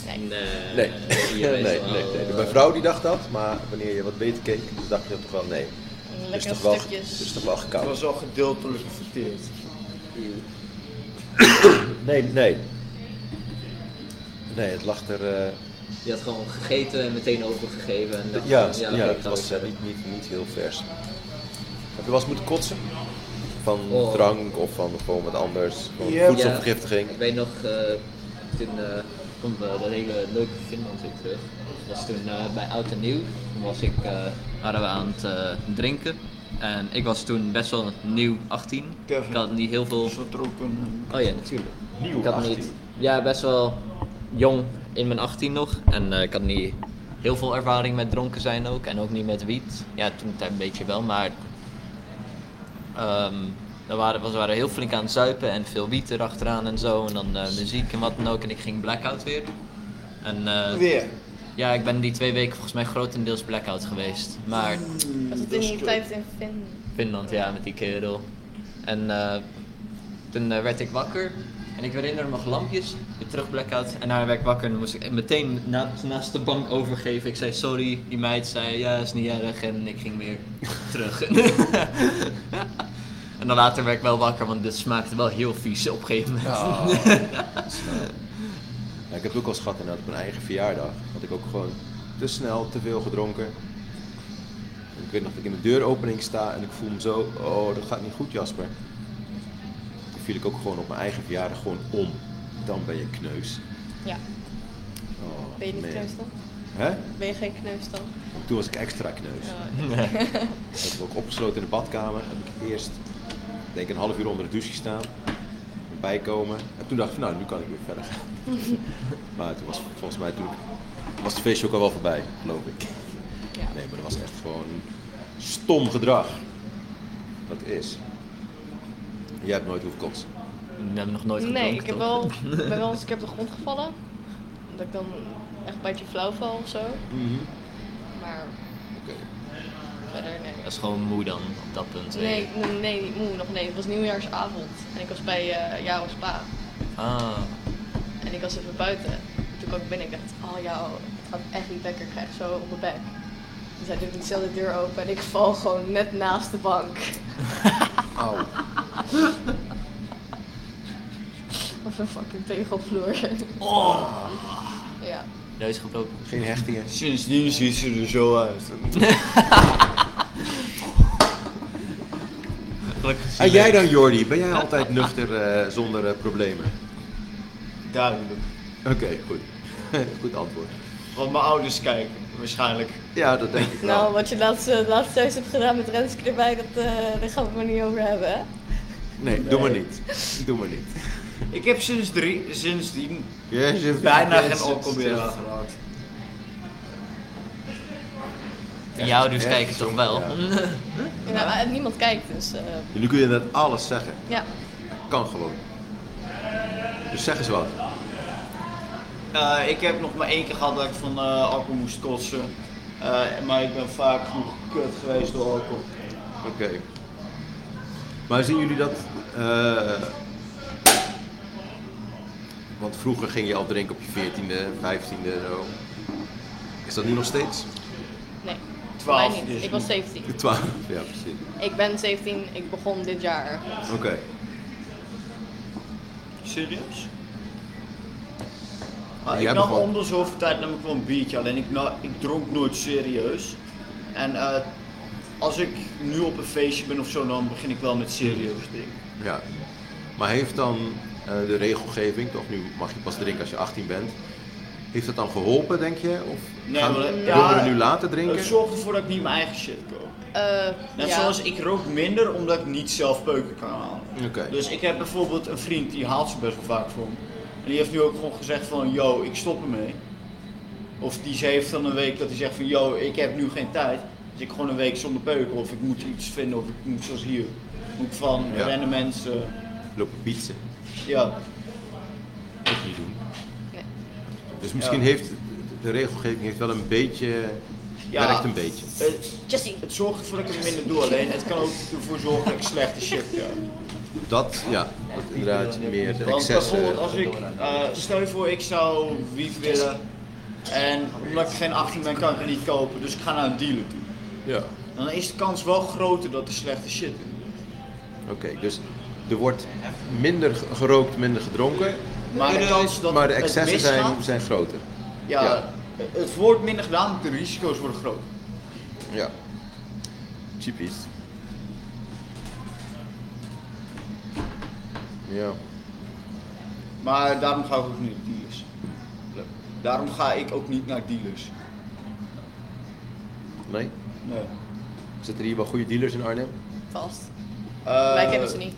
Speaker 4: Nee.
Speaker 5: eh,
Speaker 1: Nee, nee, nee, nee. Mijn vrouw die dacht dat, maar wanneer je wat beter keek, dacht je toch wel nee. Het is
Speaker 7: Lekker
Speaker 1: toch wel,
Speaker 7: stukjes.
Speaker 1: het is toch wel
Speaker 7: Het
Speaker 1: gekoud.
Speaker 7: was al gedeeltelijk verteerd.
Speaker 1: Nee, nee. Nee, het lag er. eh,
Speaker 5: Je had gewoon gegeten en meteen overgegeven. En dacht
Speaker 1: ja,
Speaker 5: van,
Speaker 1: ja,
Speaker 5: oké,
Speaker 1: het
Speaker 5: ga
Speaker 1: was
Speaker 5: weer.
Speaker 1: eh, niet, niet, niet heel vers. Heb je wel eens moeten kotsen? Van
Speaker 5: Oh.
Speaker 1: drank of van gewoon wat anders? Gewoon
Speaker 5: Ja.
Speaker 1: voedselvergiftiging?
Speaker 5: Ik weet nog, eh, toen eh komt eh, dat hele leuke Finland weer terug. Dat was toen eh, bij Oud en Nieuw. Toen was ik, eh, hadden we aan het eh, drinken. En ik was toen best wel nieuw 18. Ik had niet heel veel. Oh ja, natuurlijk.
Speaker 14: Nieuw
Speaker 5: ik had
Speaker 14: 18.
Speaker 5: Niet... Ja, best wel jong in mijn 18 nog. En eh, ik had niet heel veel ervaring met dronken zijn ook. En ook niet met wiet. Ja, toen een beetje wel, maar Ehm we waren, we waren heel flink aan het zuipen en veel wiet erachteraan en zo. En dan eh, muziek en wat dan ook. En ik ging blackout weer. En, eh,
Speaker 7: Weer?
Speaker 5: Ja, ik ben die twee weken volgens mij grotendeels blackout geweest. Maar
Speaker 4: Was het in die tijd in Finland?
Speaker 5: Finland, ja, met die kerel. En eh, toen eh, werd ik wakker. En ik herinner me nog lampjes. Weer terug blackout. En daar werd ik wakker en dan moest ik meteen na- naast de bank overgeven. Ik zei sorry. Die meid zei ja, is niet erg. En ik ging weer terug. en dan later werd ik wel wakker, want dit smaakte wel heel vies op een gegeven moment.
Speaker 1: Oh. Ja, ik heb het ook al eens gehad inderdaad op mijn eigen verjaardag. Had ik ook gewoon te snel, te veel gedronken. En ik weet nog dat ik in de deuropening sta en ik voel me zo, oh dat gaat niet goed Jasper. Toen viel ik ook gewoon op mijn eigen verjaardag gewoon om. Dan ben je kneus.
Speaker 4: Ja.
Speaker 1: Oh,
Speaker 4: Ben je niet
Speaker 1: man.
Speaker 4: kneus dan?
Speaker 1: Hè?
Speaker 4: Ben je geen kneus dan?
Speaker 1: Toen was ik extra kneus.
Speaker 4: Ja.
Speaker 1: Dat heb ik ook opgesloten in de badkamer. Heb ik eerst, denk ik, een half uur onder de douche gestaan. Bijkomen. En toen dacht ik van, nou, nu kan ik weer verder gaan. Maar toen was volgens mij toen was het feestje ook al wel voorbij, geloof ik. Nee, maar dat was echt gewoon stom gedrag. Dat is. En Jij hebt nooit hoeven kotsen.
Speaker 5: We hebben nog nooit
Speaker 4: nee, ik heb wel, ik ben wel eens een keer op de grond gevallen. Dat ik dan echt een beetje flauw val of zo. Maar verder nee.
Speaker 5: Dat is gewoon moe dan op dat punt. hè?
Speaker 4: Nee, nee, nee, niet moe, nog nee. Het was nieuwjaarsavond en ik was bij eh Jaro's pa.
Speaker 5: Ah.
Speaker 4: En ik was even buiten. Toen kwam ik binnen en ik dacht, oh jou, het gaat echt niet lekker. Ik krijg zo op mijn bek. Dus hij doet zelf de deur open en ik val gewoon net naast de bank.
Speaker 1: Auw.
Speaker 4: Of een fucking tegelvloer.
Speaker 5: Oh.
Speaker 4: Ja.
Speaker 5: Neus gebroken.
Speaker 1: Geen hechtingen.
Speaker 7: Sindsdien ziet ze er zo uit.
Speaker 1: En jij dan, Jordi? Ben jij altijd nuchter eh, zonder eh, problemen?
Speaker 7: Duidelijk.
Speaker 1: Oké, goed. goed antwoord.
Speaker 7: Want mijn ouders kijken, waarschijnlijk.
Speaker 1: Ja, dat denk ik wel.
Speaker 4: Nou, wat je laatst, eh, laatst thuis hebt gedaan met Renske erbij, dat, eh, daar gaan we het maar niet over hebben, hè?
Speaker 1: Nee, doe maar niet. Doe maar niet.
Speaker 7: Ik heb sinds drie, sindsdien
Speaker 1: Jezus,
Speaker 7: bijna
Speaker 1: Jezus,
Speaker 7: geen alcohol meer
Speaker 1: Jezus.
Speaker 7: aangeraakt.
Speaker 5: Jou dus
Speaker 1: echt,
Speaker 5: kijken toch wel.
Speaker 4: Ja, maar niemand kijkt, dus... eh,
Speaker 1: Nu kun je net alles zeggen.
Speaker 4: ja.
Speaker 1: Kan gewoon. Dus zeg eens wat.
Speaker 7: Eh, ik heb nog maar één keer gehad dat ik van eh, alcohol moest kotsen. Eh, maar ik ben vaak genoeg kut geweest door alcohol.
Speaker 1: Oké. Maar zien jullie dat? eh, want vroeger ging je al drinken op je 14e, 15e en zo. Is dat nu nog steeds?
Speaker 4: Nee.
Speaker 7: Twaalf
Speaker 4: Mij niet.
Speaker 7: dus.
Speaker 4: Ik was 17.
Speaker 1: 12, ja precies.
Speaker 4: Ik ben 17, ik begon dit jaar.
Speaker 1: Oké.
Speaker 7: Serieus? Ah,
Speaker 1: Jij
Speaker 7: ik nam
Speaker 1: begon.
Speaker 7: om de zoveel tijd nam ik wel een biertje, alleen ik, na- ik dronk nooit serieus. En eh, als ik nu op een feestje ben of zo, dan begin ik wel met serieus drinken.
Speaker 1: Ja. Maar heeft dan eh, de regelgeving, toch nu mag je pas drinken als je 18 bent, heeft dat dan geholpen denk je? Of gaan
Speaker 7: maar-
Speaker 1: jongeren
Speaker 7: ja,
Speaker 1: nu later drinken?
Speaker 7: Het zorgt ervoor dat ik niet mijn eigen shit koop.
Speaker 4: Eh,
Speaker 7: Net
Speaker 4: ja.
Speaker 7: zoals ik rook minder omdat ik niet zelf peuken kan halen.
Speaker 1: Oké.
Speaker 7: Dus ik heb bijvoorbeeld een vriend die haalt ze best wel vaak voor me. En die heeft nu ook gewoon gezegd van yo, ik stop ermee. Of die ze heeft dan een week dat hij zegt van yo, ik heb nu geen tijd. Dus ik gewoon een week zonder peuken. Of ik moet iets vinden of ik moet zoals hier. Moet van
Speaker 1: Ja.
Speaker 7: rennen mensen.
Speaker 1: Lopen bietsen.
Speaker 7: Ja.
Speaker 1: Dat niet doen.
Speaker 4: Nee.
Speaker 1: Dus misschien
Speaker 7: Ja.
Speaker 1: heeft de regelgeving heeft wel een beetje,
Speaker 7: Ja.
Speaker 1: werkt een beetje.
Speaker 7: Het, het zorgt ervoor dat ik het minder doe. Alleen het kan ook ervoor zorgen dat ik slechte shit krijg.
Speaker 1: Dat, ja, dat inderdaad meer de
Speaker 7: Want
Speaker 1: excessen.
Speaker 7: bijvoorbeeld als ik, eh, stel je voor ik zou wiet willen en omdat ik geen 18 ben kan ik het niet kopen, dus ik ga naar een dealer toe.
Speaker 1: Ja.
Speaker 7: Dan is de kans wel groter dat er slechte shit in.
Speaker 1: Oké, dus er wordt minder ge- gerookt, minder gedronken. Eh,
Speaker 7: Maar de kans dat
Speaker 1: maar de
Speaker 7: het
Speaker 1: excessen zijn,
Speaker 7: misgaat-
Speaker 1: zijn groter.
Speaker 7: Ja,
Speaker 1: Ja.
Speaker 7: het wordt minder gedaan, de risico's worden groter.
Speaker 1: Ja. Typisch. Ja.
Speaker 7: Maar daarom ga ik ook niet naar dealers. Daarom ga ik ook niet naar dealers.
Speaker 1: Nee?
Speaker 7: Nee.
Speaker 1: Zitten hier wel goede dealers in Arnhem?
Speaker 4: Vast.
Speaker 7: Eh,
Speaker 4: Wij kennen ze niet.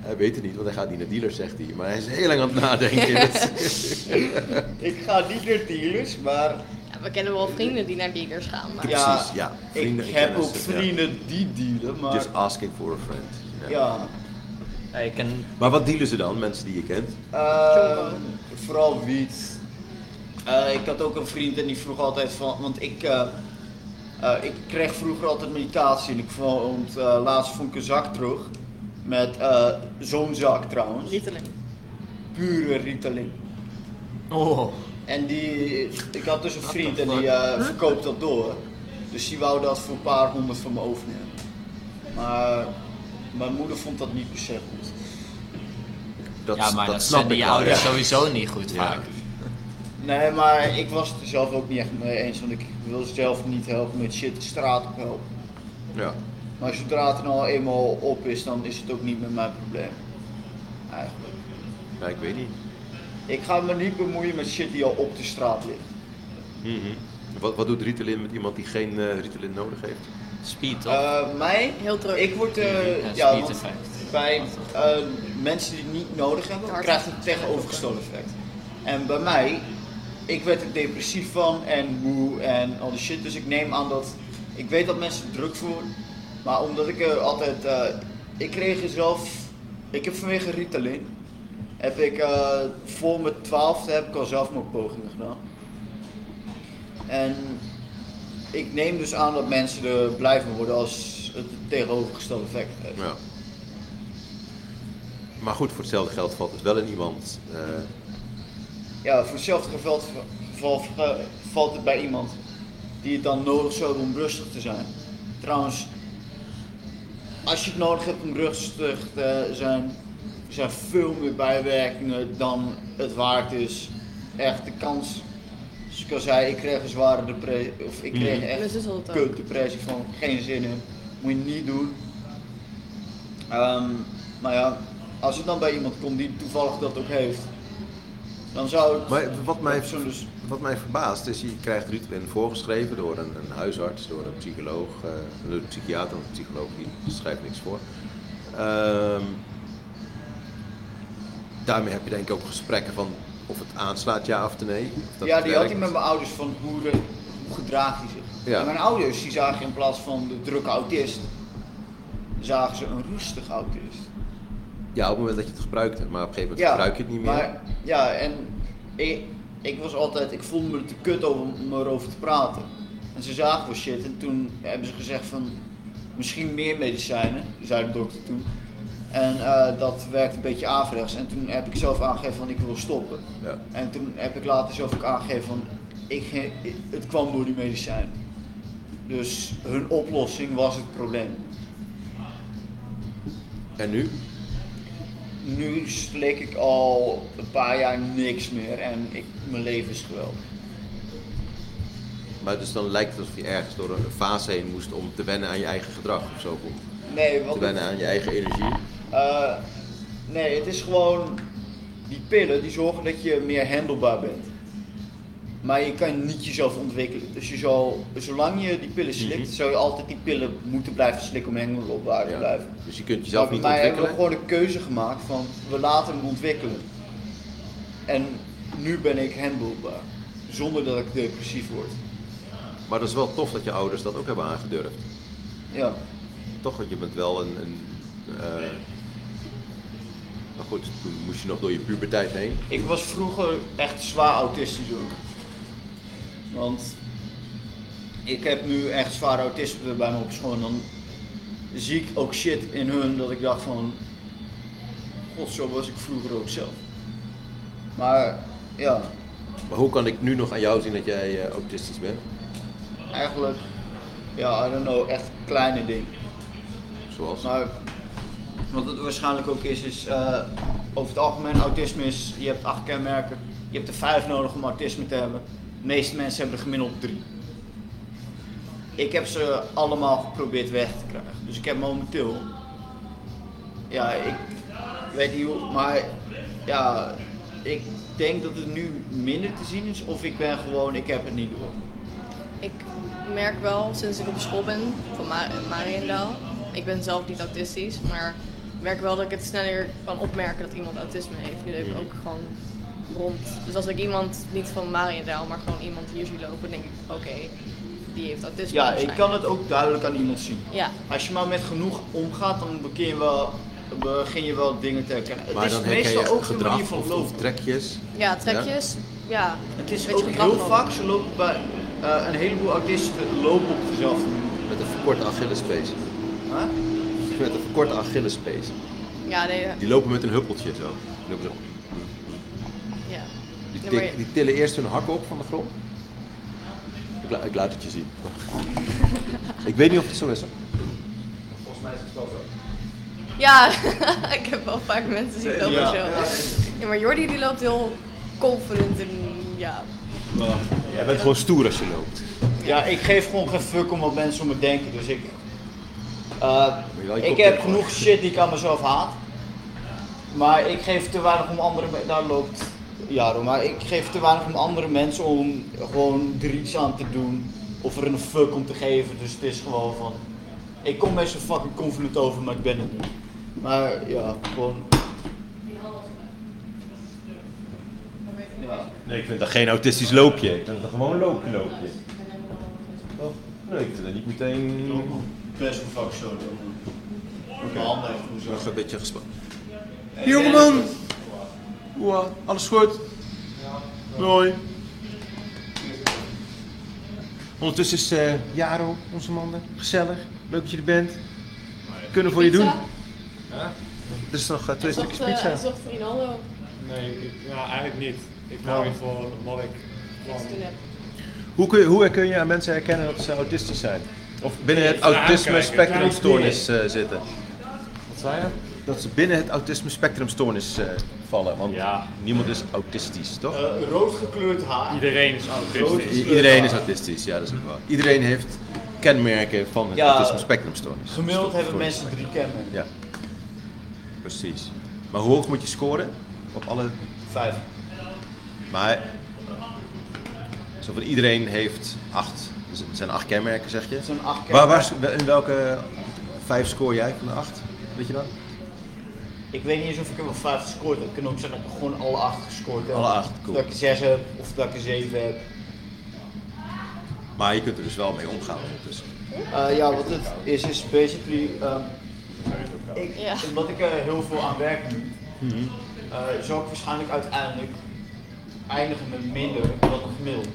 Speaker 1: Hij weet het niet, want hij gaat niet naar dealers, zegt hij. Maar hij is heel lang aan het nadenken. Dus- Dat is-
Speaker 7: Ik ga niet naar dealers, maar
Speaker 4: Ja, we kennen wel vrienden die naar dealers gaan, maar...
Speaker 1: Ja, precies, ja. Vrienden en
Speaker 7: ik heb ook
Speaker 1: kennissen, ja.
Speaker 7: vrienden die dealen, maar
Speaker 1: Just asking for a friend.
Speaker 7: ja.
Speaker 5: ik ken
Speaker 1: Maar wat dealen ze dan, mensen die je kent?
Speaker 7: Eh, vooral wiet. Eh, ik had ook een vriend en die vroeg altijd van, want ik, eh, eh, ik kreeg vroeger altijd meditatie en ik vond, eh, laatst vond ik een zak terug. Met eh, zo'n zak trouwens.
Speaker 4: Ritalin.
Speaker 7: Pure Ritalin.
Speaker 5: Oh.
Speaker 7: En die, ik had dus een vriend en die eh, verkoopt dat door. Dus die wou dat voor een paar honderd van me overnemen. Maar mijn moeder vond dat niet per se goed.
Speaker 1: Dat,
Speaker 5: ja, maar dat,
Speaker 1: snap
Speaker 5: vinden
Speaker 1: ik
Speaker 5: je
Speaker 1: wel,
Speaker 5: ouders
Speaker 1: ja.
Speaker 5: sowieso niet goed vaak.
Speaker 7: Nee, maar ik was het er zelf ook niet echt mee eens, want ik wil zelf niet helpen met shit de straat op helpen.
Speaker 1: Ja.
Speaker 7: Maar zodra het er nou eenmaal op is, dan is het ook niet meer mijn probleem. Eigenlijk.
Speaker 1: Ja, ik weet niet.
Speaker 7: Ik ga me niet bemoeien met shit die al op de straat ligt.
Speaker 1: Mhm. Wat, wat doet Ritalin met iemand die geen eh, Ritalin nodig heeft?
Speaker 5: Speed toch?
Speaker 7: Eh, mij?
Speaker 4: Heel druk.
Speaker 7: Ik word eh,
Speaker 5: Ja,
Speaker 7: ja,
Speaker 5: speed
Speaker 7: want
Speaker 5: effect.
Speaker 7: bij eh, mensen die het niet nodig hebben,
Speaker 4: Hard.
Speaker 7: krijgt het tegenovergestelde effect. En bij mij, ik werd er depressief van en moe en al die shit. Dus ik neem aan dat, ik weet dat mensen er druk voor worden, maar omdat ik er altijd, eh, ik kreeg er zelf, ik heb vanwege Ritalin, heb ik eh, voor mijn twaalfde heb ik al zelfmoordpogingen gedaan. En ik neem dus aan dat mensen er blij van worden als het het tegenovergestelde effect heeft.
Speaker 1: Ja. Maar goed, voor hetzelfde geld valt het wel in iemand. eh,
Speaker 7: Ja, voor hetzelfde geval, geval eh, valt het bij iemand die het dan nodig zou hebben om rustig te zijn. Trouwens, als je het nodig hebt om rustig te zijn, er zijn veel meer bijwerkingen dan het waard is. Echt de kans. Zoals ik al zei, ik kreeg een zware depressie. Of ik kreeg
Speaker 4: Mhm. Mijn
Speaker 7: echt
Speaker 4: zus had het ook.
Speaker 7: kut depressie van geen zin in. Moet je niet doen. Ehm, maar ja, als het dan bij iemand komt die toevallig dat ook heeft, dan zou het. dus-
Speaker 1: Maar wat mij, wat mij verbaast is, je krijgt Ritalin voorgeschreven door een, een huisarts, door een psycholoog, eh, door een psychiater, want een psycholoog die schrijft niks voor. Ehm, daarmee heb je denk ik ook gesprekken van of het aanslaat ja of nee. of dat
Speaker 7: ja,
Speaker 1: het
Speaker 7: die had
Speaker 1: werkt.
Speaker 7: ik met mijn ouders van hoe, re- hoe gedraagt hij zich.
Speaker 1: Ja.
Speaker 7: En mijn ouders die zagen in plaats van de drukke autist, zagen ze een rustig autist.
Speaker 1: Ja, op het moment dat je het gebruikt hebt, maar op een gegeven moment
Speaker 7: Ja,
Speaker 1: gebruik je het niet meer.
Speaker 7: Maar, ja, en ik, ik was altijd, ik voelde me te kut over, om erover te praten. En ze zagen wel shit en toen hebben ze gezegd van, misschien meer medicijnen, zei de dokter toen. En eh, dat werkt een beetje averechts. En toen heb ik zelf aangegeven van, ik wil stoppen.
Speaker 1: Ja.
Speaker 7: En toen heb ik later zelf ook aangegeven van, ik, ge- ik- het kwam door die medicijnen. Dus hun oplossing was het probleem.
Speaker 1: En nu?
Speaker 7: Nu slik ik al een paar jaar niks meer en ik, mijn leven is geweldig.
Speaker 1: Maar dus dan lijkt het alsof je ergens door een fase heen moest om te wennen aan je eigen gedrag of zo. Om
Speaker 7: Nee, wat
Speaker 1: te wennen aan je eigen energie.
Speaker 7: Eh, nee, het is gewoon die pillen die zorgen dat je meer handelbaar bent. Maar je kan niet jezelf ontwikkelen. Dus je zal, zolang je die pillen slikt,
Speaker 1: Mhm.
Speaker 7: zou je altijd die pillen moeten blijven slikken om handelbaar te blijven.
Speaker 1: Dus je kunt jezelf
Speaker 7: maar
Speaker 1: niet
Speaker 7: bij mij hebben
Speaker 1: ontwikkelen.
Speaker 7: we gewoon de keuze gemaakt van we laten hem ontwikkelen. En nu ben ik handelbaar. Zonder dat ik depressief word.
Speaker 1: Maar dat is wel tof dat je ouders dat ook hebben aangedurfd.
Speaker 7: Ja.
Speaker 1: Toch, want je bent wel een. een eh, Maar goed, toen moest je nog door je puberteit heen.
Speaker 7: Ik was vroeger echt zwaar autistisch ook. Want ik heb nu echt zwaar autisme bij me op school. En dan zie ik ook shit in hun dat ik dacht van... God, zo was ik vroeger ook zelf. Maar ja,
Speaker 1: Maar hoe kan ik nu nog aan jou zien dat jij eh, autistisch bent?
Speaker 7: eigenlijk... Ja, I don't know, echt kleine dingen.
Speaker 1: Zoals?
Speaker 7: Maar Nou, wat het waarschijnlijk ook is, is eh, over het algemeen autisme is, je hebt acht kenmerken. Je hebt er vijf nodig om autisme te hebben. De meeste mensen hebben er gemiddeld drie. Ik heb ze allemaal geprobeerd weg te krijgen. Dus ik heb momenteel, ja, ik weet niet hoe, maar ja, ik denk dat het nu minder te zien is. Of ik ben gewoon, ik heb het niet door.
Speaker 4: Ik merk wel sinds ik op school ben van Ma- Mariendaal. Ik ben zelf niet autistisch, maar ik merk wel dat ik het sneller kan opmerken dat iemand autisme heeft. Nu loop ik ook gewoon rond. Dus als ik iemand niet van Mariendaal, maar gewoon iemand hier zie lopen, denk ik: oké, die heeft autisme.
Speaker 7: Ja, ik
Speaker 4: waarschijnlijk.
Speaker 7: kan het ook duidelijk aan iemand zien.
Speaker 4: Ja,
Speaker 7: Als je maar met genoeg omgaat, dan begin je wel, begin je wel dingen te herkennen.
Speaker 1: maar
Speaker 7: het is
Speaker 1: dan herken
Speaker 7: meestal
Speaker 1: je
Speaker 7: ook de
Speaker 1: gedrag
Speaker 7: manier van
Speaker 1: of,
Speaker 7: lopen.
Speaker 1: of trekjes.
Speaker 4: ja trekjes. Ja.
Speaker 7: Het is
Speaker 4: Beetje
Speaker 7: ook heel
Speaker 4: gedrag ook.
Speaker 7: vaak, ze lopen bij eh, een heleboel autisten lopen op dezelfde manier.
Speaker 1: Met een verkorte Achillespees.
Speaker 7: Huh?
Speaker 1: Met een verkorte Achillespees.
Speaker 4: Ja, nee. Ja.
Speaker 1: Die lopen met een huppeltje zo. Die lopen zo. Die,
Speaker 4: Nee,
Speaker 1: tik-
Speaker 4: maar je-
Speaker 1: die tillen eerst hun hakken op van de grond. Ik, la- ik laat het je zien. ik weet niet of het zo is. hoor.
Speaker 15: Volgens mij is het wel zo.
Speaker 4: Ja, ik heb wel vaak mensen zien lopen
Speaker 1: Ja.
Speaker 4: zo. Ja, maar Jordi die loopt heel confident en ja.
Speaker 1: Jij bent gewoon stoer als je loopt.
Speaker 7: Ja, ik geef gewoon geen fuck om wat mensen om me denken, dus ik... eh,
Speaker 1: je wel je
Speaker 7: ik
Speaker 1: kop
Speaker 7: heb
Speaker 1: dicht
Speaker 7: genoeg shit die ik aan mezelf haat. Maar ik geef te weinig om andere mensen... Daar loopt Jaro, maar ik geef te weinig om andere mensen om gewoon er iets aan te doen. Of er een fuck om te geven, dus het is gewoon van... Ik kom best wel fucking confident over, maar ik ben het niet. Maar ja, gewoon... Ja.
Speaker 6: Nee, ik vind dat geen autistisch loopje. Ik vind dat gewoon loopje loopje. Toch? Nee, ik vind dat niet meteen...
Speaker 7: Best wel vaak zo
Speaker 1: Nog een beetje gespannen.
Speaker 7: Jongeman!
Speaker 1: Oeh, alles goed? Mooi. Ondertussen is eh, Jaro, onze man, er. gezellig. Leuk dat je er bent. Kunnen we voor je doen. Er is nog eh, twee stukjes pizza.
Speaker 4: zocht Rinaldo
Speaker 2: Nee, ik, nou, eigenlijk niet. Ik
Speaker 1: Nou.
Speaker 2: hou voor wat ik
Speaker 4: niks te doen
Speaker 2: van
Speaker 4: heb.
Speaker 6: Hoe kun, je, hoe kun je aan mensen herkennen dat ze autistisch zijn?
Speaker 1: Of binnen het
Speaker 10: Even
Speaker 1: autisme
Speaker 10: aankijken.
Speaker 1: spectrum stoornis
Speaker 10: Kijk
Speaker 1: eh, zitten. Wat zei je? Dat ze binnen het autisme spectrum stoornis eh, vallen. Want niemand is autistisch, toch?
Speaker 7: rood gekleurd haar.
Speaker 16: Iedereen is
Speaker 1: I- Iedereen is autistisch, ja, dat is ook waar. Iedereen heeft kenmerken van het
Speaker 7: Ja,
Speaker 1: autisme spectrumstoornis.
Speaker 7: Gemiddeld hebben
Speaker 1: Stoornis.
Speaker 7: mensen drie kenmerken.
Speaker 1: Ja, precies. Maar hoe hoog moet je scoren? Op alle...
Speaker 7: Vijf.
Speaker 1: Maar... Zo van iedereen heeft acht. Dus het zijn acht kenmerken, zeg je? Het
Speaker 7: zijn acht
Speaker 1: Waar, waar,
Speaker 7: kenmerken.
Speaker 1: in welke vijf scoor jij van de acht? Weet je dat?
Speaker 7: Ik weet niet eens of ik er wel vijf gescoord heb. Ik kan ook zeggen dat ik gewoon alle acht gescoord heb.
Speaker 1: Alle acht, cool.
Speaker 7: Of dat ik er zes heb, of dat ik er zeven heb.
Speaker 1: Maar je kunt er dus wel mee omgaan ondertussen.
Speaker 7: Eh, ja, wat het is, is basically... ehm, ik, Omdat ik er heel veel aan werk nu,
Speaker 1: Mhm.
Speaker 7: eh, zou ik waarschijnlijk uiteindelijk eindigen met minder dan het gemiddeld.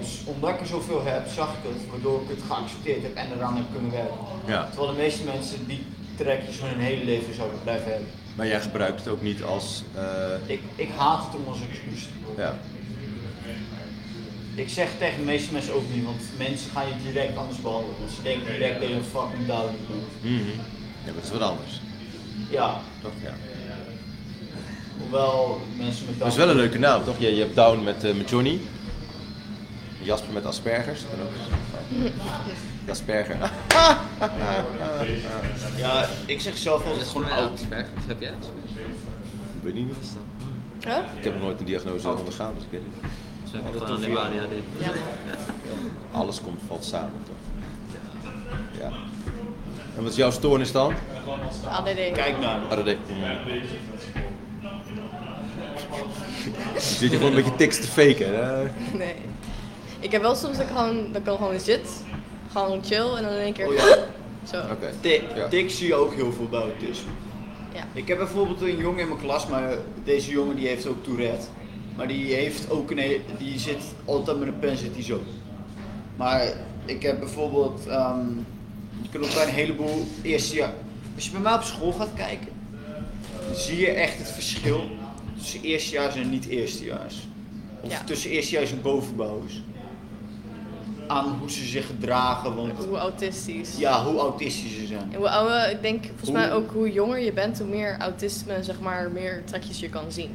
Speaker 7: Dus omdat ik er zoveel heb, zag ik het, waardoor ik het geaccepteerd heb en eraan heb kunnen werken.
Speaker 1: Ja.
Speaker 7: Terwijl de meeste mensen die trekjes van hun hele leven zouden blijven hebben.
Speaker 1: Maar jij gebruikt het ook niet als... eh,
Speaker 7: Ik, ik haat het om als excuus te worden.
Speaker 1: Ja.
Speaker 7: Ik zeg tegen de meeste mensen ook niet, want mensen gaan je direct anders behandelen. Want ze denken direct dat je een fucking down bent.
Speaker 1: mhm. Ja, maar dat is wat anders.
Speaker 7: Ja,
Speaker 1: Toch? Ja.
Speaker 7: hoewel mensen met
Speaker 1: Dat is wel een leuke naam, toch? Je, je hebt Down met, eh, met Johnny. Jasper met Aspergers. Dat ook. Asperger.
Speaker 7: Ja, ik zeg zelf altijd gewoon oh, oud.
Speaker 12: Heb jij
Speaker 1: Ik weet niet. Ik heb nog nooit een diagnose ondergaan, dus ik weet het niet.
Speaker 12: Ze hebben gewoon alleen maar ADHD. Ja.
Speaker 1: Alles komt, valt samen, toch? Ja. En wat is jouw stoornis dan? Ah,
Speaker 4: ADD.
Speaker 7: Kijk nou.
Speaker 1: ADD. Zit je gewoon een beetje tekst te faken, hè?
Speaker 4: Nee. Ik heb wel soms dat ik gewoon, dat ik dan gewoon zit, gewoon chill en dan in één
Speaker 7: Oh
Speaker 4: keer... Zo.
Speaker 7: Dik, dik zie je ook heel veel bij autisme.
Speaker 4: Ja.
Speaker 7: Ik heb bijvoorbeeld een jongen in mijn klas, maar deze jongen die heeft ook Tourette. Maar die heeft ook een he- die zit altijd met een pen zit die zo. Maar ik heb bijvoorbeeld, ehm, je kunt ook bij een heleboel eerste jaar. Als je bij mij op school gaat kijken, dan zie je echt het verschil tussen eerstejaars en niet eerstejaars. Of
Speaker 4: Ja.
Speaker 7: tussen eerstejaars en bovenbouwers. Aan hoe ze zich gedragen, want
Speaker 4: Hoe autistisch.
Speaker 7: ja, hoe autistisch ze zijn.
Speaker 4: En hoe ouder, ik denk volgens
Speaker 7: Hoe-
Speaker 4: mij ook hoe jonger je bent, hoe meer autisme, zeg maar, meer trekjes je kan zien.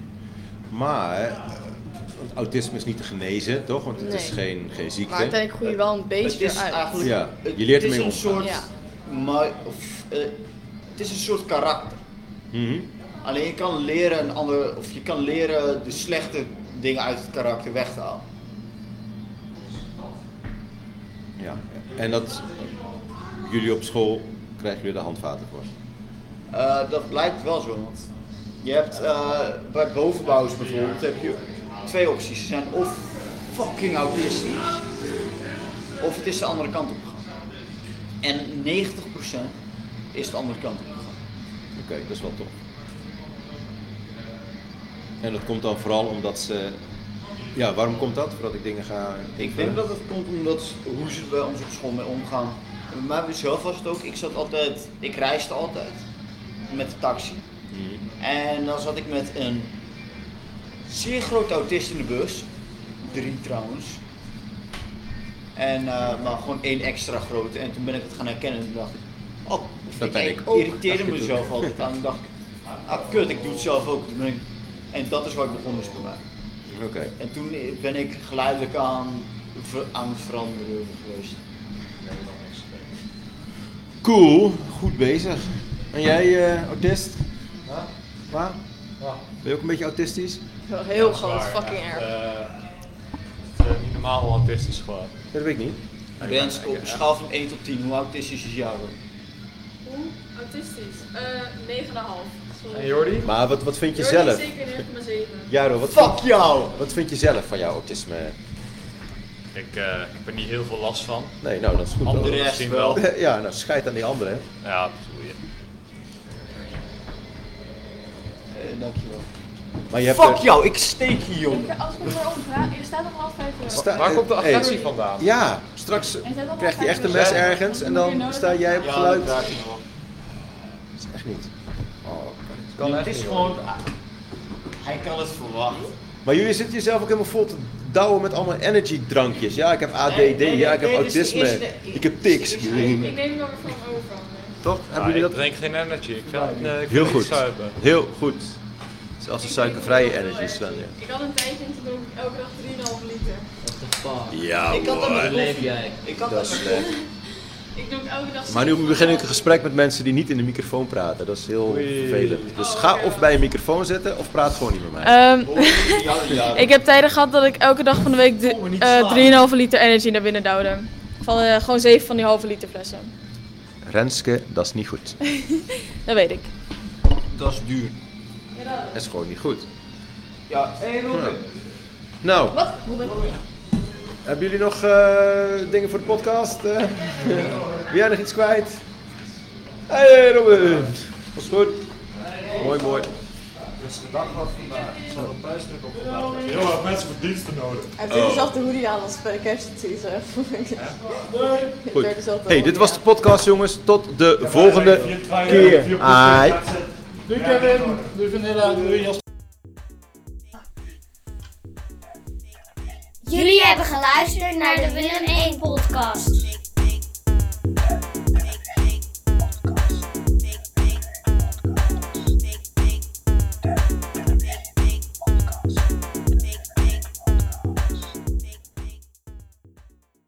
Speaker 1: Maar, eh, want autisme is niet te genezen, toch? Want het is
Speaker 4: Nee.
Speaker 1: geen, geen ziekte.
Speaker 4: Maar uiteindelijk groei je wel een beetje
Speaker 7: het is
Speaker 4: uit.
Speaker 7: eigenlijk-
Speaker 1: Ja,
Speaker 7: het-
Speaker 1: je leert
Speaker 7: het is
Speaker 1: ermee
Speaker 7: een
Speaker 1: omgaan.
Speaker 7: soort,
Speaker 4: Ja.
Speaker 7: maar, of, eh, het is een soort karakter.
Speaker 1: Mhm.
Speaker 7: Alleen je kan leren een ander, of je kan leren de slechte dingen uit het karakter weg te halen.
Speaker 1: Ja, en dat jullie op school krijgen jullie de handvaten voor.
Speaker 7: Eh, dat lijkt wel zo, want je hebt eh, bij bovenbouwers bijvoorbeeld heb je twee opties. Ze zijn of fucking autistisch, of het is de andere kant op gegaan. En 90% is de andere kant op gegaan.
Speaker 1: Oké, dat is wel tof. En dat komt dan vooral omdat ze. Ja, waarom komt dat? Voordat ik dingen ga.
Speaker 7: Ik denk dat het komt omdat hoe ze bij ons op school mee omgaan. En Bij mij zelf was het ook, ik zat altijd, ik reisde altijd met de taxi. En dan zat ik met een zeer grote autist in de bus. Drie trouwens. En eh, maar gewoon één extra grote. En toen ben ik het gaan herkennen en toen dacht ik, oh,
Speaker 1: Dat
Speaker 7: ik,
Speaker 1: ben ik
Speaker 7: ik
Speaker 1: ook.
Speaker 7: irriteerde
Speaker 1: Dacht je
Speaker 7: mezelf
Speaker 1: toen.
Speaker 7: altijd aan. Ik dacht, ah kut, ik doe het zelf ook. Toen ben ik- en dat is waar ik begon dus bij mij.
Speaker 1: Oké.
Speaker 7: En toen ben ik geleidelijk aan, ver- aan het veranderen geweest.
Speaker 1: Cool, goed bezig. En jij, eh, autist?
Speaker 16: Ja.
Speaker 1: Waar?
Speaker 16: Ja.
Speaker 1: Ben je ook een beetje autistisch?
Speaker 4: Wel Heel
Speaker 16: Ja,
Speaker 4: groot,
Speaker 16: zwaar,
Speaker 4: fucking
Speaker 16: echt,
Speaker 4: erg.
Speaker 16: eh, het is niet normaal hoe autistisch gewoon.
Speaker 1: Dat weet ik niet.
Speaker 7: Rens,
Speaker 1: Ah,
Speaker 7: op een schaal van 1 tot 10, hoe autistisch is jou?
Speaker 17: Hoe autistisch? Eh 9,5. Sorry.
Speaker 1: Maar wat, wat vind je
Speaker 17: Jordi is
Speaker 1: zelf?
Speaker 17: zeker 9,7.
Speaker 1: Jaro, wat
Speaker 17: Fuck
Speaker 7: jou!
Speaker 1: Wat vind je zelf van jouw autisme?
Speaker 16: Ik, eh, ik heb er niet heel veel last van.
Speaker 1: Nee, nou dat is goed.
Speaker 16: Anderen
Speaker 1: Dan-
Speaker 16: misschien wel.
Speaker 1: ja, nou scheid aan die anderen. hè.
Speaker 16: Ja, bedoel je.
Speaker 7: dankjewel.
Speaker 1: Eh, Maar je hebt
Speaker 7: Eh, Fuck
Speaker 1: er-
Speaker 7: jou, ik steek je jongen.
Speaker 17: Als ik maar omvraag, je staat om half vijf uur.
Speaker 1: Sta- eh, hey. Ja, straks krijgt hij echt een mes ergens en dan sta jij op geluid.
Speaker 7: dat
Speaker 1: Dat
Speaker 7: raak ik nog wel.
Speaker 1: is echt niet. Oh,
Speaker 7: Kan
Speaker 1: kan
Speaker 7: het
Speaker 1: echt
Speaker 7: is
Speaker 1: niet,
Speaker 7: gewoon, hij kan het verwachten.
Speaker 1: Maar jullie zitten jezelf ook helemaal vol te douwen met allemaal energy drankjes. Ja, ik heb ADD,
Speaker 17: Nee, nee,
Speaker 1: ja,
Speaker 17: nee,
Speaker 1: ik heb
Speaker 17: nee, dit is de
Speaker 1: autisme,
Speaker 17: eerste-
Speaker 1: ik heb tics.
Speaker 17: Ik neem er van over.
Speaker 1: Toch?
Speaker 18: Hebben jullie dat? Ik drink geen energy. Ik ga nee, ik wil
Speaker 5: Heel
Speaker 18: niet
Speaker 5: goed.
Speaker 18: zuipen.
Speaker 5: Heel goed. Zelfs de suikervrije energies dan, ja.
Speaker 17: Ik had een tijdje en toen dronk ik elke dag 3,5 liter.
Speaker 5: Ja,
Speaker 7: Ik had dat
Speaker 5: hoor.
Speaker 7: met leef jij. Ik had
Speaker 5: Dat
Speaker 7: dat
Speaker 5: is
Speaker 1: eh,
Speaker 7: met
Speaker 5: slecht.
Speaker 17: Ik dronk elke dag
Speaker 1: Maar nu
Speaker 17: zoveel
Speaker 1: begin ik een
Speaker 17: water.
Speaker 1: gesprek met mensen die niet in de microfoon praten. Dat is heel vervelend. Dus ga of bij een microfoon zitten of praat gewoon niet met mij.
Speaker 7: eh,
Speaker 4: Ehm, ik heb tijden gehad dat ik elke dag van de week de- eh, 3,5 liter energy naar binnen duwde. Van eh, gewoon 7 van die halve liter flessen.
Speaker 1: Renske, dat is niet goed.
Speaker 4: dat weet ik.
Speaker 1: Dat is duur. Dat is gewoon niet goed.
Speaker 7: Ja, hé Robin.
Speaker 1: Nou,
Speaker 4: Wat?
Speaker 1: hebben jullie nog eh, dingen voor de podcast? Eh, Wil jij nog iets kwijt? Hey Robin! Was goed? Mooi, mooi.
Speaker 5: Dus de dag was vandaag. Ik zal een prijsdruk op
Speaker 19: Heel wat mensen voor diensten nodig.
Speaker 20: Hij
Speaker 1: Oh.
Speaker 20: heeft weer dezelfde hoodie aan als bij de kerstseason.
Speaker 1: Goed. Hey, dit was de podcast jongens. Tot de volgende keer. Hai.
Speaker 21: Doei Kevin, doei Vanilla, doei Jasper.
Speaker 22: Jullie hebben geluisterd naar de Willem 1 podcast.